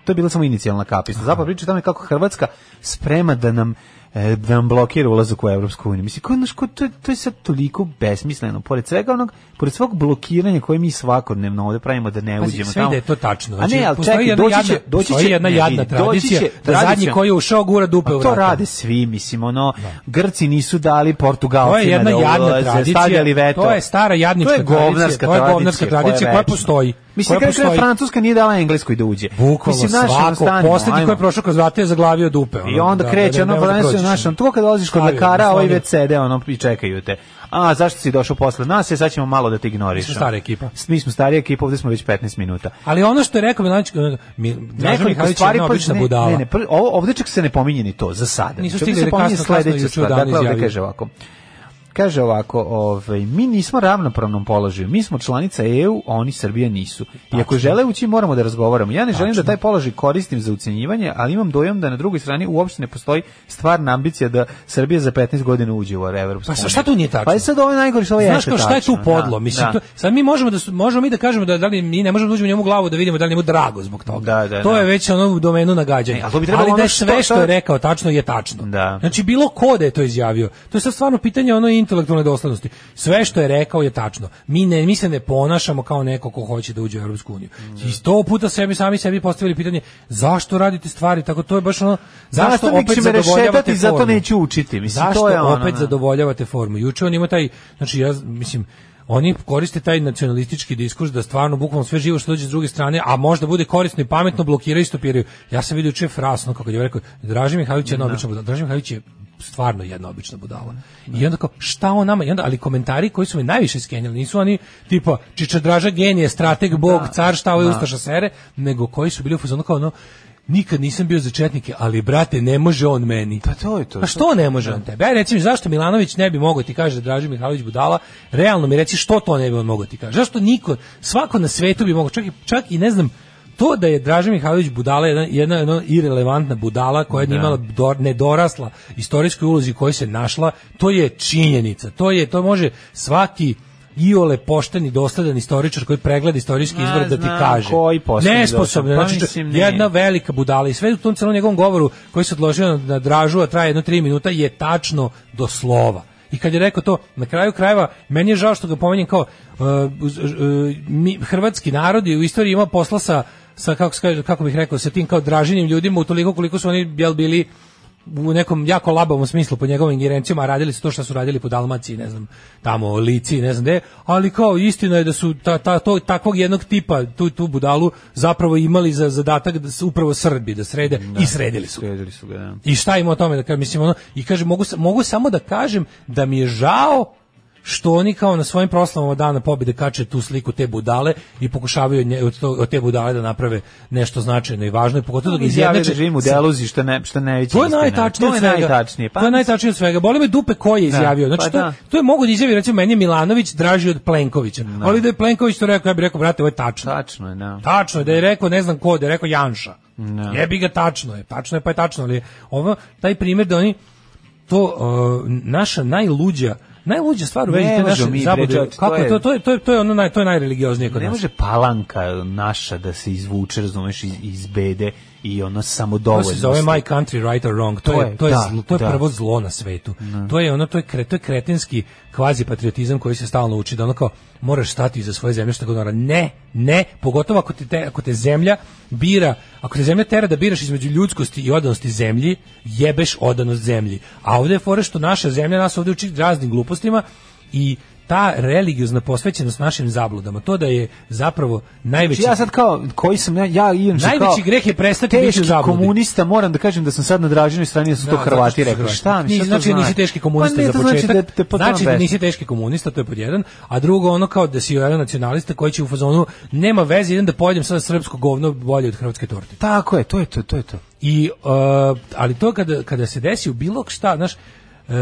S6: to je bila samo inicijalna kapisna. Zapravo priča o tome kako Hrvatska sprema da nam e, da nam blokira ulazak u Evropsku uniju. Mislim, ko, znaš, ko, to, je- to je sad toliko besmisleno. Pored svega onog, pored svog blokiranja koje mi svakodnevno ovde pravimo da ne
S5: Pazi,
S6: uđemo
S5: sve
S6: tamo.
S5: da je to tačno.
S6: A ne, ali
S5: postoji
S6: čekaj,
S5: jedna
S6: doći
S5: jadna-
S6: će, doći
S5: postoji
S6: će,
S5: jedna
S6: ne,
S5: jadna
S6: vidi, doći
S5: tradicija,
S6: će
S5: da zadnji
S6: tradicija-
S5: koji je ušao gura dupe
S6: Pa
S5: u
S6: to
S5: vrata.
S6: rade svi, mislim, ono, Grci nisu dali
S5: To je
S6: Portugalcima
S5: jedna
S6: da
S5: jadna
S6: ulaze, stavljali
S5: tradicija.
S6: veto.
S5: To je stara jadnička
S6: To je govnarska
S5: tradicija, to je govnarska tradicija koja
S6: večna.
S5: postoji,
S6: Mislim,
S5: koja
S6: kada kada
S5: postoji.
S6: Francuska nije dala Engleskoj da uđe.
S5: Bukvalno
S6: Mislim, znaš, ono,
S5: svako,
S6: stanimo,
S5: poslednji
S6: ajmo.
S5: koji je prošao kroz vrata je zaglavio dupe. ono,
S6: I onda
S5: da,
S6: kreće,
S5: da, da,
S6: ono,
S5: ne može da
S6: prvenstvo,
S5: prođeš.
S6: znaš, ono, to kad dolaziš kod
S5: Stavio,
S6: lekara, ovi
S5: stavio.
S6: već sede, ono, i čekaju te. A, zašto si došao posle nas, je, sad ćemo malo da te ignoriš.
S5: Mi smo stara ekipa.
S6: Mi smo starija ekipa, ovde smo već 15 minuta.
S5: Ali ono što je rekao Milanović, ono, mi- Dražan Mihajlović je jedna
S6: pa,
S5: obična
S6: ne,
S5: budala.
S6: Ne, ne, pr- ovo, ovde čak se ne pominje ni to, za sada.
S5: Nisu
S6: Znači, ovde
S5: stigli
S6: se
S5: da
S6: pominje
S5: kasno, kasno
S6: sledeća
S5: juče u
S6: stvar.
S5: danu
S6: Dakle, ovde
S5: izjavio.
S6: kaže ovako. Kaže ovako, ovaj, mi nismo ravnopravnom položaju, mi smo članica EU, a oni Srbija nisu. I ako žele ući, moramo da razgovaramo. Ja ne želim da taj položaj koristim za ucenjivanje, ali imam dojam da na drugoj strani uopšte ne postoji stvarna ambicija da Srbija za 15 godina uđe u Evropsku
S5: Pa sa
S6: uniju.
S5: šta tu nije tačno?
S6: Pa je sad ovo najgore što ovo
S5: Znaš
S6: jeste
S5: kao šta je tu
S6: tačno,
S5: podlo?
S6: da,
S5: Mislim,
S6: da.
S5: to- sad mi možemo da, su- možemo mi da kažemo da, da li mi ne možemo da uđemo njemu u glavu da vidimo da li je njemu drago zbog toga.
S6: Da, da,
S5: to
S6: da.
S5: je već ono u domenu nagađanja.
S6: E, ali to bi trebalo
S5: da je
S6: ono što-
S5: sve što je
S6: to-
S5: rekao tačno je tačno.
S6: Da.
S5: Znači bilo ko da je to izjavio. To je sad stvarno pitanje ono intelektualne doslednosti. Sve što je rekao je tačno. Mi ne mi se ne ponašamo kao neko ko hoće da uđe u Evropsku uniju.
S6: Mm.
S5: I sto puta sebi sami sebi postavili pitanje zašto radite stvari tako to je baš ono zašto
S6: Nastavnik
S5: opet
S6: će me
S5: zadovoljavate
S6: rešetati, zato
S5: formu?
S6: neću učiti. Mislim,
S5: Zašto
S6: to je ono,
S5: opet
S6: da.
S5: zadovoljavate formu? Juče on ima taj, znači ja mislim, oni koriste taj nacionalistički diskurs da stvarno bukvalno sve živo što dođe s druge strane, a možda bude korisno i pametno blokiraju i stopiraju. Ja sam vidio juče frasno kako je rekao, Draži Mihajlović je
S6: Da.
S5: jedna obična budala. Draži Mihajlović je stvarno jedna obična budala. I onda kao, šta on nama? I onda, ali komentari koji su me najviše skenjali, nisu oni tipa Čiča Draža genije, strateg,
S6: Da.
S5: bog, car, šta ovo je Ustaša Sere, nego koji su bili u fazonu kao ono, nikad nisam bio za četnike, ali brate, ne može on meni.
S6: Pa to je to. Da.
S5: Pa što ne može on tebe? Aj reci mi zašto Milanović ne bi mogao ti kaže da Draži Mihajlović budala? Realno mi reci što to ne bi on mogao ti kaže. Zašto niko, svako na svetu bi mogao, čak i, čak i ne znam, to da je Draži Mihajlović budala jedna, jedna, jedna irelevantna budala koja je
S6: Da.
S5: imala dor, nedorasla istorijskoj ulozi u kojoj se našla, to je činjenica. To je to može svaki iole pošten i dosledan istoričar koji pregleda istorijski
S6: Ma,
S5: izvor da ti
S6: znam
S5: kaže.
S6: koji poslednji
S5: Nesposobno,
S6: došao. Pa
S5: znači,
S6: mislim, nije.
S5: jedna velika budala i sve u tom celom njegovom govoru koji se odložio na, na dražu, a traje jedno tri minuta, je tačno do slova. I kad je rekao to, na kraju krajeva, meni je žao što ga pomenjem kao uh, uz- uh, mi, hrvatski narod je u istoriji imao posla sa, sa kako, se kaže, kako bih rekao, sa tim kao draženim ljudima, utoliko koliko su oni jel, bili u nekom jako labavom smislu po njegovim ingerencijama, a radili su to što su radili po Dalmaciji, ne znam, tamo Lici, ne znam gde, ali kao istina je da su ta, ta, to, takvog jednog tipa, tu, tu budalu, zapravo imali za zadatak da su upravo Srbi da srede i sredili su. ga.
S6: Sredili su ga, da.
S5: I šta ima o tome da kažem, mislim ono, i kaže mogu, sa- mogu samo da kažem da mi je žao što oni kao na svojim proslavama dana pobjede kače tu sliku te budale i pokušavaju od, nje, od, to- od te budale da naprave nešto značajno i važno i pogotovo da ga
S6: Izjavio da
S5: izjednače
S6: živim u
S5: sa-
S6: deluziji što ne što ne vidim.
S5: to je najtačnije
S6: To je
S5: od svega.
S6: najtačnije.
S5: to je najtačnije od svega. Boli me dupe ko je izjavio.
S6: pa
S5: Znači, to,
S6: da.
S5: to je mogu da izjavi, recimo, meni je Milanović draži od Plenkovića. Ali da je Plenković to rekao, ja bih rekao, brate, ovo je tačno.
S6: tačno je, da.
S5: Tačno je da je rekao, ne znam ko, da je rekao Janša.
S6: Da.
S5: Jebi ga, tačno je. Tačno je, pa je tačno. Ali ovo, taj primjer da oni, to uh, naša najluđa, najluđa stvar u vezi
S6: Ne
S5: te naše
S6: možemo mi, bre,
S5: zabude.
S6: čovječe, to
S5: Kako je
S6: je-
S5: to, to je, to je, to je ono naj, to je najreligioznije kod
S6: Ne
S5: nas.
S6: može palanka naša da se izvuče, razumeš, iz, iz bede i ono samo dovoljno.
S5: To se zove My Country Right or Wrong. To,
S6: To
S5: je,
S6: je,
S5: to je,
S6: da,
S5: zlo- to je
S6: da.
S5: prvo zlo na svetu. To je ono to je, kre, to je kretenski kvazi patriotizam koji se stalno uči da ono kao moraš stati iza svoje zemlje što god ona. Ne, ne, pogotovo ako te, te ako te zemlja bira, ako te zemlja tera da biraš između ljudskosti i odanosti zemlji, jebeš odanost zemlji. A ovdje je fora što naša zemlja nas ovdje uči raznim glupostima i ta religiozna posvećenost našim zabludama, to da je zapravo najveći
S6: Znači ja sad kao, koji sam ja, ja idem kao...
S5: Najveći greh je prestati biti u
S6: teški
S5: zabludi.
S6: komunista, moram da kažem da sam sad na draženoj strani, da su
S5: Da,
S6: to
S5: zato
S6: Hrvati
S5: što su
S6: rekli.
S5: Hrvati.
S6: Šta mi,
S5: Nisi-
S6: šta to
S5: znači
S6: znači?
S5: nisi teški komunista
S6: Pa ne,
S5: za
S6: to znači
S5: početak.
S6: da te potom
S5: znači da
S6: veš-
S5: nisi teški komunista, to je pod jedan, a drugo ono kao da si jedan nacionalista koji će u fazonu nema veze, idem da pojedem sada srpsko govno bolje od hrvatske torte.
S6: Tako je, to je to, to je to.
S5: I uh, ali to kada kada se desi u bilo šta, znaš, uh,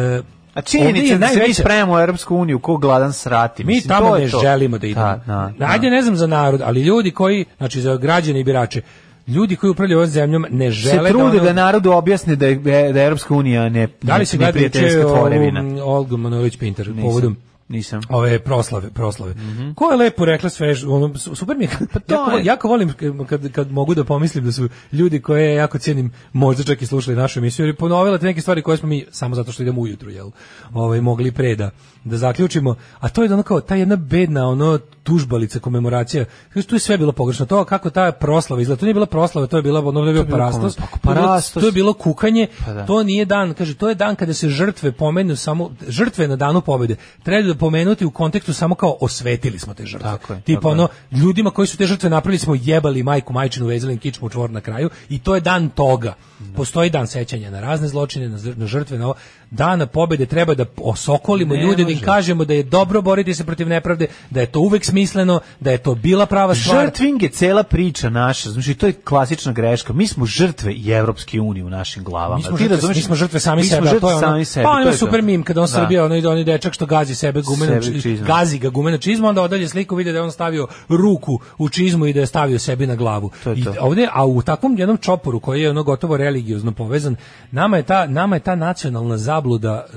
S6: A
S5: ovdje je
S6: činjenica da se mi
S5: najveća-
S6: spremamo u Europsku uniju, ko gladan srati.
S5: mi
S6: mislim,
S5: tamo
S6: to je
S5: ne
S6: to.
S5: želimo da idemo.
S6: Da, da, da.
S5: Ajde, ne znam za narod, ali ljudi koji, znači za građane i birače, ljudi koji upravljaju ovom zemljom ne
S6: se
S5: žele
S6: trude
S5: ono-
S6: da narodu objasne da je, da je Europska unija ne
S5: Da li se
S6: ne
S5: gleda
S6: prijateljska
S5: juče
S6: tvorevina.
S5: ovu, Olgu Manović Pinter
S6: Nisam.
S5: povodom
S6: Nisam.
S5: ove proslave, proslave. Ko je lepo rekla sve, ž- ono, su- super mi je, [laughs] pa
S6: to
S5: Mhm. jako,
S6: je.
S5: jako volim k- kad, kad mogu da pomislim da su ljudi koje jako cijenim možda čak i slušali našu emisiju, jer je ponovila te neke stvari koje smo mi, samo zato što idemo ujutru, jel, ovaj, mogli pre da, da zaključimo, a to je da ono kao, ta jedna bedna, ono, tužbalica, komemoracija, Znaš, tu je sve bilo pogrešno, to kako ta proslava izgleda, to nije bila proslava, to je bila, ono, to je bio
S6: bilo
S5: parastos, to je
S6: komemoracija.
S5: bilo-
S6: Parastos.
S5: to je bilo kukanje,
S6: da.
S5: to nije dan, kaže, to je dan kada se žrtve pomenu samo, žrtve na danu pobjede, treba da pomenuti u kontekstu samo kao osvetili smo te žrtve.
S6: Tako je,
S5: Tipa
S6: tako je.
S5: ono, ljudima koji su te žrtve napravili smo jebali majku, majčinu, vezali im kičmu u čvor na kraju i to je dan toga.
S6: Da.
S5: Postoji dan sećanja na razne zločine, na, zr- na žrtve, na ovo. Dana pobede treba da osokolimo
S6: Ne
S5: ljude, da im
S6: može.
S5: kažemo da je dobro boriti se protiv nepravde, da je to uvek smisleno, da je to bila prava stvar.
S6: Žrtving je cela priča naša, znači to je klasična greška. Mi smo žrtve i Evropske unije u našim glavama.
S5: Mi smo,
S6: Ti
S5: žrtve,
S6: razumeš?
S5: mi smo žrtve sami
S6: Mi smo
S5: sebe, a
S6: žrtve
S5: to je ono,
S6: sami sebe,
S5: pa
S6: to
S5: on ima
S6: je to.
S5: super mim kada on
S6: Da.
S5: Srbija, onaj, onaj dečak što gazi sebe gumenom,
S6: Sebe
S5: či-
S6: čizmom.
S5: gazi ga gumenom čizmom, onda odalje sliku vidi da je on stavio ruku u čizmu i da je stavio sebi na glavu.
S6: To je
S5: I
S6: to.
S5: ovde, a u takvom jednom čoporu koji je ono gotovo religiozno povezan, nama je ta, nama je ta nacionalna zabluda e,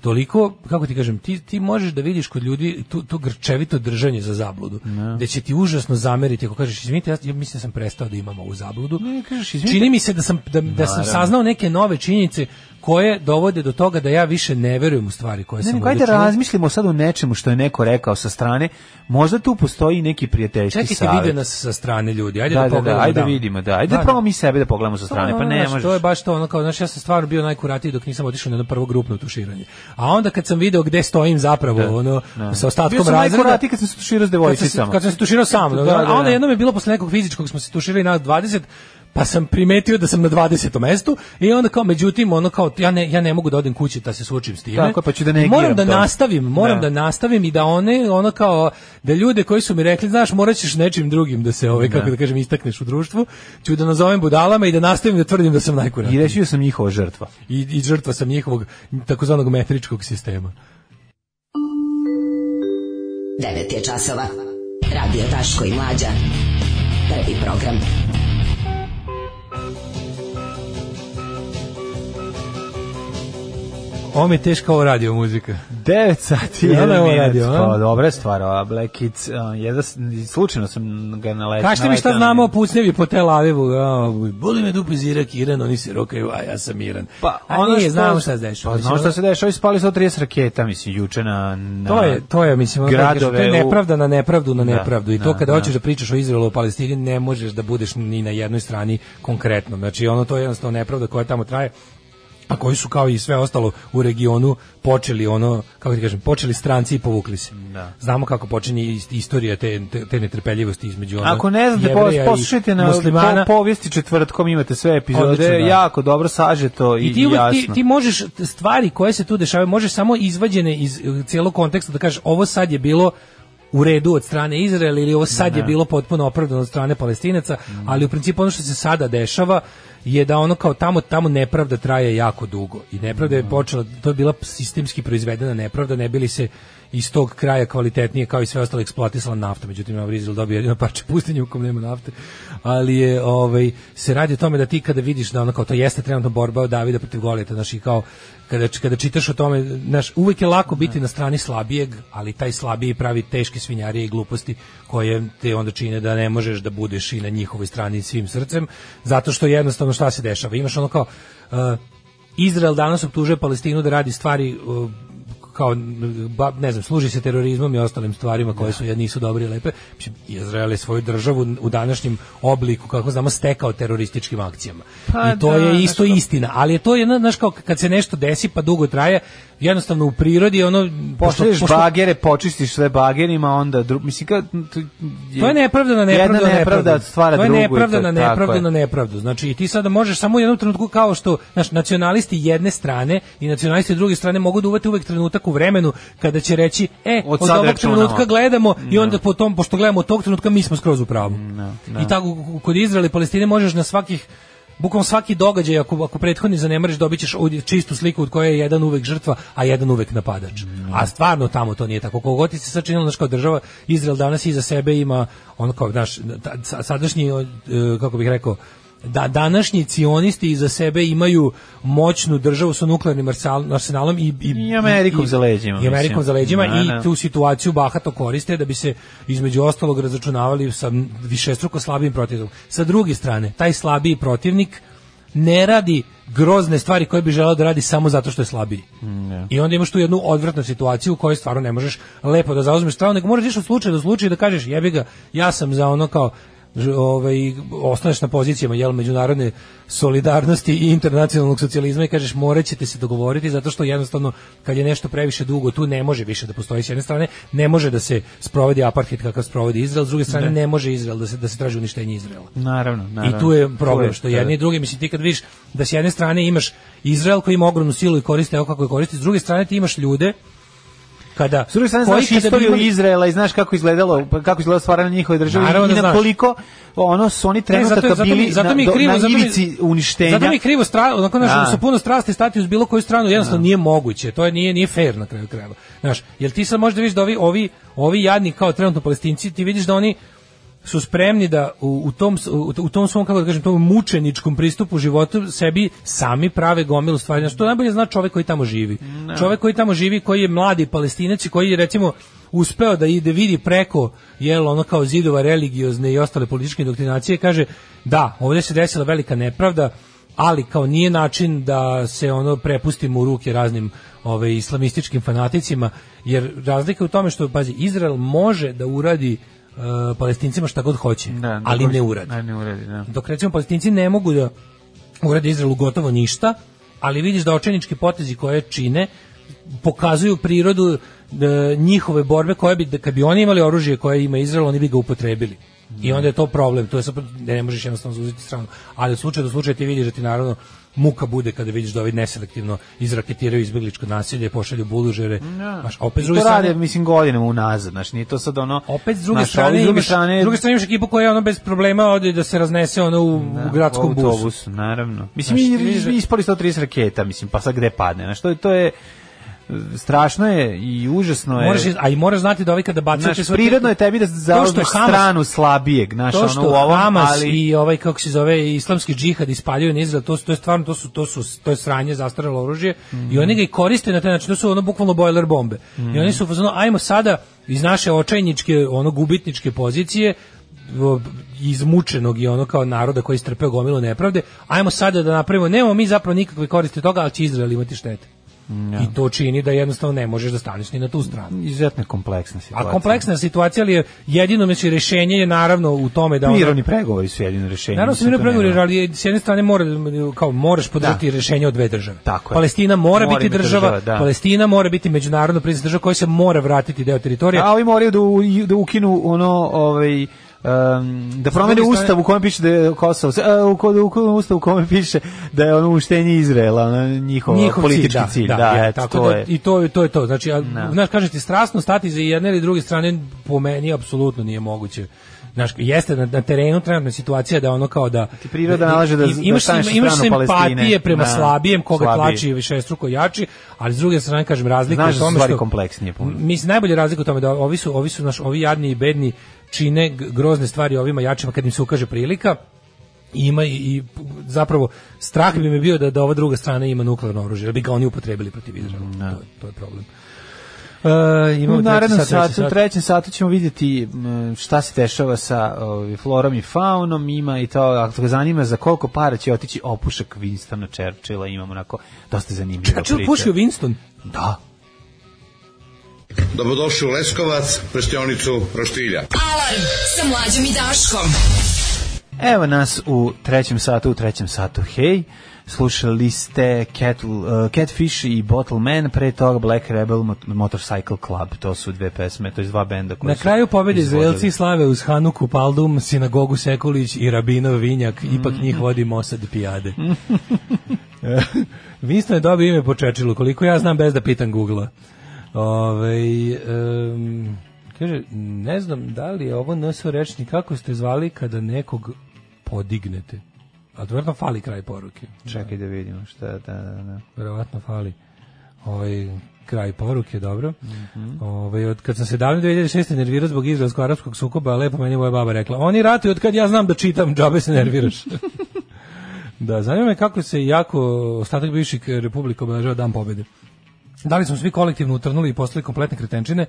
S5: toliko, kako ti kažem, ti, ti možeš da vidiš kod ljudi tu, tu grčevito držanje za zabludu, da će ti užasno zameriti ako kažeš, izvinite, ja, ja mislim da sam prestao da imam ovu zabludu.
S6: Ne, kažeš, izvinite.
S5: Čini mi se da sam, da, da sam
S6: Naravno.
S5: saznao neke nove činjenice koje dovode do toga da ja više ne verujem u stvari koje
S6: Ne,
S5: sam
S6: nego ajde
S5: ovde čuo.
S6: razmislimo sad o nečemu što je neko rekao sa strane. Možda tu postoji neki prijateljski
S5: Čekajte,
S6: savjet.
S5: vide nas sa strane ljudi. Ajde
S6: da,
S5: da,
S6: da, da,
S5: pogledamo.
S6: ajde vidimo, da. Ajde da, probamo mi sebe da pogledamo sa strane,
S5: To,
S6: pa ne
S5: znaš,
S6: možeš.
S5: To je baš to, ono kao, znaš, ja sam stvarno bio najkuratiji dok nisam otišao na jedno prvo grupno tuširanje. A onda kad sam video gde stojim zapravo, ono, sa ostatkom
S6: Da, Bio sam
S5: razreda...
S6: najkuratiji kad sam se tuširao s devojčicama.
S5: Kad sam, se- kad sam se tuširao sam,
S6: Da,
S5: da,
S6: da, da.
S5: a onda jednom je bilo posle nekog fizičkog smo se tuširali nas 20, pa sam primetio da sam na 20. mestu i onda kao međutim ono kao ja ne ja ne mogu da odem kući da se suočim s time.
S6: Tako je, pa ću da
S5: I
S6: negiram
S5: Moram da
S6: to.
S5: nastavim, moram
S6: Da.
S5: da. nastavim i da one ono kao da ljude koji su mi rekli znaš moraćeš nečim drugim da se ovaj kako da kažem istakneš u društvu, ću da nazovem budalama i da nastavim da tvrdim da sam
S6: I
S5: najkuratiji
S6: reći da sam njihova žrtva.
S5: i, i žrtva sam njihovog takozvanog metričkog sistema.
S10: 9 je časova. Radio Daško i Mlađa. Prvi program.
S5: Ovo mi je teška ovo radio muzika.
S6: 9 sati,
S5: I ona
S6: jedan
S5: je ovo
S6: minut.
S5: radio, a?
S6: Pa, dobra je stvar, ova Black Kids. a, Jedna, s- slučajno sam ga naletao.
S5: Kažite mi šta znamo o pucnjevi po Tel Avivu. A, Boli me dupe iz Irak, Iran, oni se rokaju, a ja sam Iran.
S6: Pa,
S5: a
S6: ono
S5: nije,
S6: što,
S5: znamo šta se dešava.
S6: Pa,
S5: Mislim,
S6: znamo šta
S5: ono-
S6: se dešava, ovi spali 130 raketa, mislim, juče na... na
S5: To je, to je, mislim, ono kako kažeš,
S6: gradove
S5: to je
S6: Da. u-
S5: nepravda na nepravdu na
S6: Da,
S5: nepravdu. I to
S6: da,
S5: kada
S6: da.
S5: hoćeš da pričaš o Izraelu, o Palestini, ne možeš da budeš ni na jednoj strani konkretno. Znači, ono to je jednostavno nepravda koja tamo traje a koji su kao i sve ostalo u regionu počeli ono, kako ti kažem, počeli stranci i povukli se.
S6: Da.
S5: Znamo kako počinje ist- istorija te, te, te netrpeljivosti između ono,
S6: Ako ne znate,
S5: Jevreja i
S6: poslušajte na
S5: muslimana.
S6: po, povijesti četvrtkom, imate sve epizode,
S5: Odlično, da.
S6: jako dobro sažeto i,
S5: I ti, uvek-
S6: jasno.
S5: ti, ti možeš t- stvari koje se tu dešavaju, možeš samo izvađene iz e, cijelog konteksta da kažeš ovo sad je bilo u redu od strane Izraela ili ovo sad je bilo potpuno opravdano od strane Palestinaca, ali u principu ono što se sada dešava je da ono kao tamo tamo nepravda traje jako dugo i nepravda je počela to je bila sistemski proizvedena nepravda ne bili se iz tog kraja kvalitetnije kao i sve ostalo eksploatisala nafta međutim na Izrael dobio jedino parče pustinje u kom nema nafte ali je ovaj se radi o tome da ti kada vidiš da ono kao to jeste trenutno borba od Davida protiv Golijata znači kao kada č- kada čitaš o tome znaš uvek je lako biti na strani slabijeg ali taj slabiji pravi teške svinjarije i gluposti koje te onda čine da ne možeš da budeš i na njihovoj strani svim srcem zato što jednostavno šta se dešava imaš ono kao uh, Izrael danas optužuje Palestinu da radi stvari uh, kao n- ba, ne znam, služi se terorizmom i ostalim stvarima
S6: Da.
S5: koje su ja nisu dobre i lepe. Mislim, Izrael je svoju državu u današnjem obliku kako znamo stekao terorističkim akcijama.
S6: Pa
S5: I to
S6: da,
S5: je
S6: znaš
S5: isto
S6: kao-
S5: istina, ali je to jedna znaš kao kad se nešto desi pa dugo traje, jednostavno u prirodi ono
S6: Pošalješ
S5: pošto-
S6: bagere, počistiš sve bagerima, onda dru... mislim kad
S5: To je nepravda na nepravdu.
S6: Jedna
S5: na
S6: nepravda
S5: nepravdu.
S6: stvara drugu.
S5: To
S6: i
S5: je nepravda na
S6: tako
S5: nepravdu
S6: je.
S5: na nepravdu. Znači i ti sada možeš samo u jednom trenutku kao što naš nacionalisti jedne strane i nacionalisti druge strane mogu da uvete uvek trenutak u vremenu kada će reći e
S6: Od
S5: od,
S6: sad
S5: ovog
S6: računamo.
S5: trenutka gledamo i onda po tom pošto gledamo od tog trenutka mi smo skroz u pravu. I tako kod Izraela i Palestine možeš na svakih Bukom svaki događaj, ako, ako prethodni zanemariš, dobit ćeš ovdje čistu sliku od koje je jedan uvek žrtva, a jedan uvek napadač. A stvarno tamo to nije tako. Kogo ti se sad činilo, znaš, kao država, Izrael danas iza sebe ima, ono kao, znaš, ta- sa- sadašnji, e, kako bih rekao, da današnji cionisti iza sebe imaju moćnu državu sa nuklearnim arsal- arsenalom i, i,
S6: I Amerikom
S5: i-
S6: za leđima,
S5: I Amerikom
S6: mislim.
S5: za leđima
S6: Da,
S5: i
S6: da.
S5: tu tu Dakle, situaciju bahato koriste da bi se između ostalog razračunavali sa višestruko slabijim protivnikom. Sa druge strane, taj slabiji protivnik ne radi grozne stvari koje bi želeo da radi samo zato što je slabiji. I onda imaš tu jednu odvratnu situaciju u kojoj stvarno ne možeš lepo da zauzmeš stranu, nego moraš ići od slučaja do slučaja i da kažeš jebi ga, ja sam za ono kao ž- ovaj, ostaneš na pozicijama jel, međunarodne solidarnosti i internacionalnog socijalizma i kažeš morat ćete se dogovoriti zato što jednostavno kad je nešto previše dugo tu ne može više da postoji s jedne strane ne može da se sprovodi apartheid kakav sprovodi Izrael s druge strane
S6: Da.
S5: ne može Izrael da se, da se traži uništenje Izraela
S6: Naravno, naravno.
S5: i tu je problem
S6: To
S5: što jedni i drugi, mislim ti kad vidiš da s jedne strane imaš Izrael koji ima ogromnu silu i koriste evo kako je koristi, s druge strane ti imaš ljude kada...
S6: S druge strane,
S5: koji
S6: znaš
S5: kada bi
S6: istoriju
S5: imali-
S6: Izraela i znaš kako izgledalo, pa kako izgledalo stvaranje njihove države
S5: Naravno
S6: i
S5: da
S6: na
S5: znaš.
S6: koliko ono su oni
S5: Ne, zato-
S6: trenutaka
S5: zato mi-
S6: bili
S5: zato mi je
S6: na, do-
S5: krivo,
S6: na
S5: zato mi-
S6: ivici uništenja.
S5: Zato mi je krivo stra, onako znaš,
S6: Da.
S5: sa puno strasti stati uz bilo koju stranu, jednostavno nije moguće. To je nije nije fair na kraju krajeva. Znaš, jel ti sad možda vidiš da ovi ovi ovi jadni kao trenutno Palestinci, ti vidiš da oni su spremni da u, u tom s- u, u tom svom kako da kažem tom mučeničkom pristupu životu sebi sami prave gomilu stvari. Znaš, to najbolje zna čovek koji tamo živi. Čovek koji tamo živi, koji je mladi Palestinac i koji je recimo uspeo da ide vidi preko jel ono kao zidova religiozne i ostale političke indoktrinacije kaže da ovdje se desila velika nepravda ali kao nije način da se ono prepustimo u ruke raznim ove islamističkim fanaticima jer razlika je u tome što pazi Izrael može da uradi e, Palestincima šta god hoće
S6: Da, da,
S5: ali
S6: koji-
S5: ne uradi
S6: a, ne uradi, da.
S5: dok recimo palestinci ne mogu da urade Izraelu gotovo ništa, ali vidiš da očajnički potezi koje čine pokazuju prirodu e, njihove borbe koje bi, da kad bi oni imali oružje koje ima Izrael, oni bi ga upotrebili. I onda je to problem, to je sad, ne, ne možeš jednostavno zauzeti stranu. Ali od slučaja do slučaja ti vidiš da ti naravno muka bude kada vidiš da ovi neselektivno izraketiraju izbjegličko nasilje, pošalju bulužere. Znaš, a opet s
S6: Da. I
S5: druge
S6: to
S5: strane-
S6: rade, mislim, godinama unazad, znaš, nije to sad ono...
S5: opet s druge
S6: znaš, ali
S5: strane,
S6: s druge
S5: imaš,
S6: strane,
S5: s druge strane imaš ekipu koja ono bez problema ode da se raznese ono u,
S6: Da,
S5: u gradskom busu.
S6: autobusu, naravno. Mislim,
S5: Znaš,
S6: mi,
S5: ti vidiš da-
S6: mi ispali 130 raketa, mislim, pa sad gde padne, znaš, to je, to je, e, strašno je i užasno je.
S5: Moraš, iz- a i moraš znati da ovi kada bacaju...
S6: Znaš,
S5: te svoje-
S6: prirodno je tebi da zauzmeš
S5: Hamas-
S6: stranu slabijeg, znaš,
S5: to
S6: ono
S5: što
S6: u ovom,
S5: Hamas
S6: ali...
S5: i ovaj kako se zove islamski džihad ispaljuju na Izrael, to su to je stvarno to su to su to je sranje zastarelo oružje i oni ga i koriste na taj način, to su ono bukvalno bojler bombe. I oni su u fazonu ajmo sada iz naše očajničke, ono gubitničke pozicije o, izmučenog i ono kao naroda koji je strpeo gomilu nepravde, ajmo sada da napravimo, nemamo mi zapravo nikakve koriste od toga, ali će Izrael imati štete. I to čini da jednostavno ne možeš da staneš ni na tu stranu.
S6: Izuzetno je kompleksna situacija.
S5: A kompleksna situacija, ali je jedino mislim rješenje je naravno u tome da ono-
S6: Mirovni pregovori su jedino rješenje.
S5: Naravno se
S6: mislim,
S5: mirno
S6: to
S5: pregovori,
S6: nema. Da.
S5: ali s jedne strane mora, kao, moraš podržati rješenje od dve države.
S6: Tako je.
S5: Palestina mora,
S6: Mora
S5: biti
S6: biti
S5: država,
S6: država, da.
S5: Palestina mora biti međunarodno priznata država koja se mora vratiti deo teritorija.
S6: A ovi moraju da, u, da ukinu ono, ovaj, em, da promene
S5: druge
S6: ustav
S5: strane-
S6: u kojem piše da je Kosovo, e, u, ko- u kojem ustav u kojem piše da je ono uštenje Izraela, ono, njihov,
S5: Njihov
S6: politički
S5: da,
S6: cilj.
S5: da,
S6: Da,
S5: je,
S6: eto,
S5: tako
S6: to
S5: da,
S6: je.
S5: i to je to je to. Znači, a,
S6: Da.
S5: znaš kažem ti strasno stati za jedne ili druge strane po meni apsolutno nije moguće. Znaš, jeste na, na terenu trenutna situacija da ono kao da
S6: Ti priroda nalaže da-
S5: im-
S6: da
S5: imaš
S6: staneš na
S5: imaš
S6: stranu
S5: simpatije
S6: Palestine.
S5: prema
S6: Da,
S5: slabijem koga
S6: slabiji.
S5: tlači višestruko jači, ali s druge strane kažem razlika je
S6: Znaš
S5: u
S6: da su
S5: tome
S6: stvari
S5: što
S6: kompleksnije puno.
S5: mislim najbolje razlika u tome da ovi su ovi su naš ovi jadni i bedni čine g- grozne stvari ovima jačima kad im se ukaže prilika I ima i, i p- zapravo strah bi me bio da da ova druga strana ima nuklearno oružje, da bi ga oni upotrebili protiv Izraela. To, je- to je problem. E, imamo
S6: Da. U
S5: treći
S6: narednom
S5: sat, treći
S6: satu, u trećem satu ćemo vidjeti m, šta se dešava sa ovaj, florom i faunom, ima i to, ako ga zanima za koliko para će otići opušak Winstona Churchilla, imamo onako dosta zanimljiva
S5: Churchill
S6: priča.
S5: pušio Winston.
S6: Da.
S13: Dobrodošli u Leskovac, prštionicu Roštilja.
S4: Alarm sa mlađom i Daškom.
S6: Evo nas u trećem satu, u trećem satu, hej. Slušali ste Cattle, uh, Catfish i Bottleman, pre toga Black Rebel Mot- Motorcycle Club, to su dve pesme, to je dva benda koje
S5: Na
S6: su
S5: kraju pobede
S6: izvodili.
S5: Izraelci i slave uz Hanuku, Paldum, sinagogu Sekulić i Rabinov Vinjak, ipak njih vodi Mosad Pijade.
S6: [laughs]
S5: E, Winston je dobio ime po Čečilu, koliko ja znam bez da pitan Google-a. Ovaj, em, kaže, ne znam da li je ovo NSO rečni, kako ste zvali kada nekog podignete? A to verovatno fali kraj poruke.
S6: Čekaj da vidimo šta, da, da, da.
S5: Verovatno fali. Ovaj, kraj poruke, dobro. Ovaj, od kad sam se davno 2006. nervirao zbog izraelsko-arapskog sukoba, a lepo meni moja baba rekla, oni ratuju od kad ja znam da čitam, [laughs] džabe se nerviraš. da, zanima me kako se jako ostatak bivših republika obeležava dan pobede. Da li smo svi kolektivno utrnuli i postali kompletne kretenčine?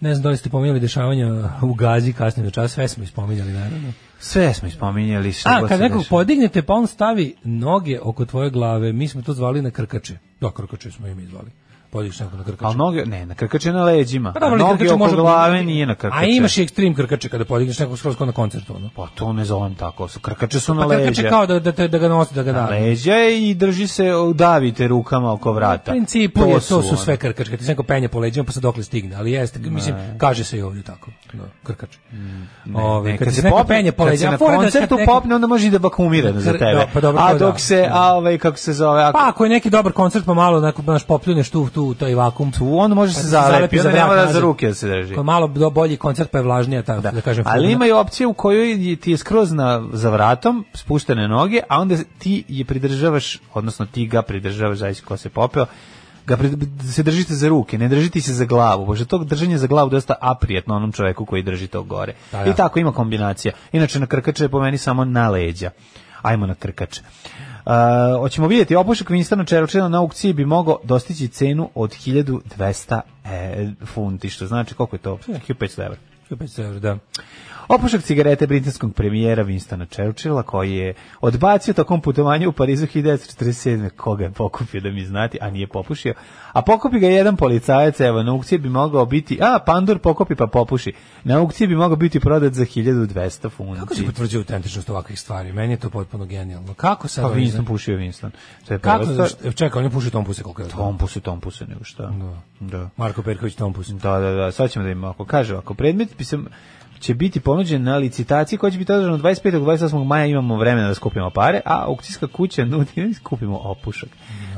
S5: Ne znam da li ste pominjali dešavanja u Gazi kasnije večeras, sve smo ispominjali, naravno.
S6: Sve smo ispominjali. šta
S5: A,
S6: god
S5: kad
S6: se
S5: nekog
S6: dešava.
S5: podignete, pa on stavi noge oko tvoje glave, mi smo to zvali na krkače. Da, krkače smo i mi zvali. Podiš neko na krkače.
S6: Ali noge, ne, na krkače na leđima.
S5: Pa
S6: a
S5: dobro, ali
S6: noge
S5: krkače
S6: oko
S5: može...
S6: glave nije na krkače.
S5: A imaš i ekstrem krkače kada podigneš nekog skroz kao na koncertu. Ono.
S6: Pa to ne zovem tako, su krkače su na
S5: Pa
S6: leđa.
S5: krkače kao da, da, te- da ga nosi, da ga da.
S6: na leđa i drži se, davite rukama oko vrata.
S5: U principu je, to su
S6: ono.
S5: sve krkačke. Ti se neko penje po leđima pa se dokle stigne. Ali jeste, mislim, kaže se i ovdje tako. Da, krkač.
S6: Mm, Ne,
S5: Ove,
S6: ne,
S5: kad, se neko penje po
S6: kad se
S5: leđima,
S6: na
S5: fora da-
S6: koncertu
S5: kad neko-
S6: popne, onda može i da bakumira za
S5: Kr-
S6: tebe.
S5: da, pa dobro, to
S6: a
S5: da.
S6: dok se, a ovaj, kako se zove, ako,
S5: Pa ako je neki dobar koncert, pa malo onako baš popljuneš tu, tu, taj vakum. Tu,
S6: on može se Pa zalepi, onda ne
S5: vrat
S6: mora
S5: nazad.
S6: za ruke da se drži.
S5: Ako je malo do- bolji koncert, pa je vlažnija, ta, da. kažem.
S6: ali
S5: forma.
S6: ima i opcije u kojoj je- ti je skroz na, za vratom, spuštene noge, a onda ti je pridržavaš, odnosno ti ga pridržavaš, zavisi ko se popeo, ga prid- se držite za ruke, ne držite se za glavu, pošto tog držanje za glavu dosta aprijetno onom čoveku koji drži to gore.
S5: Da, da.
S6: I tako ima kombinacija. Inače na krkače je po meni samo na leđa. Ajmo na krkače. Uh, hoćemo vidjeti, opušak Winstona Churchilla na aukciji bi mogao dostići cenu od 1200 e, funti, što znači koliko je to? 1500 evra.
S5: 500 evra, da.
S6: Opušak cigarete britanskog premijera Winstona Churchilla koji je odbacio tokom putovanja u Parizu 1947. Koga je pokupio da mi znati, a nije popušio. A pokupi ga jedan policajac, evo, na aukciji bi mogao biti, a, pandur pokupi pa popuši. Na aukciji bi mogao biti prodat za 1200 funti.
S5: Kako se potvrđuje autentičnost ovakvih stvari? Meni je to potpuno genijalno. Kako sad?
S6: Pa
S5: oni-
S6: Winston pušio je Winston. To je
S5: Kako?
S6: prva
S5: znaš,
S6: stvar.
S5: Čekaj, on je pušio Tompuse koliko je.
S6: Tompuse, Tompuse, nego šta. Da. da.
S5: Marko Perković Tompus.
S6: Da, da, da, sad ćemo da im ako kaže, ako predmet bi se- će biti ponuđen na licitaciji koja će biti održana 25. do 28. maja imamo vremena da skupimo pare, a aukcijska kuća nudi, [laughs] skupimo opušak,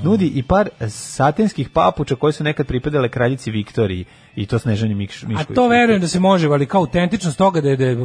S6: nudi i par satinskih papuča koje su nekad pripadale kraljici Viktoriji i to Snežani Mikš,
S5: A
S6: Mišković.
S5: to verujem da se može, ali kao autentičnost toga da je, da je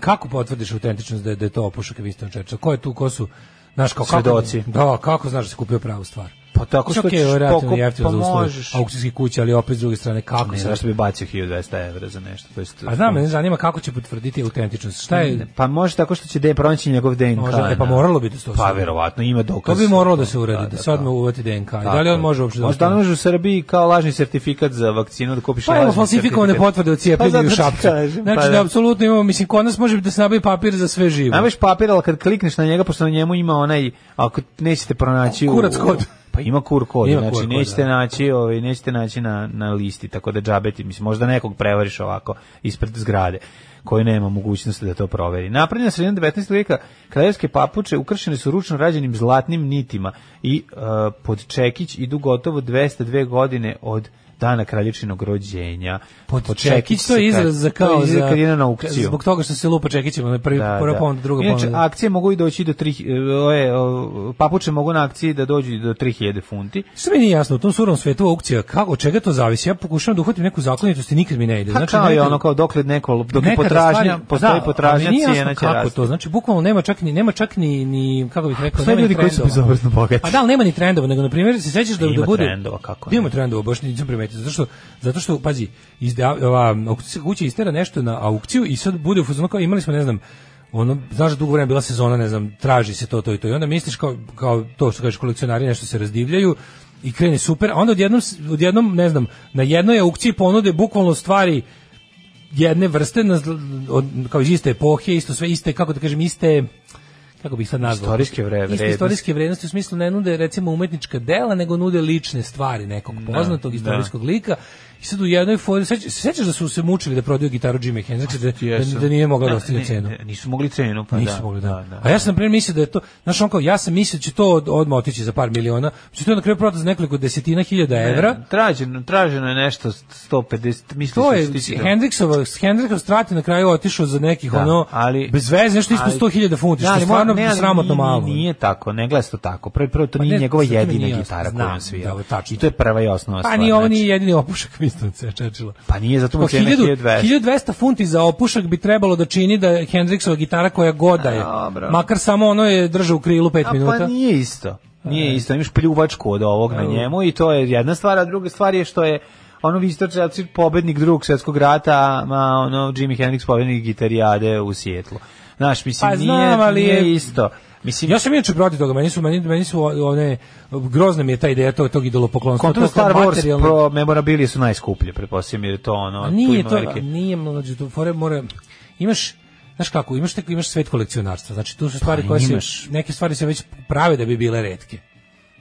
S5: kako potvrdiš autentičnost da je, da je to opušak i Winston Churchill? Ko je tu, ko su, znaš, kao, kako-
S6: Svedoci.
S5: da, kako znaš da si kupio pravu stvar?
S6: Pa tako što
S5: Okej,
S6: ćeš
S5: vjerojatno
S6: pokup-
S5: jeftino
S6: pa
S5: za uslove
S6: možeš.
S5: aukcijskih kuća, ali opet s druge strane kako
S6: Ne,
S5: se...
S6: zašto bi bacio 1200 evra za nešto? To jest,
S5: A znam, mene zanima kako će potvrditi autentičnost. Šta je,
S6: Pa može tako što će de, pronaći njegov DNK.
S5: Može, e, pa
S6: na-
S5: moralo bi da se to
S6: Pa
S5: uradi.
S6: verovatno, ima
S5: to
S6: dokaz.
S5: bi moralo da se uradi, da se odmah uvati DNK. I Da li on može uopšte da...
S6: Možda ne može u Srbiji kao lažni sertifikat za vakcinu da kupiš
S5: Pa imamo
S6: lažni
S5: falsifikovane
S6: sertifikat.
S5: potvrde o
S6: Pa
S5: cijepljenju
S6: zato
S5: i u
S6: ti
S5: šapcu.
S6: kažem,
S5: Znači
S6: pa
S5: da apsolutno imamo, mislim, kod nas može da se nabavi papir za sve živo.
S6: Namaš papir, ali kad klikneš na njega, pošto na njemu ima onaj, ako nećete pronaći... u-
S5: Kurac kod.
S6: Pa ima kur kod,
S5: Ima
S6: znači
S5: QR kod,
S6: nećete
S5: da.
S6: naći, ovaj, nećete naći na, na listi, tako da džabeti, mislim, možda nekog prevariš ovako ispred zgrade koji nema mogućnosti da to proveri. Napravljena sredina 19. vijeka kraljevske papuče ukršene su ručno rađenim zlatnim nitima i eh, pod čekić idu gotovo 202 godine od dana kraljičinog rođenja.
S5: Pod čekić, to je
S6: se kad-
S5: izraz za
S6: to
S5: kao
S6: je izraz
S5: za
S6: kad ide na aukciju.
S5: Zbog toga što se lupa čekićima, na prvi
S6: Da,
S5: prva
S6: da.
S5: ponuda, druga
S6: Inače,
S5: ponuda.
S6: akcije mogu i doći do 3 ove o, papuče mogu na akciji da dođu i do 3000 funti.
S5: Što mi nije jasno, u tom surom svetu aukcija, kako, od čega to zavisi? Ja pokušavam da uhvatim neku zakonitost i nikad mi ne ide.
S6: Znači, kao je
S5: nekad-
S6: ono kao dokle neko dok je
S5: nekada
S6: potražnja,
S5: stvari-
S6: postoji
S5: da,
S6: potražnja,
S5: ali nije jasno
S6: cijena će
S5: kako
S6: rasti.
S5: to, znači bukvalno nema čak ni nema čak ni ni kako bih rekao, nema
S6: Postoje
S5: ni
S6: ljudi koji su
S5: trendova.
S6: bezobrazno bogati.
S5: A da, ali nema ni trendova, nego na primjer se sećaš da
S6: Ima
S5: da bude
S6: trendova, kako ne.
S5: Ima trendova, baš nisam primetio. Zato što zato što pazi, izda ova aukcijska kuća istera nešto na aukciju i sad bude u fazonu kao imali smo ne znam ono, znaš, da dugo vremena bila sezona, ne znam, traži se to, to i to, i onda misliš kao, kao to što kažeš kolekcionari, nešto se razdivljaju i krene super, a onda odjednom, s- odjednom ne znam, na jednoj aukciji ponude bukvalno stvari jedne vrste na, zl- od, kao iz iste epohe, isto sve iste, kako da kažem, iste kako bih sad nazvao?
S6: Istorijske vre-
S5: Iste
S6: vrednosti.
S5: istorijske vrednosti u smislu ne nude recimo umetnička dela, nego nude lične stvari nekog
S6: Da,
S5: poznatog istorijskog lika. I sad u jednoj fori, seća- sećaš da su se mučili da prodaju gitaru Jimi Hendrixa, da, da,
S6: Pa, Jesam.
S5: da nije mogao da
S6: Ne,
S5: ostavlja cenu.
S6: ne, Nisu mogli cenu, pa
S5: Nisu
S6: da.
S5: mogli da.
S6: da, da.
S5: A ja sam na primjer mislio da je to, znaš on kao, ja sam mislio da će to od, odmah otići za par miliona, će to na kraju prodati za nekoliko desetina hiljada evra,
S6: Ne, Traženo, traženo je nešto 150, mislim
S5: To
S6: da
S5: je
S6: će stići do-
S5: Hendriksova, s Hendrikov strati na kraju otišao za nekih
S6: Da,
S5: ono
S6: ali-
S5: bez veze nešto ispod
S6: ali-
S5: 100.000 funti,
S6: Da,
S5: što je
S6: ali
S5: stvarno
S6: mora- ne, ali
S5: sramotno
S6: nije-
S5: malo.
S6: Nije tako, ne gleda se to tako. Prvo, prvo to
S5: Pa
S6: nije
S5: ne,
S6: njegova
S5: sad to mi nije
S6: jedina
S5: jasno.
S6: gitara koju
S5: Znam,
S6: on svira.
S5: da, ovo je tačno.
S6: I to je prva i osnovna
S5: Pa
S6: stvar.
S5: ni ovo
S6: znači.
S5: nije jedini opušak [laughs] Winston Churchilla.
S6: Pa nije, zato mu
S5: Po
S6: cena
S5: 1000
S6: 1200.
S5: 1200 funti za opušak bi trebalo da čini da je Hendriksova gitara koja goda je.
S6: A, dobro.
S5: Makar samo ono je držao u krilu 5
S6: A pa
S5: minuta.
S6: nije isto. Nije isto, imaš pljuvačku od ovog na njemu i to je jedna stvar, a druga stvar je što je ono Vistor Churchill pobednik drugog svjetskog rata, a ono Jimi Hendrix pobednik gitarijade u Sjetlu. Znaš, mislim,
S5: Pa
S6: nije,
S5: znam, ali
S6: nije
S5: je-
S6: isto. Mislim,
S5: Ja sam inače protiv toga, meni su, meni, meni su o- one, grozna mi je ta ideja tog, tog idolopoklonstva.
S6: Kontra
S5: to kao
S6: Star Wars
S5: materijalno-
S6: pro memorabilije su najskuplje, pretpostavljam, jer je to ono...
S5: A
S6: tu
S5: nije
S6: ima
S5: to,
S6: velike-
S5: nije mlađe, to fore mora, imaš, znaš kako, imaš, tako, imaš svet kolekcionarstva, znači tu su stvari koje se,
S6: Pa imaš.
S5: neke stvari se već prave da bi bile redke.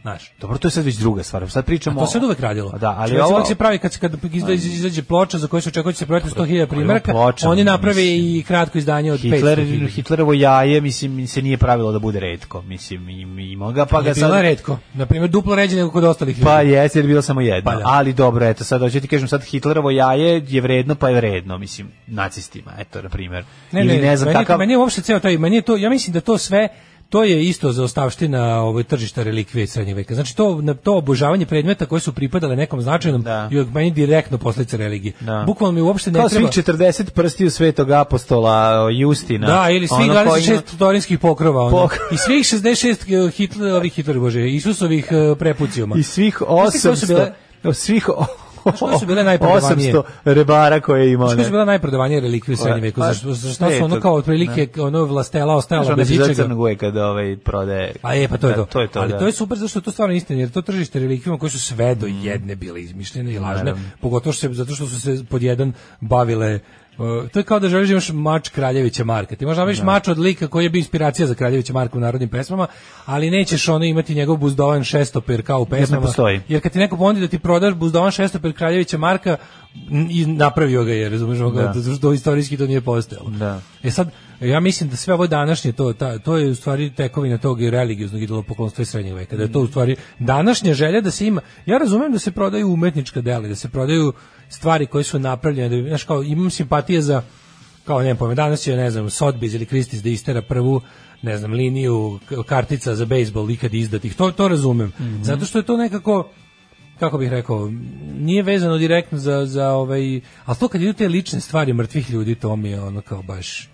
S5: Znaš.
S6: Dobro, to je sad već druga stvar. Sad pričamo...
S5: A to se uvek radilo.
S6: Da, ali
S5: Recimo,
S6: ovo...
S5: uvek se pravi kad, se- kad izda- izađe ploča za koju se očekuje da će se prodati 100.000
S6: Ovo je
S5: primjerka,
S6: ploča,
S5: oni
S6: mislim.
S5: naprave i kratko izdanje od
S6: Hitler,
S5: 500.000.
S6: Hitlerovo jaje, mislim, se nije pravilo da bude redko. Mislim, im- ima ga, pa
S5: Pa
S6: ga
S5: je
S6: sad...
S5: bilo redko. Na primjer, duplo ređe nego kod ostalih ljudi.
S6: Pa jeste, jer je bilo samo jedno.
S5: Pa da.
S6: Ali dobro, eto, sad hoću ti kažem, sad Hitlerovo jaje je vredno, pa je vredno, mislim, nacistima, eto, na primjer.
S5: Ne,
S6: Ili
S5: ne,
S6: ne, znam,
S5: meni, je-
S6: takav...
S5: meni je uopšte ceo taj, meni je to, ja mislim da to sve to je isto za ostavština ovaj tržišta relikvije iz srednjeg veka. Znači to na to obožavanje predmeta koje su pripadale nekom značajnom da. i meni direktno posledica religije.
S6: Da.
S5: Bukvalno mi uopšte ne
S6: Kao
S5: treba.
S6: svih 40 prstiju svetog apostola o, Justina.
S5: Da, ili svih
S6: ono koji ima-
S5: 26 torinskih pokrova. Ono.
S6: Pok-
S5: I svih 66 Hitler, ovih Hitler, bože, Isusovih eh, prepucijuma.
S6: I svih
S5: Znaš ti koje su
S6: 800...
S5: bile-
S6: o, Svih o-
S5: koje su bile najprodavanije?
S6: 800 rebara koje je imao.
S5: Što
S6: ne?
S5: su bila najprodavanije relikvije u srednjem vijeku?
S6: Pa,
S5: Zašto zašto
S6: ne,
S5: su ono
S6: to-
S5: kao otprilike ono vlastela
S6: Znaš,
S5: ostajala
S6: onda
S5: bez
S6: si za
S5: ičega?
S6: crnog uvek kada ovaj prodaje...
S5: Pa je, pa to je to.
S6: Da, To je to,
S5: Ali
S6: da. Mm.
S5: to je super zato što je to stvarno istina, jer to tržište relikvijama koje su sve do jedne bile izmišljene i lažne,
S6: Naravno.
S5: pogotovo što se, zato što su se pod jedan bavile uh, to je kao da želiš da imaš mač Kraljevića Marka. Ti možeš da imaš mač od lika koji je bio inspiracija za Kraljevića Marka u narodnim pesmama, ali nećeš ono imati njegov buzdovan šestoper kao u pesmama.
S6: postoji.
S5: Jer kad ti neko ponudi da ti prodaš buzdovan šestoper Kraljevića Marka, n- i napravio ga je, razumeš, ono kao,
S6: Da.
S5: zato što istorijski to nije postojalo.
S6: Da.
S5: E sad, ja mislim da sve ovo današnje, to, ta, to je u stvari tekovina tog i religioznog idolopoklonstva iz srednjeg veka, da je to u stvari današnja želja da se ima, ja razumem da se prodaju umetnička dela, i da se prodaju stvari koje su napravljene, da, bi- znaš, kao, imam simpatije za, kao ne pojem, danas je, ne znam, Sotbiz ili Kristis da istera prvu ne znam, liniju k- kartica za bejsbol ikad izdatih, to, to razumem. Zato što je to nekako, kako bih rekao, nije vezano direktno za, za ovaj, ali to kad idu te lične stvari mrtvih ljudi, to mi je ono kao baš,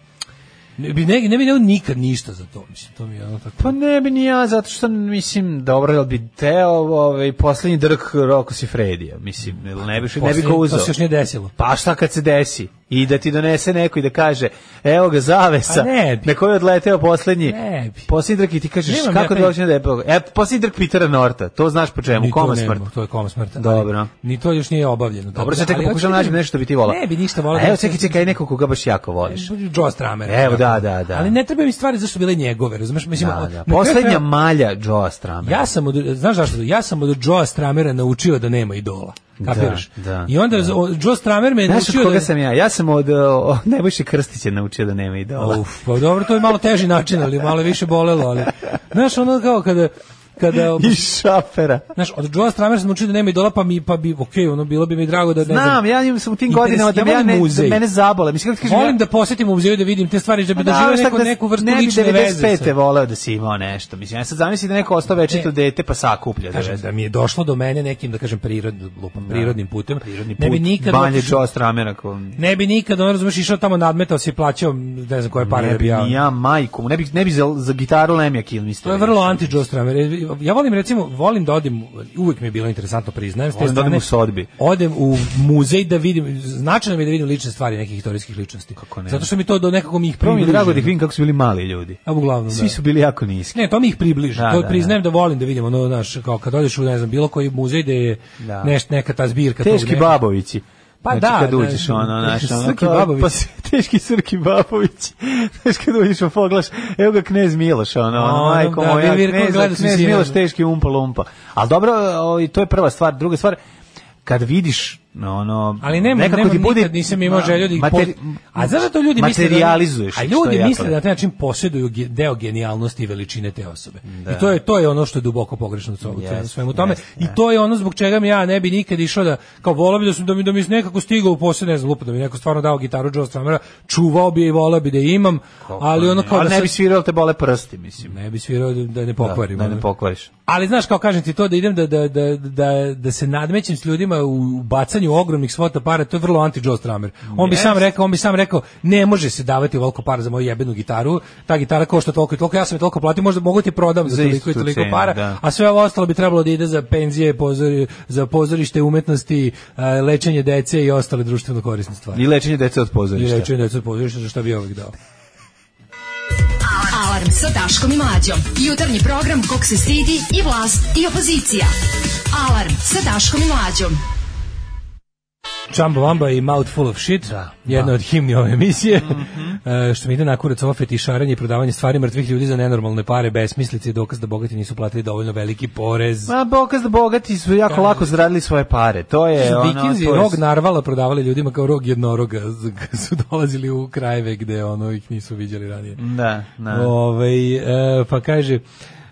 S5: ne bi, ne, ne bi dao nikad ništa za to, mislim, to mi je ono tako.
S6: Pa ne bi ni ja, zato što mislim, dobro, jel bi teo ovaj, posljednji drk Roko si Fredija, mislim, jel ne bi, ne bi ga
S5: Poslije-
S6: uzao.
S5: To se još nije desilo.
S6: Pa šta kad se desi? I da ti donese neko i da kaže, evo ga zavesa,
S5: A ne bi.
S6: na kojoj je odleteo posljednji.
S5: Ne bi.
S6: Posljednji drk i ti kažeš,
S5: Nemam
S6: kako
S5: ja
S6: da
S5: taj-
S6: dođe da je bilo? E, posljednji drk Pitera Norta, to znaš po čemu,
S5: Ni to
S6: koma
S5: nema,
S6: smrt.
S5: To je koma smrta.
S6: Dobro.
S5: Ali Ni to još nije obavljeno.
S6: Dobro, sad čekaj,
S5: Ali hoću
S6: pokušam
S5: da
S6: naći
S5: kažem-
S6: nešto bi ti volao.
S5: Ne bi ništa volao.
S6: Evo,
S5: da
S6: čekaj, čekaj, neko koga baš jako voliš.
S5: Joe Stramer.
S6: Evo, da, da, da.
S5: Ali ne treba mi stvari zašto su bile njegove, razumeš? Mislim,
S6: Da,
S5: na
S6: da.
S5: kraju
S6: Poslednja
S5: krajeva-
S6: malja Joe Stramera.
S5: Ja sam od, znaš zašto? Ja sam od Joea Stramera naučio da nema idola. Kapiraš?
S6: Da, da,
S5: I onda
S6: da.
S5: o, Joe Stramer me je
S6: Znaš od
S5: naučio
S6: koga
S5: da...
S6: sam ja? Ja sam od o, o, Nebojše Krstića naučio da nema idola. [laughs]
S5: Uf, pa dobro, to je malo teži način, ali malo je više bolelo, ali... Znaš, ono kao kada... kada
S6: I šapera.
S5: Znaš, od Joe Stramera sam naučio da nema idola, pa mi, pa bi, okej, ono, bilo bi mi drago da ne znam-
S6: Znam, ja imam sam u tim
S5: Interes-
S6: godinama da
S5: ja
S6: me ja
S5: volim
S6: ne, da
S5: muzej.
S6: mene zabole. Mislim, kako ti kažem,
S5: Volim
S6: ja-
S5: da posetim u muzeju da vidim te stvari, da bi
S6: Pa
S5: da,
S6: ali
S5: žive
S6: šta
S5: neku,
S6: da-
S5: neku vrstu
S6: ne bi
S5: lične veze.
S6: 95.
S5: sa-
S6: voleo da si imao nešto. Mislim, ja sad zamislim da neko ostao večito
S5: E.
S6: dete pa sakuplja. Da,
S5: Kažem,
S6: da.
S5: da mi je došlo do mene nekim, da kažem, prirodnim, lupam, prirodnim putem.
S6: Prirodni put,
S5: da ne bi nikad
S6: banje
S5: otišao-
S6: Joe Stramera. Ko...
S5: Ne bi nikad, ono razumeš, išao tamo nadmetao se i plaćao, ne znam koje pare
S6: Ne
S5: da
S6: bi
S5: bi ja.
S6: ni ja majku, ne bi, ne bi za, za gitaru Lemija Kill
S5: To je vrlo anti Joe Stramer. Ja volim recimo, volim da odim, uvek mi je bilo interesantno, priznajem, s te
S6: Volim da odem
S5: strane,
S6: u sodbi.
S5: Odem u muzej da vidim, značajno mi je da vidim lične stvari nekih istorijskih ličnosti. Kako
S6: ne?
S5: Zato što mi to do nekako mi ih
S6: Prvo mi je
S5: približi.
S6: drago da ih vidim kako su bili mali ljudi.
S5: A uglavnom,
S6: Svi
S5: da.
S6: su bili jako niski.
S5: Ne, to mi ih približi.
S6: Da,
S5: to
S6: da,
S5: priznajem da. volim da vidim ono naš kao kad odeš u ne znam bilo koji muzej da je
S6: Da.
S5: neš, neka ta zbirka tog
S6: Teški
S5: nekog-
S6: babovići.
S5: Pa
S6: znači,
S5: da,
S6: kad
S5: da,
S6: uđeš
S5: da,
S6: ono, znaš, ono,
S5: Srki
S6: kao-
S5: Babović.
S6: Pa, s- [laughs] teški Srki Babović. Znaš, kad uđeš u poglaš, evo ga knez Miloš, ono, ono,
S5: Ono,
S6: majko
S5: da,
S6: moja,
S5: vi- vi-
S6: knez,
S5: gledao sam
S6: knez
S5: sinoć.
S6: Miloš, teški umpa lumpa. Ali dobro, ovaj, to je prva stvar. Druga stvar, kad vidiš ono
S5: Ali nema,
S6: nekako
S5: nema,
S6: ti bude
S5: nikad nisam imao želju da ih
S6: materi-
S5: po- A znaš da to ljudi misle da-
S6: materijalizuješ
S5: A
S6: ih, što je
S5: ljudi
S6: jako
S5: misle da
S6: lepo.
S5: na taj način posjeduju ge- deo genijalnosti i veličine te osobe.
S6: Da.
S5: I to je to je ono što je duboko pogrešno u svemu-
S6: Jest,
S5: u svemu tome.
S6: jest,
S5: I to je ono zbog čega mi ja ne bi nikad išao da kao voleo bi da su da mi da mi nekako stigao u posjed, ne znam, lupa, da mi neko stvarno dao gitaru Joe Stramera, čuvao bi je i voleo bi da je imam, ali ono kao
S6: Ali
S5: da
S6: ne
S5: sad-
S6: bi svirao te bole prsti, mislim.
S5: ne bi svirao da- da ne
S6: Da,
S5: pokvarim.
S6: Da,
S5: ono.
S6: ne pokvariš.
S5: Ali znaš kao kažem ti to da idem da, da, da, da, da se nadmećem s ljudima u bacanju ogromnih svota para, to je vrlo anti Joe Stramer. On bi sam rekao, on bi sam rekao ne može se davati ovoliko para za moju jebenu gitaru. Ta gitara košta toliko i toliko, ja sam je toliko platio, možda mogu ti prodam za,
S6: Za istu
S5: toliko i
S6: tu
S5: toliko
S6: cenu,
S5: para.
S6: da.
S5: A sve ovo ostalo bi trebalo da ide za penzije, pozori, za pozorište umetnosti, e, lečenje dece i ostale društveno korisne stvari.
S6: I lečenje dece od
S5: I
S6: pozorišta.
S5: lečenje dece od pozorišta za što bi ja ovih dao.
S4: Alarm sa Daškom i Mlađom. Jutarnji program kog se stidi i vlast i opozicija. Alarm sa Daškom i Mlađom.
S5: Chamba Wamba i Mouthful of Shit, jedna od himni ove emisije, [laughs] e, što mi ide na kurac ovo fetišaranje i prodavanje stvari mrtvih ljudi za nenormalne pare, besmislice i dokaz da bogati nisu platili dovoljno veliki porez.
S6: Ma bogaz da bogati su jako lako zaradili svoje pare. To je ono,
S5: Vikinzi
S6: to je
S5: rog narvala prodavali ljudima kao rog jednoroga, z- kad [laughs] su dolazili u krajeve gde ono ih nisu viđali ranije.
S6: Da, da.
S5: Ovaj, e, pa kaže,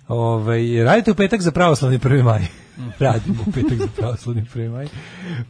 S5: ovaj, radite u petak za pravoslavni 1.
S6: [laughs]
S5: maj. Radimo u petak za pravoslavni 1. maj.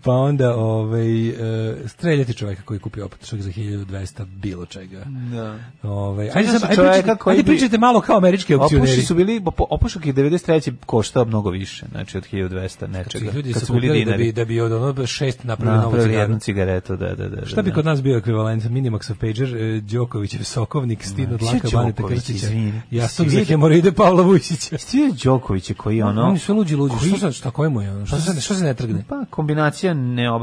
S5: Pa onda ovaj, e, streljati čoveka koji je kupio opatušak za 1200 bilo čega.
S6: Da.
S5: Ovaj,
S6: Sjećam
S5: ajde,
S6: se
S5: sad, ajde,
S6: čoveka
S5: pričajte,
S6: koji
S5: ajde
S6: bi-
S5: pričajte malo kao američki opcioneri.
S6: Opuši su bili, opu- opušak je 93. koštao mnogo više, znači od 1200
S5: Ti
S6: nečega.
S5: ljudi
S6: Kad
S5: su
S6: su bili
S5: kupili da bi,
S6: dinari.
S5: da bi od ono šest napravili novu
S6: Napravili
S5: cigaru.
S6: jednu cigaretu, da, da, da. da,
S5: Šta bi
S6: da.
S5: kod nas bio ekvivalent Minimaxov pager, e, Đokovićev sokovnik, Stin od Laka,
S6: Svi
S5: Baneta
S6: Đoković,
S5: Krstića,
S6: izvini.
S5: Jasnog
S6: Svi-
S5: za hemoroide Pavla Vujsića.
S6: Svi Đoković je koji ono...
S5: Oni su luđi, luđi.
S6: koji-
S5: Što, sad, šta, kojemu je ono? Što, se, što se ne trgne?
S6: Pa, kombinacija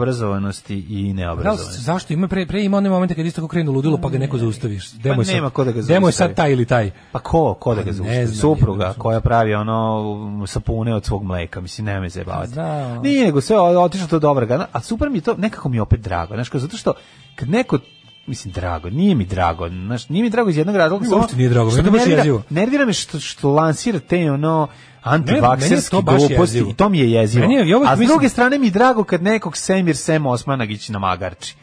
S6: neobrazovanosti i
S5: Da, li-
S6: neobrazovanosti.
S5: zašto ima pre pre ima one momente kad isto kako krenu ludilo pa ga neko zaustaviš. Demo je sad,
S6: nema ko da ga
S5: Demo je
S6: zaustavi.
S5: sad taj ili taj.
S6: Pa ko, ko da
S5: Pa
S6: ga
S5: ne
S6: zaustavi?
S5: znam,
S6: Supruga koja pravi ono sapune od svog mleka, mislim, nema me zajebavati.
S5: Da.
S6: Nije, nego sve o- otišlo to dobro. ga- A super mi je to, nekako mi je opet drago. Znaš, kao, zato što kad neko mislim drago, nije mi drago, znaš, nije mi drago iz jednog razloga,
S5: Mi
S6: samo
S5: uopšte nije drago,
S6: što
S5: meni to
S6: me
S5: baš
S6: nervira-
S5: jezivo.
S6: Nervira me što, što lansira te ono
S5: meni je
S6: antivakserske
S5: to baš
S6: gluposti
S5: jezivo.
S6: i to mi je jezivo.
S5: Meni je- ja uvek
S6: A s
S5: mislim-
S6: druge strane mi je drago kad nekog Semir Sem Osmanagić namagarči.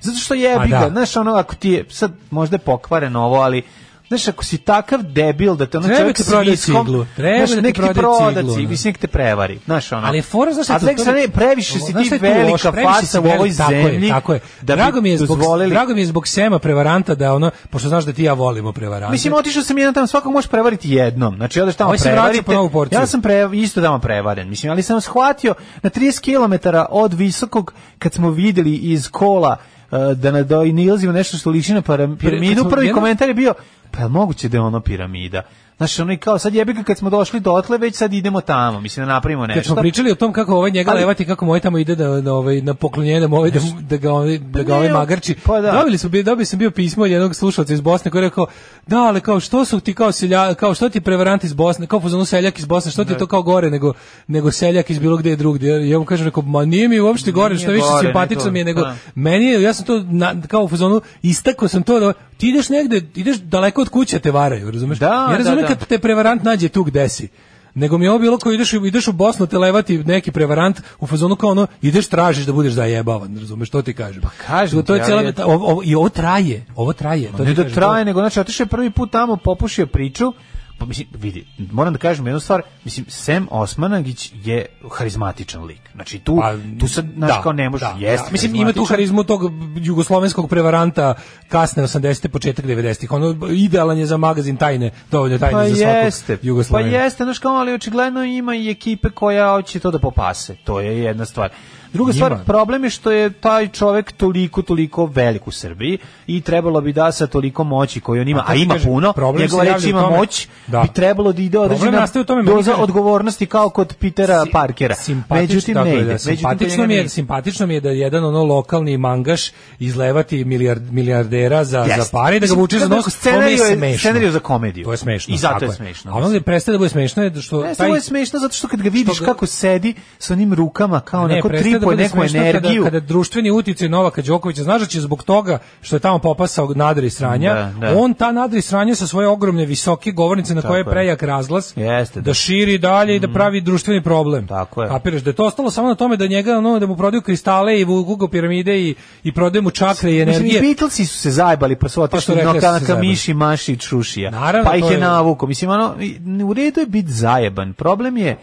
S6: Zato što je
S5: Pa da.
S6: ga, znaš, ono, ako ti je, sad možda je pokvareno ovo, ali Znaš, ako si takav debil da te ono
S5: Treba
S6: čovjek
S5: ti
S6: s
S5: proda
S6: viskom,
S5: ciglu, treba
S6: znaš,
S5: da ti
S6: nek
S5: proda
S6: proda
S5: ciglu,
S6: ciglu,
S5: ono.
S6: mislim, nek te prevari. Znaš, ono.
S5: Ali je fora znaš šta
S6: A
S5: je to-
S6: s druge
S5: to-
S6: strane, previše si
S5: znaš
S6: ti
S5: šta je tu
S6: velika
S5: loše? Previše si
S6: faca u ovoj
S5: velika, tako je,
S6: zemlji.
S5: Tako je.
S6: Da bi
S5: drago mi je zbog
S6: dozvolili-
S5: drago mi je zbog Sema prevaranta da ono pošto znaš da ti i ja volimo prevarante.
S6: Mislim, otišao sam jedan tamo, svakog možeš prevariti jednom. Znači, odeš tamo
S5: Ovaj se vraća
S6: prevarite.
S5: po novu porciju.
S6: Ja sam pre, isto tamo prevaren, mislim, ali sam shvatio na 30 km od visokog, kad smo vidjeli iz kola e, da na do, nilazimo nešto što liči na param-
S5: kad
S6: piramidu,
S5: smo
S6: prvi
S5: jednom-
S6: komentar je bio, pa je moguće da je ono piramida. Znaš, ono i kao, sad jebi ga kad smo došli dotle, već sad idemo tamo, mislim, da napravimo nešto.
S5: Kad smo pričali o tom kako ovaj njega
S6: Ali-
S5: levati, kako moj tamo ide da, na ovaj, na poklonjenje, da, mu ovaj, da, mu- da ga, ovaj, da ga
S6: ne,
S5: ovaj
S6: on-
S5: magarči.
S6: pa da.
S5: Dobili smo, dobili sam bio pismo od jednog slušalca iz Bosne koji je rekao, da, ali kao što su ti kao selja, kao što ti je prevarant iz Bosne, kao fuzonu seljak iz Bosne, što ti
S6: Da.
S5: je to kao gore nego, nego seljak iz bilo gde drugde. Ja mu kažem, rekao, ma nije mi uopšte gore,
S6: Nije
S5: što više
S6: gore,
S5: simpatično
S6: nije
S5: mi je nego,
S6: gore, da.
S5: meni je, ja sam to na, kao u fuzonu, istako sam to da, ti ideš negde, ideš daleko od kuće, te varaju, razumeš?
S6: Da,
S5: ja
S6: da,
S5: razumem
S6: da.
S5: kad te prevarant nađe tu gde si. Nego mi je ovo bilo kao ideš, u- ideš u Bosnu te levati neki prevarant u fazonu kao ono, ideš tražiš da budeš zajebavan, razumeš, to ti kažem. Pa
S6: kažem
S5: To je
S6: ti,
S5: cijela,
S6: ali je-
S5: ta- ovo, ovo- I ovo traje, ovo traje. To
S6: ne
S5: ti
S6: da
S5: kažem,
S6: traje,
S5: to-
S6: nego znači otišao je prvi put tamo, popušio priču, pa mislim, vidi, moram da kažem jednu stvar, mislim, Sem Osmanagić je harizmatičan lik. Znači, tu,
S5: Pa,
S6: tu sad, znaš,
S5: da,
S6: kao ne može,
S5: da,
S6: jeste
S5: da. Mislim, ima tu
S6: harizmatičan.
S5: harizmu tog jugoslovenskog prevaranta kasne 80. početak 90. Ono idealan je za magazin tajne, dovoljno tajne
S6: Pa
S5: za svakog
S6: jeste, pa
S5: Jugoslovena.
S6: jeste, znaš kao, ali očigledno ima i ekipe koja hoće to da popase. To je jedna stvar. Druga stvar,
S5: Ima.
S6: problem je što je taj čovek toliko, toliko velik u Srbiji i trebalo bi da sa toliko moći koju on ima,
S5: Pa,
S6: a
S5: to ti
S6: ima
S5: kažem,
S6: puno,
S5: problem
S6: njegova
S5: se
S6: reč
S5: javlja u
S6: ima
S5: tome-
S6: moć,
S5: Da.
S6: bi trebalo da ide
S5: Problem
S6: određena
S5: nastaje u tome, meni
S6: doza
S5: kažem-
S6: odgovornosti kao kod Pitera
S5: Si-
S6: Parkera.
S5: simpatično-
S6: Međutim,
S5: tako
S6: ne
S5: je,
S6: ide.
S5: da,
S6: Međutim,
S5: simpatično, mi
S6: njega ne
S5: je,
S6: ide.
S5: simpatično mi je da jedan ono lokalni mangaš izlevati milijard, milijardera za,
S6: Jeste.
S5: za pare i da ga
S6: Mislim,
S5: vuče za
S6: kako
S5: nos, to mi je
S6: scenariju je-
S5: smešno.
S6: scenariju za komediju.
S5: To je smešno.
S6: I zato
S5: tako
S6: je smešno,
S5: A ono gde prestaje da bude smešno je što...
S6: Ne, samo je smešno zato što kad ga vidiš
S5: što ga-
S6: kako sedi sa onim rukama kao
S5: Ne,
S6: onako
S5: prestaje da
S6: tripuje
S5: bude
S6: neku
S5: smešno kada-
S6: energiju.
S5: Kada, društveni uticaj Novaka Đokovića, znaš da će zbog toga što je tamo popasao nadri sranja,
S6: Da, da.
S5: on ta nadri sranja sa svoje ogromne visoke govornice na kojoj je
S6: Tako je.
S5: prejak razglas,
S6: Jeste,
S5: da.
S6: da. Mhm.
S5: širi dalje i da pravi društveni problem.
S6: Tako je.
S5: Kapiraš da je to ostalo samo na tome da njega ono da mu prodaju kristale i Google piramide i i prodaju mu čakre i
S6: Mislim, i
S5: energije.
S6: Beatlesi su se zajbali, pa su
S5: Pa što
S6: otišli
S5: rekli da
S6: no
S5: su se
S6: ka, ka
S5: zajebali.
S6: miši, maši i čušija.
S5: Naravno,
S6: pa ih
S5: to
S6: je
S5: je-
S6: navuko. Mislim, ono, i- u redu je biti zajeban. Problem je,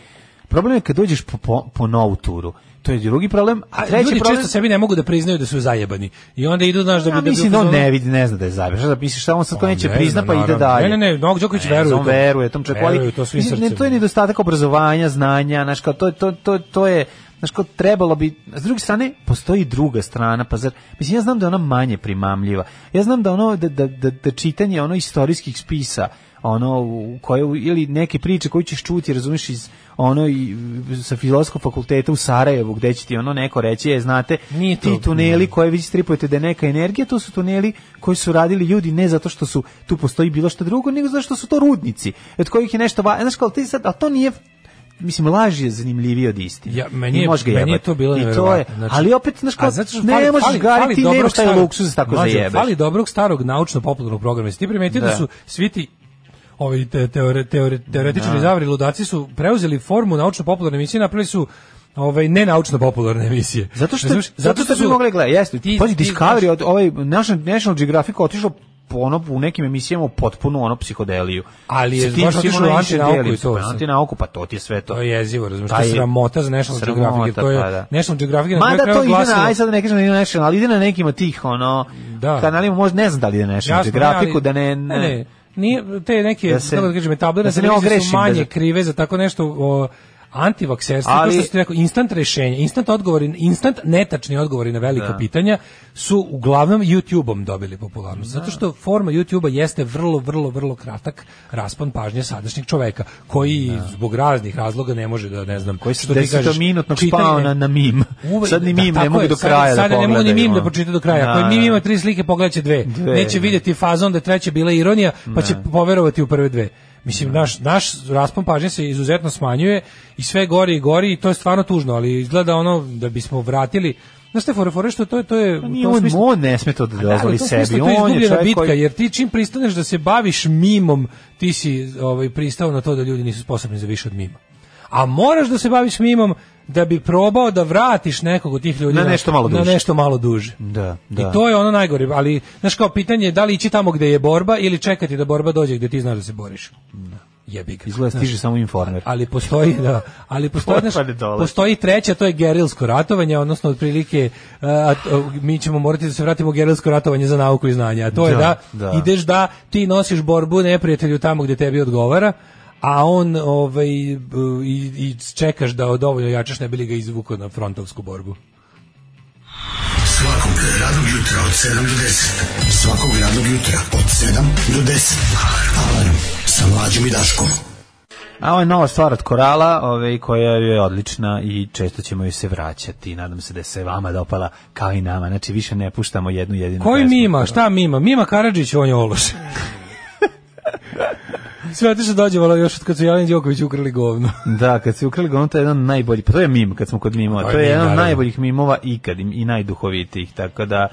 S6: problem je kad dođeš po, po, po novu turu. To je drugi problem. A
S5: A
S6: treći
S5: ljudi
S6: problem...
S5: često sebi ne mogu da priznaju da su zajebani. I onda idu znaš da bi
S6: Ja
S5: da bi
S6: mislim
S5: u
S6: da on
S5: fazonu-
S6: ne vidi, ne zna da je zajeban. Šta da misliš, šta on sad to
S5: On
S6: neće
S5: ne zna,
S6: prizna pa ide
S5: naravno.
S6: dalje.
S5: Ne, ne, ne, Novak Đoković
S6: Ne,
S5: veruje u
S6: On
S5: to.
S6: veruje tom čovjeku, ali
S5: Veruje u to svim
S6: mislim, ne,
S5: srcem. da.
S6: to je nedostatak obrazovanja, znanja, znaš, kao to, to, to, to je znaš kao trebalo bi, a s druge strane postoji druga strana, pa zar, mislim ja znam da je ona manje primamljiva, ja znam da ono da, da, da, da čitanje ono istorijskih spisa ono u koje ili neke priče koje ćeš čuti razumiješ iz ono i sa filozofskog fakulteta u Sarajevu gde će ti ono neko reći je znate
S5: Nije to-
S6: ti tuneli koje vi stripujete da je neka energija, to su tuneli koji su radili ljudi ne zato što su tu postoji bilo što drugo, nego zato što su to rudnici, od kojih je nešto, va- znaš, kao ti sad, a to nije mislim laž je zanimljivije od istine.
S5: Ja, meni je-
S6: I možeš ga
S5: meni je
S6: jebati.
S5: to bilo
S6: I to je,
S5: neverovatno, znači-
S6: ali opet znaš kao,
S5: A zato što
S6: ne
S5: fali-
S6: možeš
S5: fali-
S6: gariti,
S5: fali
S6: ti
S5: dobrog
S6: nemaš taj
S5: starog-
S6: luksuz da tako
S5: Mlađo,
S6: zajebeš.
S5: Fali dobrog starog naučno-popularnog programa. Jesi ti primetio da.
S6: Da.
S5: su svi ti ovi te, teore, teore, teoretičari
S6: Da.
S5: zavri ludaci su preuzeli formu naučno-popularne emisije i napravili su ovaj ne naučno popularne emisije.
S6: Zato što
S5: Razumeš?
S6: zato što bi mogli gledati, jeste.
S5: ti-
S6: Pazi
S5: ti-
S6: Discovery od ovaj National National Geographic otišao po ono u nekim emisijama u potpuno ono psihodeliju.
S5: Ali je
S6: Sa tim
S5: baš
S6: svim
S5: otišao u
S6: onim
S5: antinauku i to.
S6: pa, Antinauku, pa to ti je sve to.
S5: To je jezivo, razumiješ, to
S6: Taj
S5: je
S6: Pa je-
S5: sramota za National
S6: Sramota,
S5: Geographic, jer to je
S6: pa da.
S5: National Geographic na kraju
S6: Mada to
S5: krajeva
S6: ide na,
S5: glasilo-
S6: aj sad da ne kažem da ide na National, ali ide na nekim od tih, ono,
S5: Da.
S6: kanalima, možda ne znam da li ide na National
S5: Jasno,
S6: Geographicu,
S5: ali-
S6: da ne, ne,
S5: ne, nije, te neke,
S6: Da se-
S5: kako da kažem, tablerne
S6: da se ne
S5: televizije su
S6: ogrešim,
S5: manje
S6: da-
S5: krive za tako nešto o, antivakserstvo,
S6: Ali-
S5: to što ste rekao, instant rešenje, instant odgovori, instant netačni odgovori na velika
S6: Da.
S5: pitanja su uglavnom YouTube-om dobili popularnost.
S6: Da.
S5: Zato što forma YouTube-a jeste vrlo, vrlo, vrlo kratak raspon pažnje sadašnjeg čoveka, koji zbog raznih razloga ne može da, ne znam,
S6: Da. koji
S5: što
S6: se
S5: ti kažeš,
S6: minutnog
S5: čitanje-
S6: spao na, na mim.
S5: Uvek-
S6: sad ni
S5: da,
S6: mim ne
S5: tako
S6: mogu
S5: je,
S6: do
S5: sad-
S6: kraja
S5: sada
S6: da
S5: ne mogu ni
S6: pogledaju,
S5: mim da
S6: ono.
S5: pročita do kraja.
S6: Da,
S5: Ako je mim
S6: da.
S5: ima tri slike, pogledaće dve.
S6: Dve,
S5: Neće
S6: da.
S5: vidjeti fazon da je treća bila ironija, pa će poverovati u prve dve. Mislim,
S6: Da.
S5: naš, naš raspon pažnje se izuzetno smanjuje i sve gori i gori i to je stvarno tužno, ali izgleda ono da bismo vratili Znaš te fore, fore što to je, to je... u
S6: Pa nije
S5: tom
S6: on,
S5: smislu-
S6: on ne sme to da
S5: Da, ali u
S6: dozvoli
S5: tom
S6: sebi.
S5: smislu to je
S6: On je
S5: izgubljena
S6: čovjek
S5: bitka,
S6: koji...
S5: jer ti čim pristaneš da se baviš mimom, ti si ovaj, pristao na to da ljudi nisu sposobni za više od mima. A moraš da se baviš mimom da bi probao da vratiš nekog od tih ljudi
S6: Na nešto malo
S5: Na
S6: duže.
S5: nešto malo duže.
S6: Da, da.
S5: I to je ono najgore, ali znaš kao pitanje je da li ići tamo gde je borba ili čekati da borba dođe gde ti znaš da se boriš. Jebi ga.
S6: Izgleda stiže
S5: Znaš,
S6: samo informer.
S5: Da. ali postoji da, ali postoji
S6: Potpade
S5: znaš,
S6: dole.
S5: postoji treća, to je gerilsko ratovanje, odnosno otprilike uh, a to- mi ćemo morati da se vratimo u gerilsko ratovanje za nauku i znanje, a to je da,
S6: Da, da.
S5: ideš da ti nosiš borbu neprijatelju tamo gdje tebi odgovara a on ovaj b- i, i čekaš da dovoljno jačaš ne bi li ga izvukao na frontovsku borbu.
S11: Svakog radnog jutra od 7 do 10. Svakog radnog jutra od 7 do 10. Alarm sa mlađom i Daškom.
S6: A ovo je nova stvar od Korala, ovaj, koja je odlična i često ćemo joj se vraćati. Nadam se da se vama dopala kao i nama. Znači, više ne puštamo jednu jedinu
S5: Koji
S6: pesmu.
S5: Mima? Šta Mima? Mima Karadžić, on je
S6: [laughs]
S5: ološ. Sve otišao dođe, valo, još od kad su Jelen Đoković ukrali govno.
S6: Da, kad se ukrali govno, to je jedan od najboljih, pa to je mim kad smo kod mimova,
S5: To je
S6: to, je
S5: mim, da,
S6: jedan od
S5: naravno.
S6: najboljih mimova ikad i- i najduhovitijih, tako da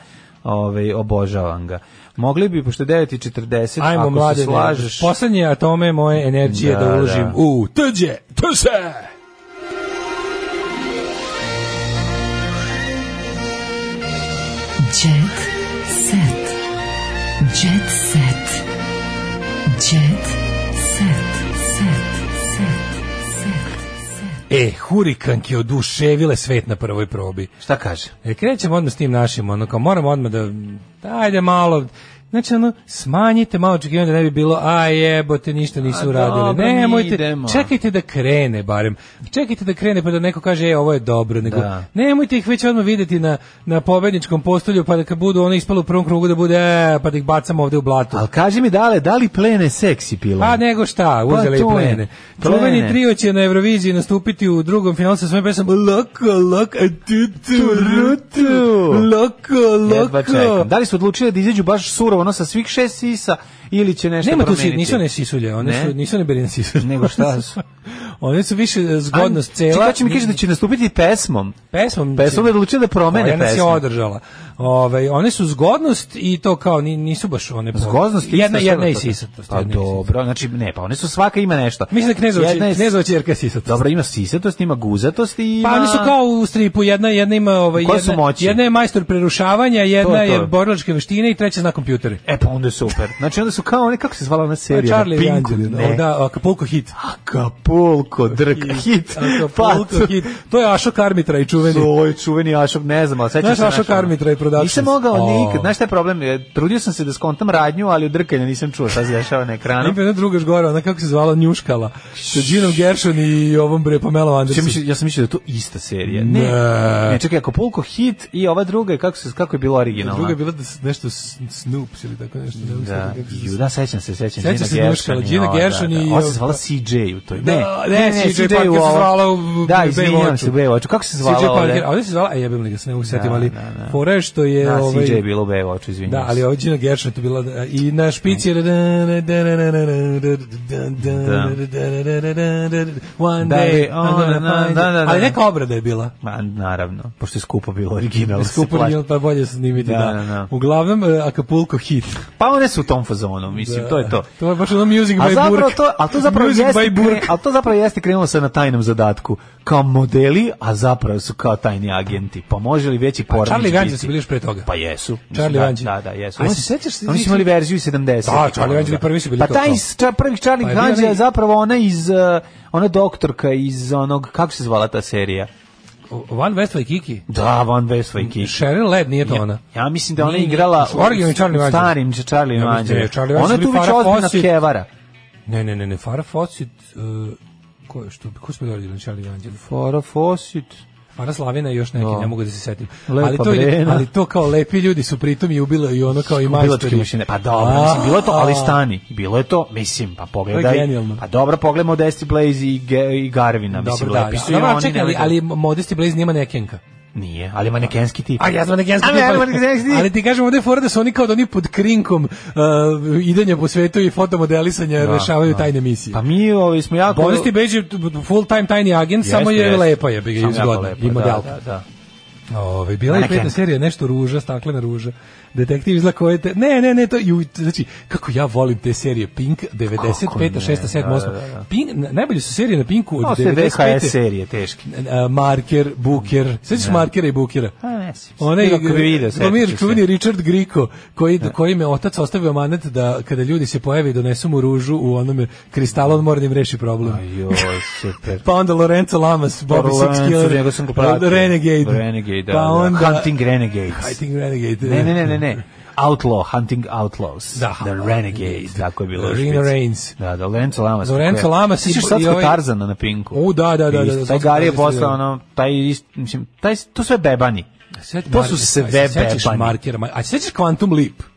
S6: ovaj, obožavam ga. Mogli bi, pošto je 9.40,
S5: Ajmo,
S6: ako
S5: mlade,
S6: se slažeš...
S5: poslednje atome moje energije da,
S6: Da,
S5: uložim
S6: da.
S5: u tuđe, tuše!
S4: Jet set. Jet set. Jet set. Set. Set.
S5: E, hurikanke oduševile svet na prvoj probi.
S6: Šta kaže?
S5: E, krećemo odmah s tim našim, ono, kao moramo odmah da, da, ajde malo, znači, ono, smanjite malo očekivanja da ne bi bilo, a jebote, ništa nisu
S6: A
S5: uradili.
S6: dobro, mi
S5: Nemojte,
S6: idemo.
S5: čekajte da krene barem. Čekajte da krene pa da neko kaže, e, ovo je dobro. Nego,
S6: Da.
S5: Nemojte ih već odmah vidjeti na, na pobedničkom postolju, pa da kad budu oni ispali u prvom krugu, da bude, e, pa da ih bacamo ovde u blatu.
S6: Ali kaži mi, dale, da li plene seksi pilom?
S5: A Pa nego šta, uzeli i
S6: Pa to je.
S5: plene.
S6: Plene.
S5: Čuveni trio će na Euroviziji nastupiti u drugom finalu sa svojom pesmom Loko, loko, tutu, rutu, loko,
S6: Jedva
S5: loko.
S6: čekam. Da li su odlučili da izađu baš surovo, ono sa svih šest sisa, ili će nešto
S5: Nema tu si,
S6: promeniti?
S5: nisu one sisulje, one
S6: Ne?
S5: su, nisu one bili na sisulje. [laughs]
S6: Nego šta su?
S5: one su više e, zgodnost
S6: Ajme,
S5: cela.
S6: Čekaj, će mi kaže da će nastupiti pesmom.
S5: pesmom.
S6: Pesmom je odlučila da promene
S5: Ona nas je
S6: pesmu.
S5: održala. Ove, one su zgodnost i to kao ni- nisu baš one...
S6: Zgodnost i
S5: jedna,
S6: isto
S5: jedna i
S6: što-
S5: sisatost.
S6: Pa
S5: jedna i sisatost.
S6: dobro, znači ne, pa one su svaka ima nešto.
S5: Mislim da Knezova će-
S6: Jedna je-
S5: Knezova ćerka je sisatost.
S6: Dobro, ima sisatost, ima guzatost i ima...
S5: Pa oni su kao u stripu, jedna, jedna ima ovaj,
S6: Koje su
S5: jedna,
S6: moći?
S5: jedna je majstor prerušavanja, jedna
S6: To je
S5: je,
S6: to.
S5: borilačke veštine i treća zna kompjutere.
S6: E pa onda je super. Znači onda su kao one, kako se zvala ona
S5: Pa
S6: serija?
S5: Charlie i
S6: na Pinku,
S5: Anđelina,
S6: ne.
S5: o, da, Acapulco
S6: [laughs]
S5: hit.
S6: Acapulco, drk, hit.
S5: Acapulco
S6: Pa,
S5: hit. To je Ašok Armitra i čuveni.
S6: To je čuveni Ašok, ne znam, ali sećam
S5: Znaš
S6: se
S5: Ašok
S6: našeg-
S5: Armitra i Productions?
S6: Nisam mogao
S5: O.
S6: nikad, znaš šta je problem? E, Trudio sam se da skontam radnju, ali u drkanju nisam čuo šta se dešava na ekranu.
S5: Ima jedna druga još gora, ona kako se zvala Njuškala. Sa Ginom Gershon i ovom bre Pamela
S6: Ja,
S5: Anderson.
S6: mislim, ja sam mislio da je to ista serija.
S5: Ne.
S6: Ne. ne čekaj, Acapulco hit i ova druga, je kako, se, kako je bilo originalna?
S5: Druga je bila da s- nešto s- Snoops ili tako nešto. ne mogu
S6: Da,
S5: sjetiti kako se
S6: ju, da, sećam se, sećam da,
S5: Sećaš se Njuškala, Gina Gershon i-
S6: Ona se zvala CJ u toj.
S5: Da,
S6: ne,
S5: ne,
S6: ne,
S5: CJ
S6: CJ
S5: Parker
S6: u
S5: se
S6: ovo.
S5: zvala u
S6: Da,
S5: Baywatchu.
S6: izvinjavam se, u Baywatchu. Kako se zvala
S5: CJ
S6: ovde?
S5: Parker, a ovde se zvala, a jebem li ga, se ne mogu setim, ali fora je što je...
S6: Da,
S5: ovaj,
S6: CJ je bilo u Baywatchu, izvinjam
S5: Da, ali
S6: se.
S5: ovo Gina Gershon to bila da, i na špici je da, One
S6: Da,
S5: day
S6: bi-
S5: I'm
S6: o, na,
S5: gonna find
S6: da, da,
S5: it.
S6: da.
S5: Ali neka obrada je bila.
S6: Ma, naravno, pošto je skupo bilo original.
S5: Skupo
S6: se plaši.
S5: nije, pa bolje se snimiti,
S6: Da,
S5: da.
S6: da, da.
S5: Uglavnom, e, Acapulco hit.
S6: Pa one su u tom fazonu, mislim,
S5: Da.
S6: to je to.
S5: To je baš ono music
S6: A
S5: by
S6: zapravo
S5: Burk.
S6: to, a to zapravo
S5: music
S6: jeste,
S5: by Burk.
S6: kre- a to zapravo jeste krenulo sa na tajnom zadatku. Kao modeli, a zapravo su kao tajni agenti. Pa može li veći poranić
S5: Charlie Vanđeli
S6: biti?
S5: su bili još pre toga.
S6: Pa jesu. Mislim,
S5: Charlie
S6: da,
S5: Vanđeli.
S6: Da, da, jesu.
S5: A
S6: Oni
S5: se
S6: su-
S5: sećaš se-
S6: Oni su imali verziju 70.
S5: Da, Charlie Vanđeli prvi su bili
S6: Pa
S5: kao
S6: taj
S5: to.
S6: iz, ča, prvih Charlie
S5: Pa
S6: pa
S5: je bio onaj-
S6: je zapravo ona iz, uh, ona doktorka iz onog, kako se zvala ta serija?
S5: One Westway Kiki.
S6: Da, Van Westway Kiki.
S5: Cheryl Led nije to ona.
S6: Ja mislim da ona
S5: Nije,
S6: igrala
S5: u originalni Charlie Vanđeli.
S6: starim Charlie
S5: Ja mislim da je
S6: Vanđeli.
S5: Charlie
S6: Ona
S5: Vanđeli
S6: tu već
S5: Farah
S6: ozbiljna
S5: Fawcett.
S6: kevara.
S5: Ne, ne, ne, ne, Farah Fawcett, uh, ko je što, ko smo bili originalni Charlie Vanđeli?
S6: Farah Fawcett.
S5: Farah Slavina i još neki,
S6: Da.
S5: ne mogu da se setim.
S6: Lepa
S5: ali, to, je-
S6: Brena.
S5: ali to kao lepi ljudi su pritom i ubilo i ono kao i
S6: Bilo
S5: majstori.
S6: je mašine. Pa dobro, mislim, bilo je to, ali
S5: A.
S6: stani. Bilo je to, mislim, pa
S5: To je
S6: pogledaj.
S5: genijalno.
S6: Pa dobro, pogledamo Desti Blaze i, Ge- i Garvina, mislim,
S5: Dobro, da,
S6: lepi
S5: da.
S6: su i
S5: Dobro,
S6: oni. da-
S5: čekaj, ali,
S6: nemojte-
S5: ali Modesti Blaze nima nekenka.
S6: Nije, ali manekenski tip.
S5: A ja sam nekenski
S6: Ali,
S5: tip,
S6: da ali
S5: ali-
S6: manekenski tip.
S5: Ali ti kažem, ovde je fora da su oni kao da oni pod krinkom uh, idenja po svetu i fotomodelisanja
S6: Da,
S5: rešavaju
S6: da.
S5: tajne misije.
S6: Pa mi ovi smo jako...
S5: Modesti Blaze je full time tajni agent, samo je lepa je, bi ga
S6: Samo jako
S5: izgodna.
S6: lepa,
S5: I modelka.
S6: Da, da, da.
S5: Ove, Ovaj, bila je
S6: Manekenka.
S5: petna serija, nešto ruža, staklena ruža. Detektiv izla koje te... Ne, ne, ne, to... Ju, znači, kako ja volim te serije. Pink, 95,
S6: Kako ne,
S5: 6, 7, 8.
S6: da, da, da.
S5: Pink, na- najbolje su serije na Pinku od
S6: Ovo su
S5: 95.
S6: VHS serije, teški.
S5: A, Marker, Booker, sećaš se Markera i Bookera?
S6: A, Pa, ne sjećam se.
S5: Onaj
S6: Bilo kad bi video, setit ću
S5: Glomir
S6: se. Da.
S5: čuveni Richard Griko, koji, koji me otac ostavio manet da kada ljudi se pojave i donesu mu ružu u onome kristalu, on mora da im reši problem.
S6: Joj, super.
S5: Pa onda Lorenzo Lamas, Bobby
S6: Lorenzo,
S5: Six Killer,
S6: njega sam ga pratio.
S5: Renegade.
S6: Renegade, da,
S5: pa
S6: da.
S5: onda,
S6: Hunting Renegades.
S5: Hunting Renegade.
S6: Ne, ne, ne, ne, ne. Outlaw, Hunting Outlaws.
S5: Da.
S6: The Renegades, tako je bilo. u
S5: Reno
S6: špici.
S5: Reigns.
S6: Da, da, Lorenzo Lamas.
S5: Lorenzo Lamas i-
S6: i... Sviđaš
S5: i
S6: Satsko
S5: ovaj-
S6: Tarzana na Pinku.
S5: U, da, da, da, da, da,
S6: Isto, Taj
S5: Satsko
S6: Gari je
S5: Tarzana,
S6: postao,
S5: da.
S6: ono, taj, ist- mislim, taj, to sve bebani.
S5: Sjeti
S6: To su sve
S5: Markera, se sećaš
S6: bebani.
S5: Markera, ma- a se sećaš Quantum Leap?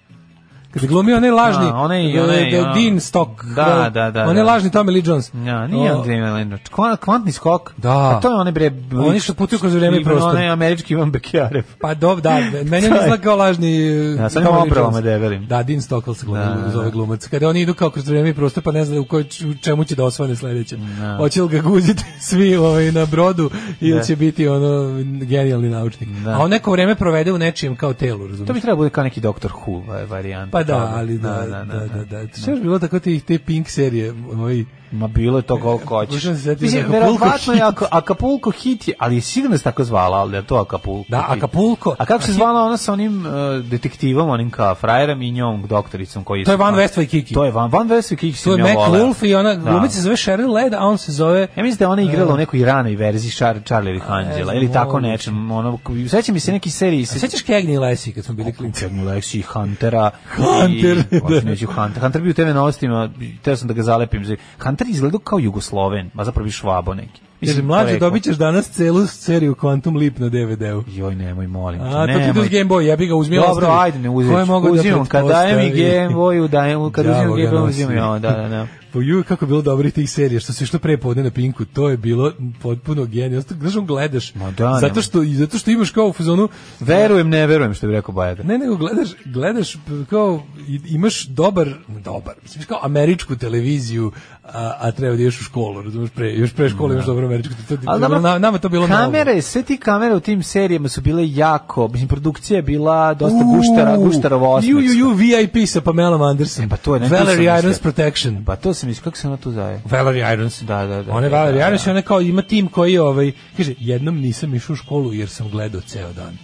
S5: Kad je glumio onaj lažni,
S6: A, onaj-
S5: e,
S6: onaj,
S5: da,
S6: ono-
S5: Dean Stock,
S6: Da,
S5: da,
S6: da, da,
S5: onaj
S6: da.
S5: lažni Tommy Lee Jones.
S6: Ja, nije
S5: O,
S6: on Dream Island. Kva- Kvantni skok.
S5: Da.
S6: A to je onaj bre...
S5: Oni što putuju kroz vreme i
S6: Ivan,
S5: prostor.
S6: Onaj američki Ivan Bekijarev.
S5: Pa dob, da, meni
S6: [laughs]
S5: on
S6: Taj.
S5: izgleda kao lažni e,
S6: Da, sa onim
S5: Tommy Lee
S6: opravama
S5: Jones.
S6: debelim.
S5: Da, Dean Stockwell se glumi
S6: Da, da,
S5: uz
S6: da.
S5: ovaj glumac. Kada oni idu kao kroz vreme i prostor, pa ne znaju u, koj, u čemu će da osvane sledeće. Hoće li ga guziti [laughs] svi ovaj, na brodu ili
S6: Da.
S5: će biti ono genijalni naučnik. A on neko vreme provede u nečijem kao telu, razumiješ?
S6: To bi trebalo bude kao neki Doktor Who va- varijanta.
S5: Pa da,
S6: toga.
S5: ali da, da, da, da. da, Šta je još bilo tako te, te Pink serije? ovaj, Ovi,
S6: Ma bilo je to koliko hoćeš.
S5: Možda se setim
S6: Mislim,
S5: za Acapulco
S6: verovatno je Aka- Acapulco hit je, ali je sigurno se tako zvala, ali da je to Acapulco
S5: da,
S6: hit.
S5: Acapulco.
S6: A kako se
S5: Aki-
S6: zvala ona sa onim uh, detektivom, onim kao frajerom i njom doktoricom koji
S5: To je
S6: su-
S5: Van Westway Kiki.
S6: To je Van, Van Westway Kiki
S5: To je
S6: sam ja
S5: Mac
S6: voleo.
S5: Wolf i ona
S6: Da.
S5: glumica se zove Cheryl Led, a on se zove...
S6: Ja mislim da je ona igrala
S5: E.
S6: u nekoj ranoj verziji Char Charlie Anđela
S5: znam,
S6: ili tako
S5: moguće.
S6: nečem. Ono, seća mi se neki seriji
S5: A
S6: se
S5: sećaš Cagney i Lacey kad smo bili klinci?
S6: Kevin Lexi i Huntera.
S5: Hunter,
S6: [laughs] I,
S5: da.
S6: Osim neću Hunter. Hunter bi u TV novostima, teo sam da ga zalepim. za- Hunter izgledao kao Jugosloven, a zapravo je švabo neki.
S5: Kaže, mlađe, dobit ćeš danas celu seriju Quantum Leap na DVD-u.
S6: Joj, nemoj, molim. te,
S5: A, to ti
S6: nemoj.
S5: idu s Game Boy, ja bi ga uzmio.
S6: Dobro, ajde, ne uzim. Uzimam, kad dajem i Game Boyu, dajem, mu- kad uzimam
S5: da Đavo ga
S6: Game Boy,
S5: nosi.
S6: uzimam. ja, Da, da, da.
S5: [laughs] Po ju kako je bilo dobrih tih serija što se išlo pre podne na Pinku, to je bilo potpuno genijalno. Znaš, on gledaš.
S6: Ma da,
S5: zato što i zato što imaš kao u fazonu
S6: Verujem, ne verujem što bi rekao Bajaga.
S5: Ne, nego gledaš, gledaš p- kao i- imaš dobar, dobar, mislim imaš kao američku televiziju, a, a treba da ideš u školu, razumeš, pre, još pre škole imaš dobru američku televiziju.
S6: Da. Ali dobro,
S5: na, nama je to bilo
S6: kamere, sve ti kamere u tim serijama su bile jako, mislim, produkcija je bila dosta
S5: novo.
S6: guštara,
S5: Uuu,
S6: guštarova
S5: Ju, ju,
S6: osmica.
S5: ju, VIP sa Pamela Anderson.
S6: E, pa to je, ne, to sam
S5: Valerie
S6: mislio.
S5: Irons Protection.
S6: Pa to sam mislio, kako se ona tu zove?
S5: Valerie Irons.
S6: Da, da, da.
S5: Ona je
S6: da,
S5: Valerie
S6: da,
S5: Irons i
S6: da.
S5: ona kao ima tim koji je, ovaj, kaže, jednom nisam išao u školu jer sam gledao ceo dan.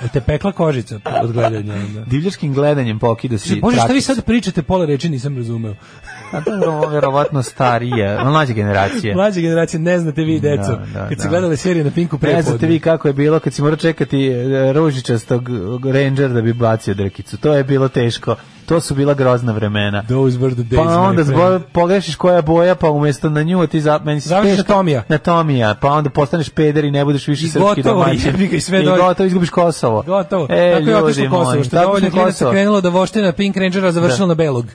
S5: Jel Te pekla kožica od gledanja. onda?
S6: Divljačkim gledanjem pokida si.
S5: Bože, šta vi
S6: trakicu.
S5: sad pričate, pola reči nisam razumeo.
S6: A dobro, ovo je verovatno starije, mlađe generacije.
S5: Mlađe generacije ne znate vi deco.
S6: Da, da,
S5: kad ste
S6: da.
S5: gledali serije na Pinku pre
S6: Ne znate vi kako je bilo kad si morao čekati e, ružičastog ranger da bi bacio drkicu. To je bilo teško. To su bila grozna vremena.
S5: Those were the Da days.
S6: Pa
S5: my
S6: onda
S5: friend.
S6: zbo, pogrešiš koja je boja, pa umjesto na nju ti za, meni se
S5: Završiš
S6: teško-
S5: na Tomija.
S6: Na Tomija, pa onda postaneš peder i ne budeš više
S5: I
S6: srpski
S5: gotovo,
S6: domaćin.
S5: jebi ga, i sve
S6: I
S5: dođe.
S6: gotovo izgubiš Kosovo.
S5: Gotovo.
S6: E,
S5: Tako je otišlo
S6: ljudi
S5: Kosovo,
S6: moji,
S5: što
S6: tako
S5: dovoljno
S6: je
S5: klinaca
S6: Kosovo.
S5: krenulo da voštine na Pink Rangera, a završilo
S6: Da.
S5: na Belog.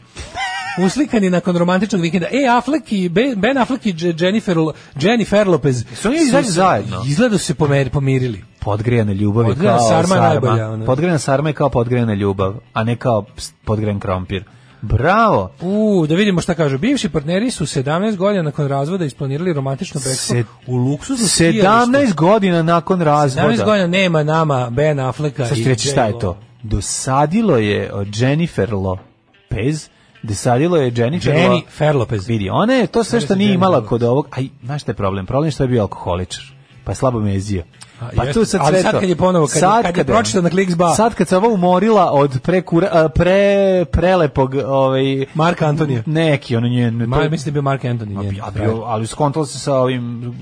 S5: uslikani nakon romantičnog vikenda. E, Affleck i Ben Ben Affleck i Dž- Jennifer, Lo- Jennifer Lopez. Su
S6: oni
S5: se-
S6: izašli zajedno?
S5: Izgleda su se pomeri- pomirili.
S6: Podgrejana ljubav je
S5: Podgrejana
S6: kao
S5: sarma
S6: sarma.
S5: je najbolja, ono.
S6: Podgrejana sarma je kao podgrejana ljubav, a ne kao ps- podgrejan krompir. Bravo!
S5: U, da vidimo šta kažu. Bivši partneri su 17 godina nakon razvoda isplanirali romantično brekstvo
S6: Se-
S5: u luksuznom skijalištu.
S6: 17 godina nakon
S5: 17
S6: razvoda.
S5: godina nema nama Ben Afflecka
S6: Sad
S5: i
S6: ću reći šta je
S5: J.Lo.
S6: to. Dosadilo je od Jennifer Lopez, dosadilo je Jennifer Lo-
S5: Jennifer Lopez.
S6: Vidi, ona je to sve što
S5: Jennifer
S6: nije imala
S5: Lopez.
S6: kod ovog, aj, znaš šta je problem? Problem je što je bio alkoholičar, pa je slabo mezio.
S5: A,
S6: Pa
S5: jeste.
S6: tu sad
S5: Ali
S6: sve
S5: sad
S6: to.
S5: kad je ponovo, kad je- kad je pročitao na Kliksba.
S6: Sad kad se ovo umorila od prekura, a, pre, prelepog ovaj,
S5: Mark Antonija.
S6: neki, ono nje...
S5: Ma, mislim da je bio Mark Anthony. njen
S6: A
S5: frajer.
S6: bio, ali skontala se sa ovim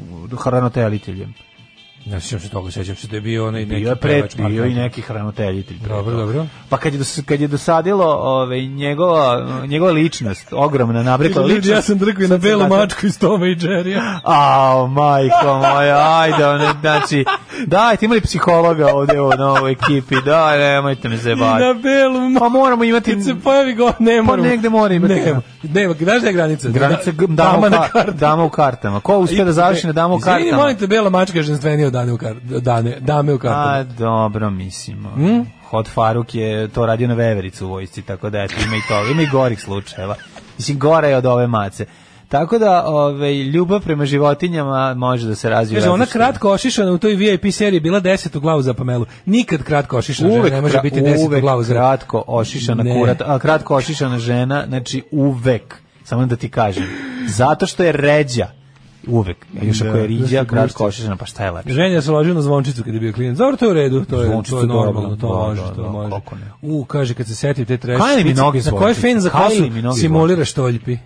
S6: hranateljiteljem.
S5: Ne sjećam se toga, sjećam se da je bio onaj neki
S6: Bio je pre,
S5: pevač Mark
S6: bio i
S5: Anthony.
S6: neki hranateljitelj. pre
S5: Dobro,
S6: toga.
S5: dobro.
S6: Pa kad je, dos, kad je dosadilo ovaj, njegova, njegova ličnost, ogromna nabrekla ličnost.
S5: Ja sam drkao i na
S6: sad se
S5: belu
S6: vratila-
S5: mačku iz Toma i Jerrya.
S6: A, majko moja, ajde, ono, znači, dajte, imali psihologa ovde u novoj ekipi, daj, nemojte me
S5: I
S6: zebati.
S5: na belu mačku.
S6: Pa moramo imati...
S5: Kad se pojavi go, ne
S6: Pa
S5: moramo.
S6: negde mora imati.
S5: Nema, nema, znaš da je granica?
S6: Granice
S5: Da-
S6: g- dama, u
S5: na
S6: ka-
S5: karti.
S6: dama u kartama. Ko uspe da završi na dama u
S5: Izvini,
S6: kartama?
S5: molim te, bela mačka je ženstvenija od dane u kar, dane, dame u
S6: A,
S5: kartama. Hm?
S6: dobro, mislim. ono, Hot Faruk je to radio na vevericu u vojsci, tako da eto, ima i to, ima i gorih slučajeva. Mislim, gore je od ove mace. Tako da, ove, ljubav prema životinjama može da se razvije.
S5: Kaže, ona
S6: različito.
S5: kratko ošišana u toj VIP seriji bila 10 u glavu za Pamelu. Nikad kratko ošišana žena ne može
S6: kra-
S5: biti 10 u
S6: uvek
S5: glavu za
S6: kratko ošišana
S5: Ne.
S6: kurat, a kratko ošišana žena, znači uvek, samo da ti kažem, zato što je ređa, uvek, a još ako
S5: Da, zašto
S6: je riđa,
S5: je
S6: kratko
S5: gušća?
S6: ošišana, pa šta je lepše?
S5: Ženja se ložio na zvončicu kada je bio klijent. Dobro, to je u redu, to je,
S6: Zvončicu
S5: to je normalno,
S6: dobro,
S5: to
S6: da,
S5: može,
S6: da,
S5: to
S6: da,
S5: može.
S6: kako ne.
S5: U, kaže, kad se setim te treš.
S6: Kylie Minogue
S5: Na koji
S6: zvončicu,
S5: fen za
S6: Kylie
S5: kosu
S6: Minogue
S5: simulira štoljpi?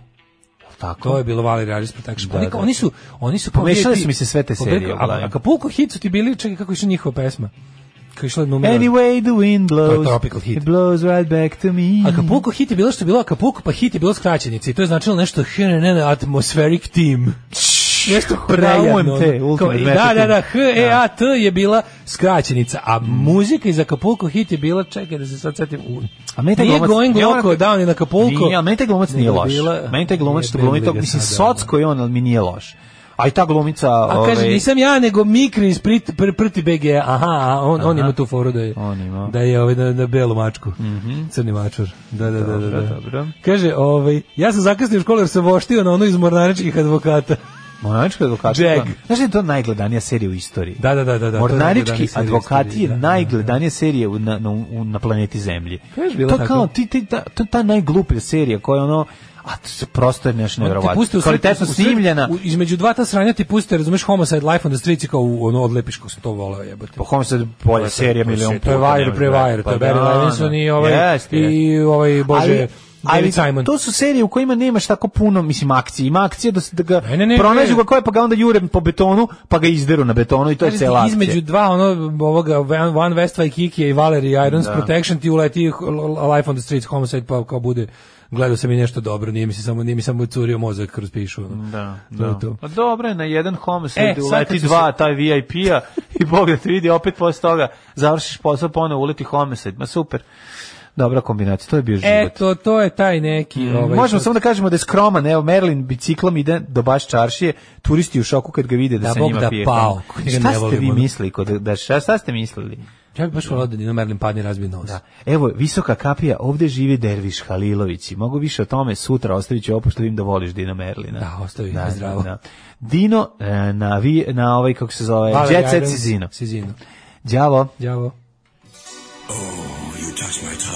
S6: Tako?
S5: To je bilo Valerie Aris Protection.
S6: Da,
S5: Oni,
S6: da.
S5: oni su, oni su... kao
S6: Pomešale
S5: VIP
S6: su mi se sve te serije
S5: pobegli-
S6: u glavi.
S5: A, a Kapulko hit su ti bili, čekaj, kako je išla njihova pesma? Kako je išla numera?
S6: Anyway, the wind blows,
S5: tropical hit.
S6: it blows right back to me.
S5: Acapulco hit je bilo što je bilo Acapulco, pa hit je bilo skraćenica i to je značilo nešto HNN Atmospheric Team. Nešto prejadno.
S6: UMT,
S5: ono, kao-
S6: Ultimate
S5: Da, da, da,
S6: Battlefield.
S5: HEAT je bila skraćenica, a muzika iz Acapulco hit je bila, čekaj da se sad setim, u-
S6: A meni taj
S5: nije
S6: glumac-
S5: Going
S6: ja moram-
S5: Loco, da, Down in Acapulco.
S6: Nije, a meni taj glumac nije
S5: nego
S6: loš.
S5: bila-
S6: Meni taj glumac
S5: nije
S6: što glumi
S5: Bundesliga
S6: tog, mislim,
S5: sada, ono.
S6: socko je on, ali mi nije loš. A i ta glumica...
S5: A kaže,
S6: ovaj,
S5: nisam ja, nego Mikri iz Prit- pr- prti BG, aha, a on, on ima tu foru da je,
S6: On ima. Mhm.
S5: da je ovaj, na, na belu mačku, crni mačur. Da, da, da, da, da.
S6: Dobro, dobro.
S5: Kaže, ovaj, ja sam zakasnio u školu jer sam voštio na ono iz mornaričkih advokata. [laughs]
S6: Mornarički advokati.
S5: Jag.
S6: Znaš da je to najgledanija serija u istoriji?
S5: Da, da, da, da. da, to je
S6: Mornarički
S5: najgledanija serija
S6: advokati
S5: istorije,
S6: je
S5: da, da, da.
S6: najgledanija serija u- na, na, u- na planeti Zemlji.
S5: Kažeš, bila
S6: to
S5: tako?
S6: kao ti, ti, ta, to je ta najgluplja serija koja je ono, a to se prosto je nešto
S5: On Te
S6: nevjerovatno.
S5: puste u sred-
S6: Kvalitetno
S5: u sred-
S6: snimljena.
S5: u- između dva ta sranja ti puste, razumeš, Homicide Life on the Streets i kao u- ono odlepiš kako sam to voleo jebote.
S6: Po kom se bolja serija milion puta.
S5: To je Wire pre Wire,
S6: Pa
S5: to je Barry
S6: da,
S5: Levinson i ovaj, i ovaj, bože, David Simon.
S6: To su serije u kojima nemaš tako puno, mislim, akcije. Ima akcije da, se- da ga
S5: Ne, ne, ne,
S6: pronađu
S5: ne.
S6: ga koje, pa ga onda jure po betonu, pa ga izderu na betonu i to je
S5: Kažete,
S6: cela akcija.
S5: između dva ono ovoga Van Westva i Kikija i Valerie Irons
S6: Da.
S5: Protection ti uleti H- Life on the Streets Homicide pa kao bude gledao sam i nešto dobro nije mi se samo nije mi samo curio mozak kroz pišu ono.
S6: Da,
S5: To je
S6: da.
S5: to.
S6: Pa dobro je, na jedan homicide
S5: E, sad
S6: uleti
S5: kad su
S6: dva, taj VIP-a [laughs] i Bog da ti vidi, opet posle toga završiš posao, ponovo uleti homicide. Ma super. Dobra kombinacija, to je bio
S5: E,
S6: život.
S5: Eto, to je taj neki... ovaj,
S6: Možemo
S5: što-
S6: samo da kažemo da je skroman, evo Merlin biciklom ide do baš čaršije, turisti u šoku kad ga vide da,
S5: Da,
S6: se
S5: Bog
S6: njima
S5: da
S6: pije.
S5: pao,
S6: hrana.
S5: koji ga ne
S6: Šta ste vi
S5: volimo.
S6: mislili? Kod, da, šta, šta ste mislili?
S5: Ja bih baš volao da Nino Merlin padne i razbije nos.
S6: Da. Evo, visoka kapija, ovde živi Derviš Halilović i mogu više o tome sutra, ostavit ću ovo što vidim da voliš Dino Merlina.
S5: Da, ostavi, zdravo.
S6: Dino e, na, vi, na ovaj, kako se zove,
S5: Valerie
S6: Jet Set
S5: Irons,
S6: Cizino.
S5: Sizino.
S6: Đavo.
S5: Đavo.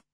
S4: 10.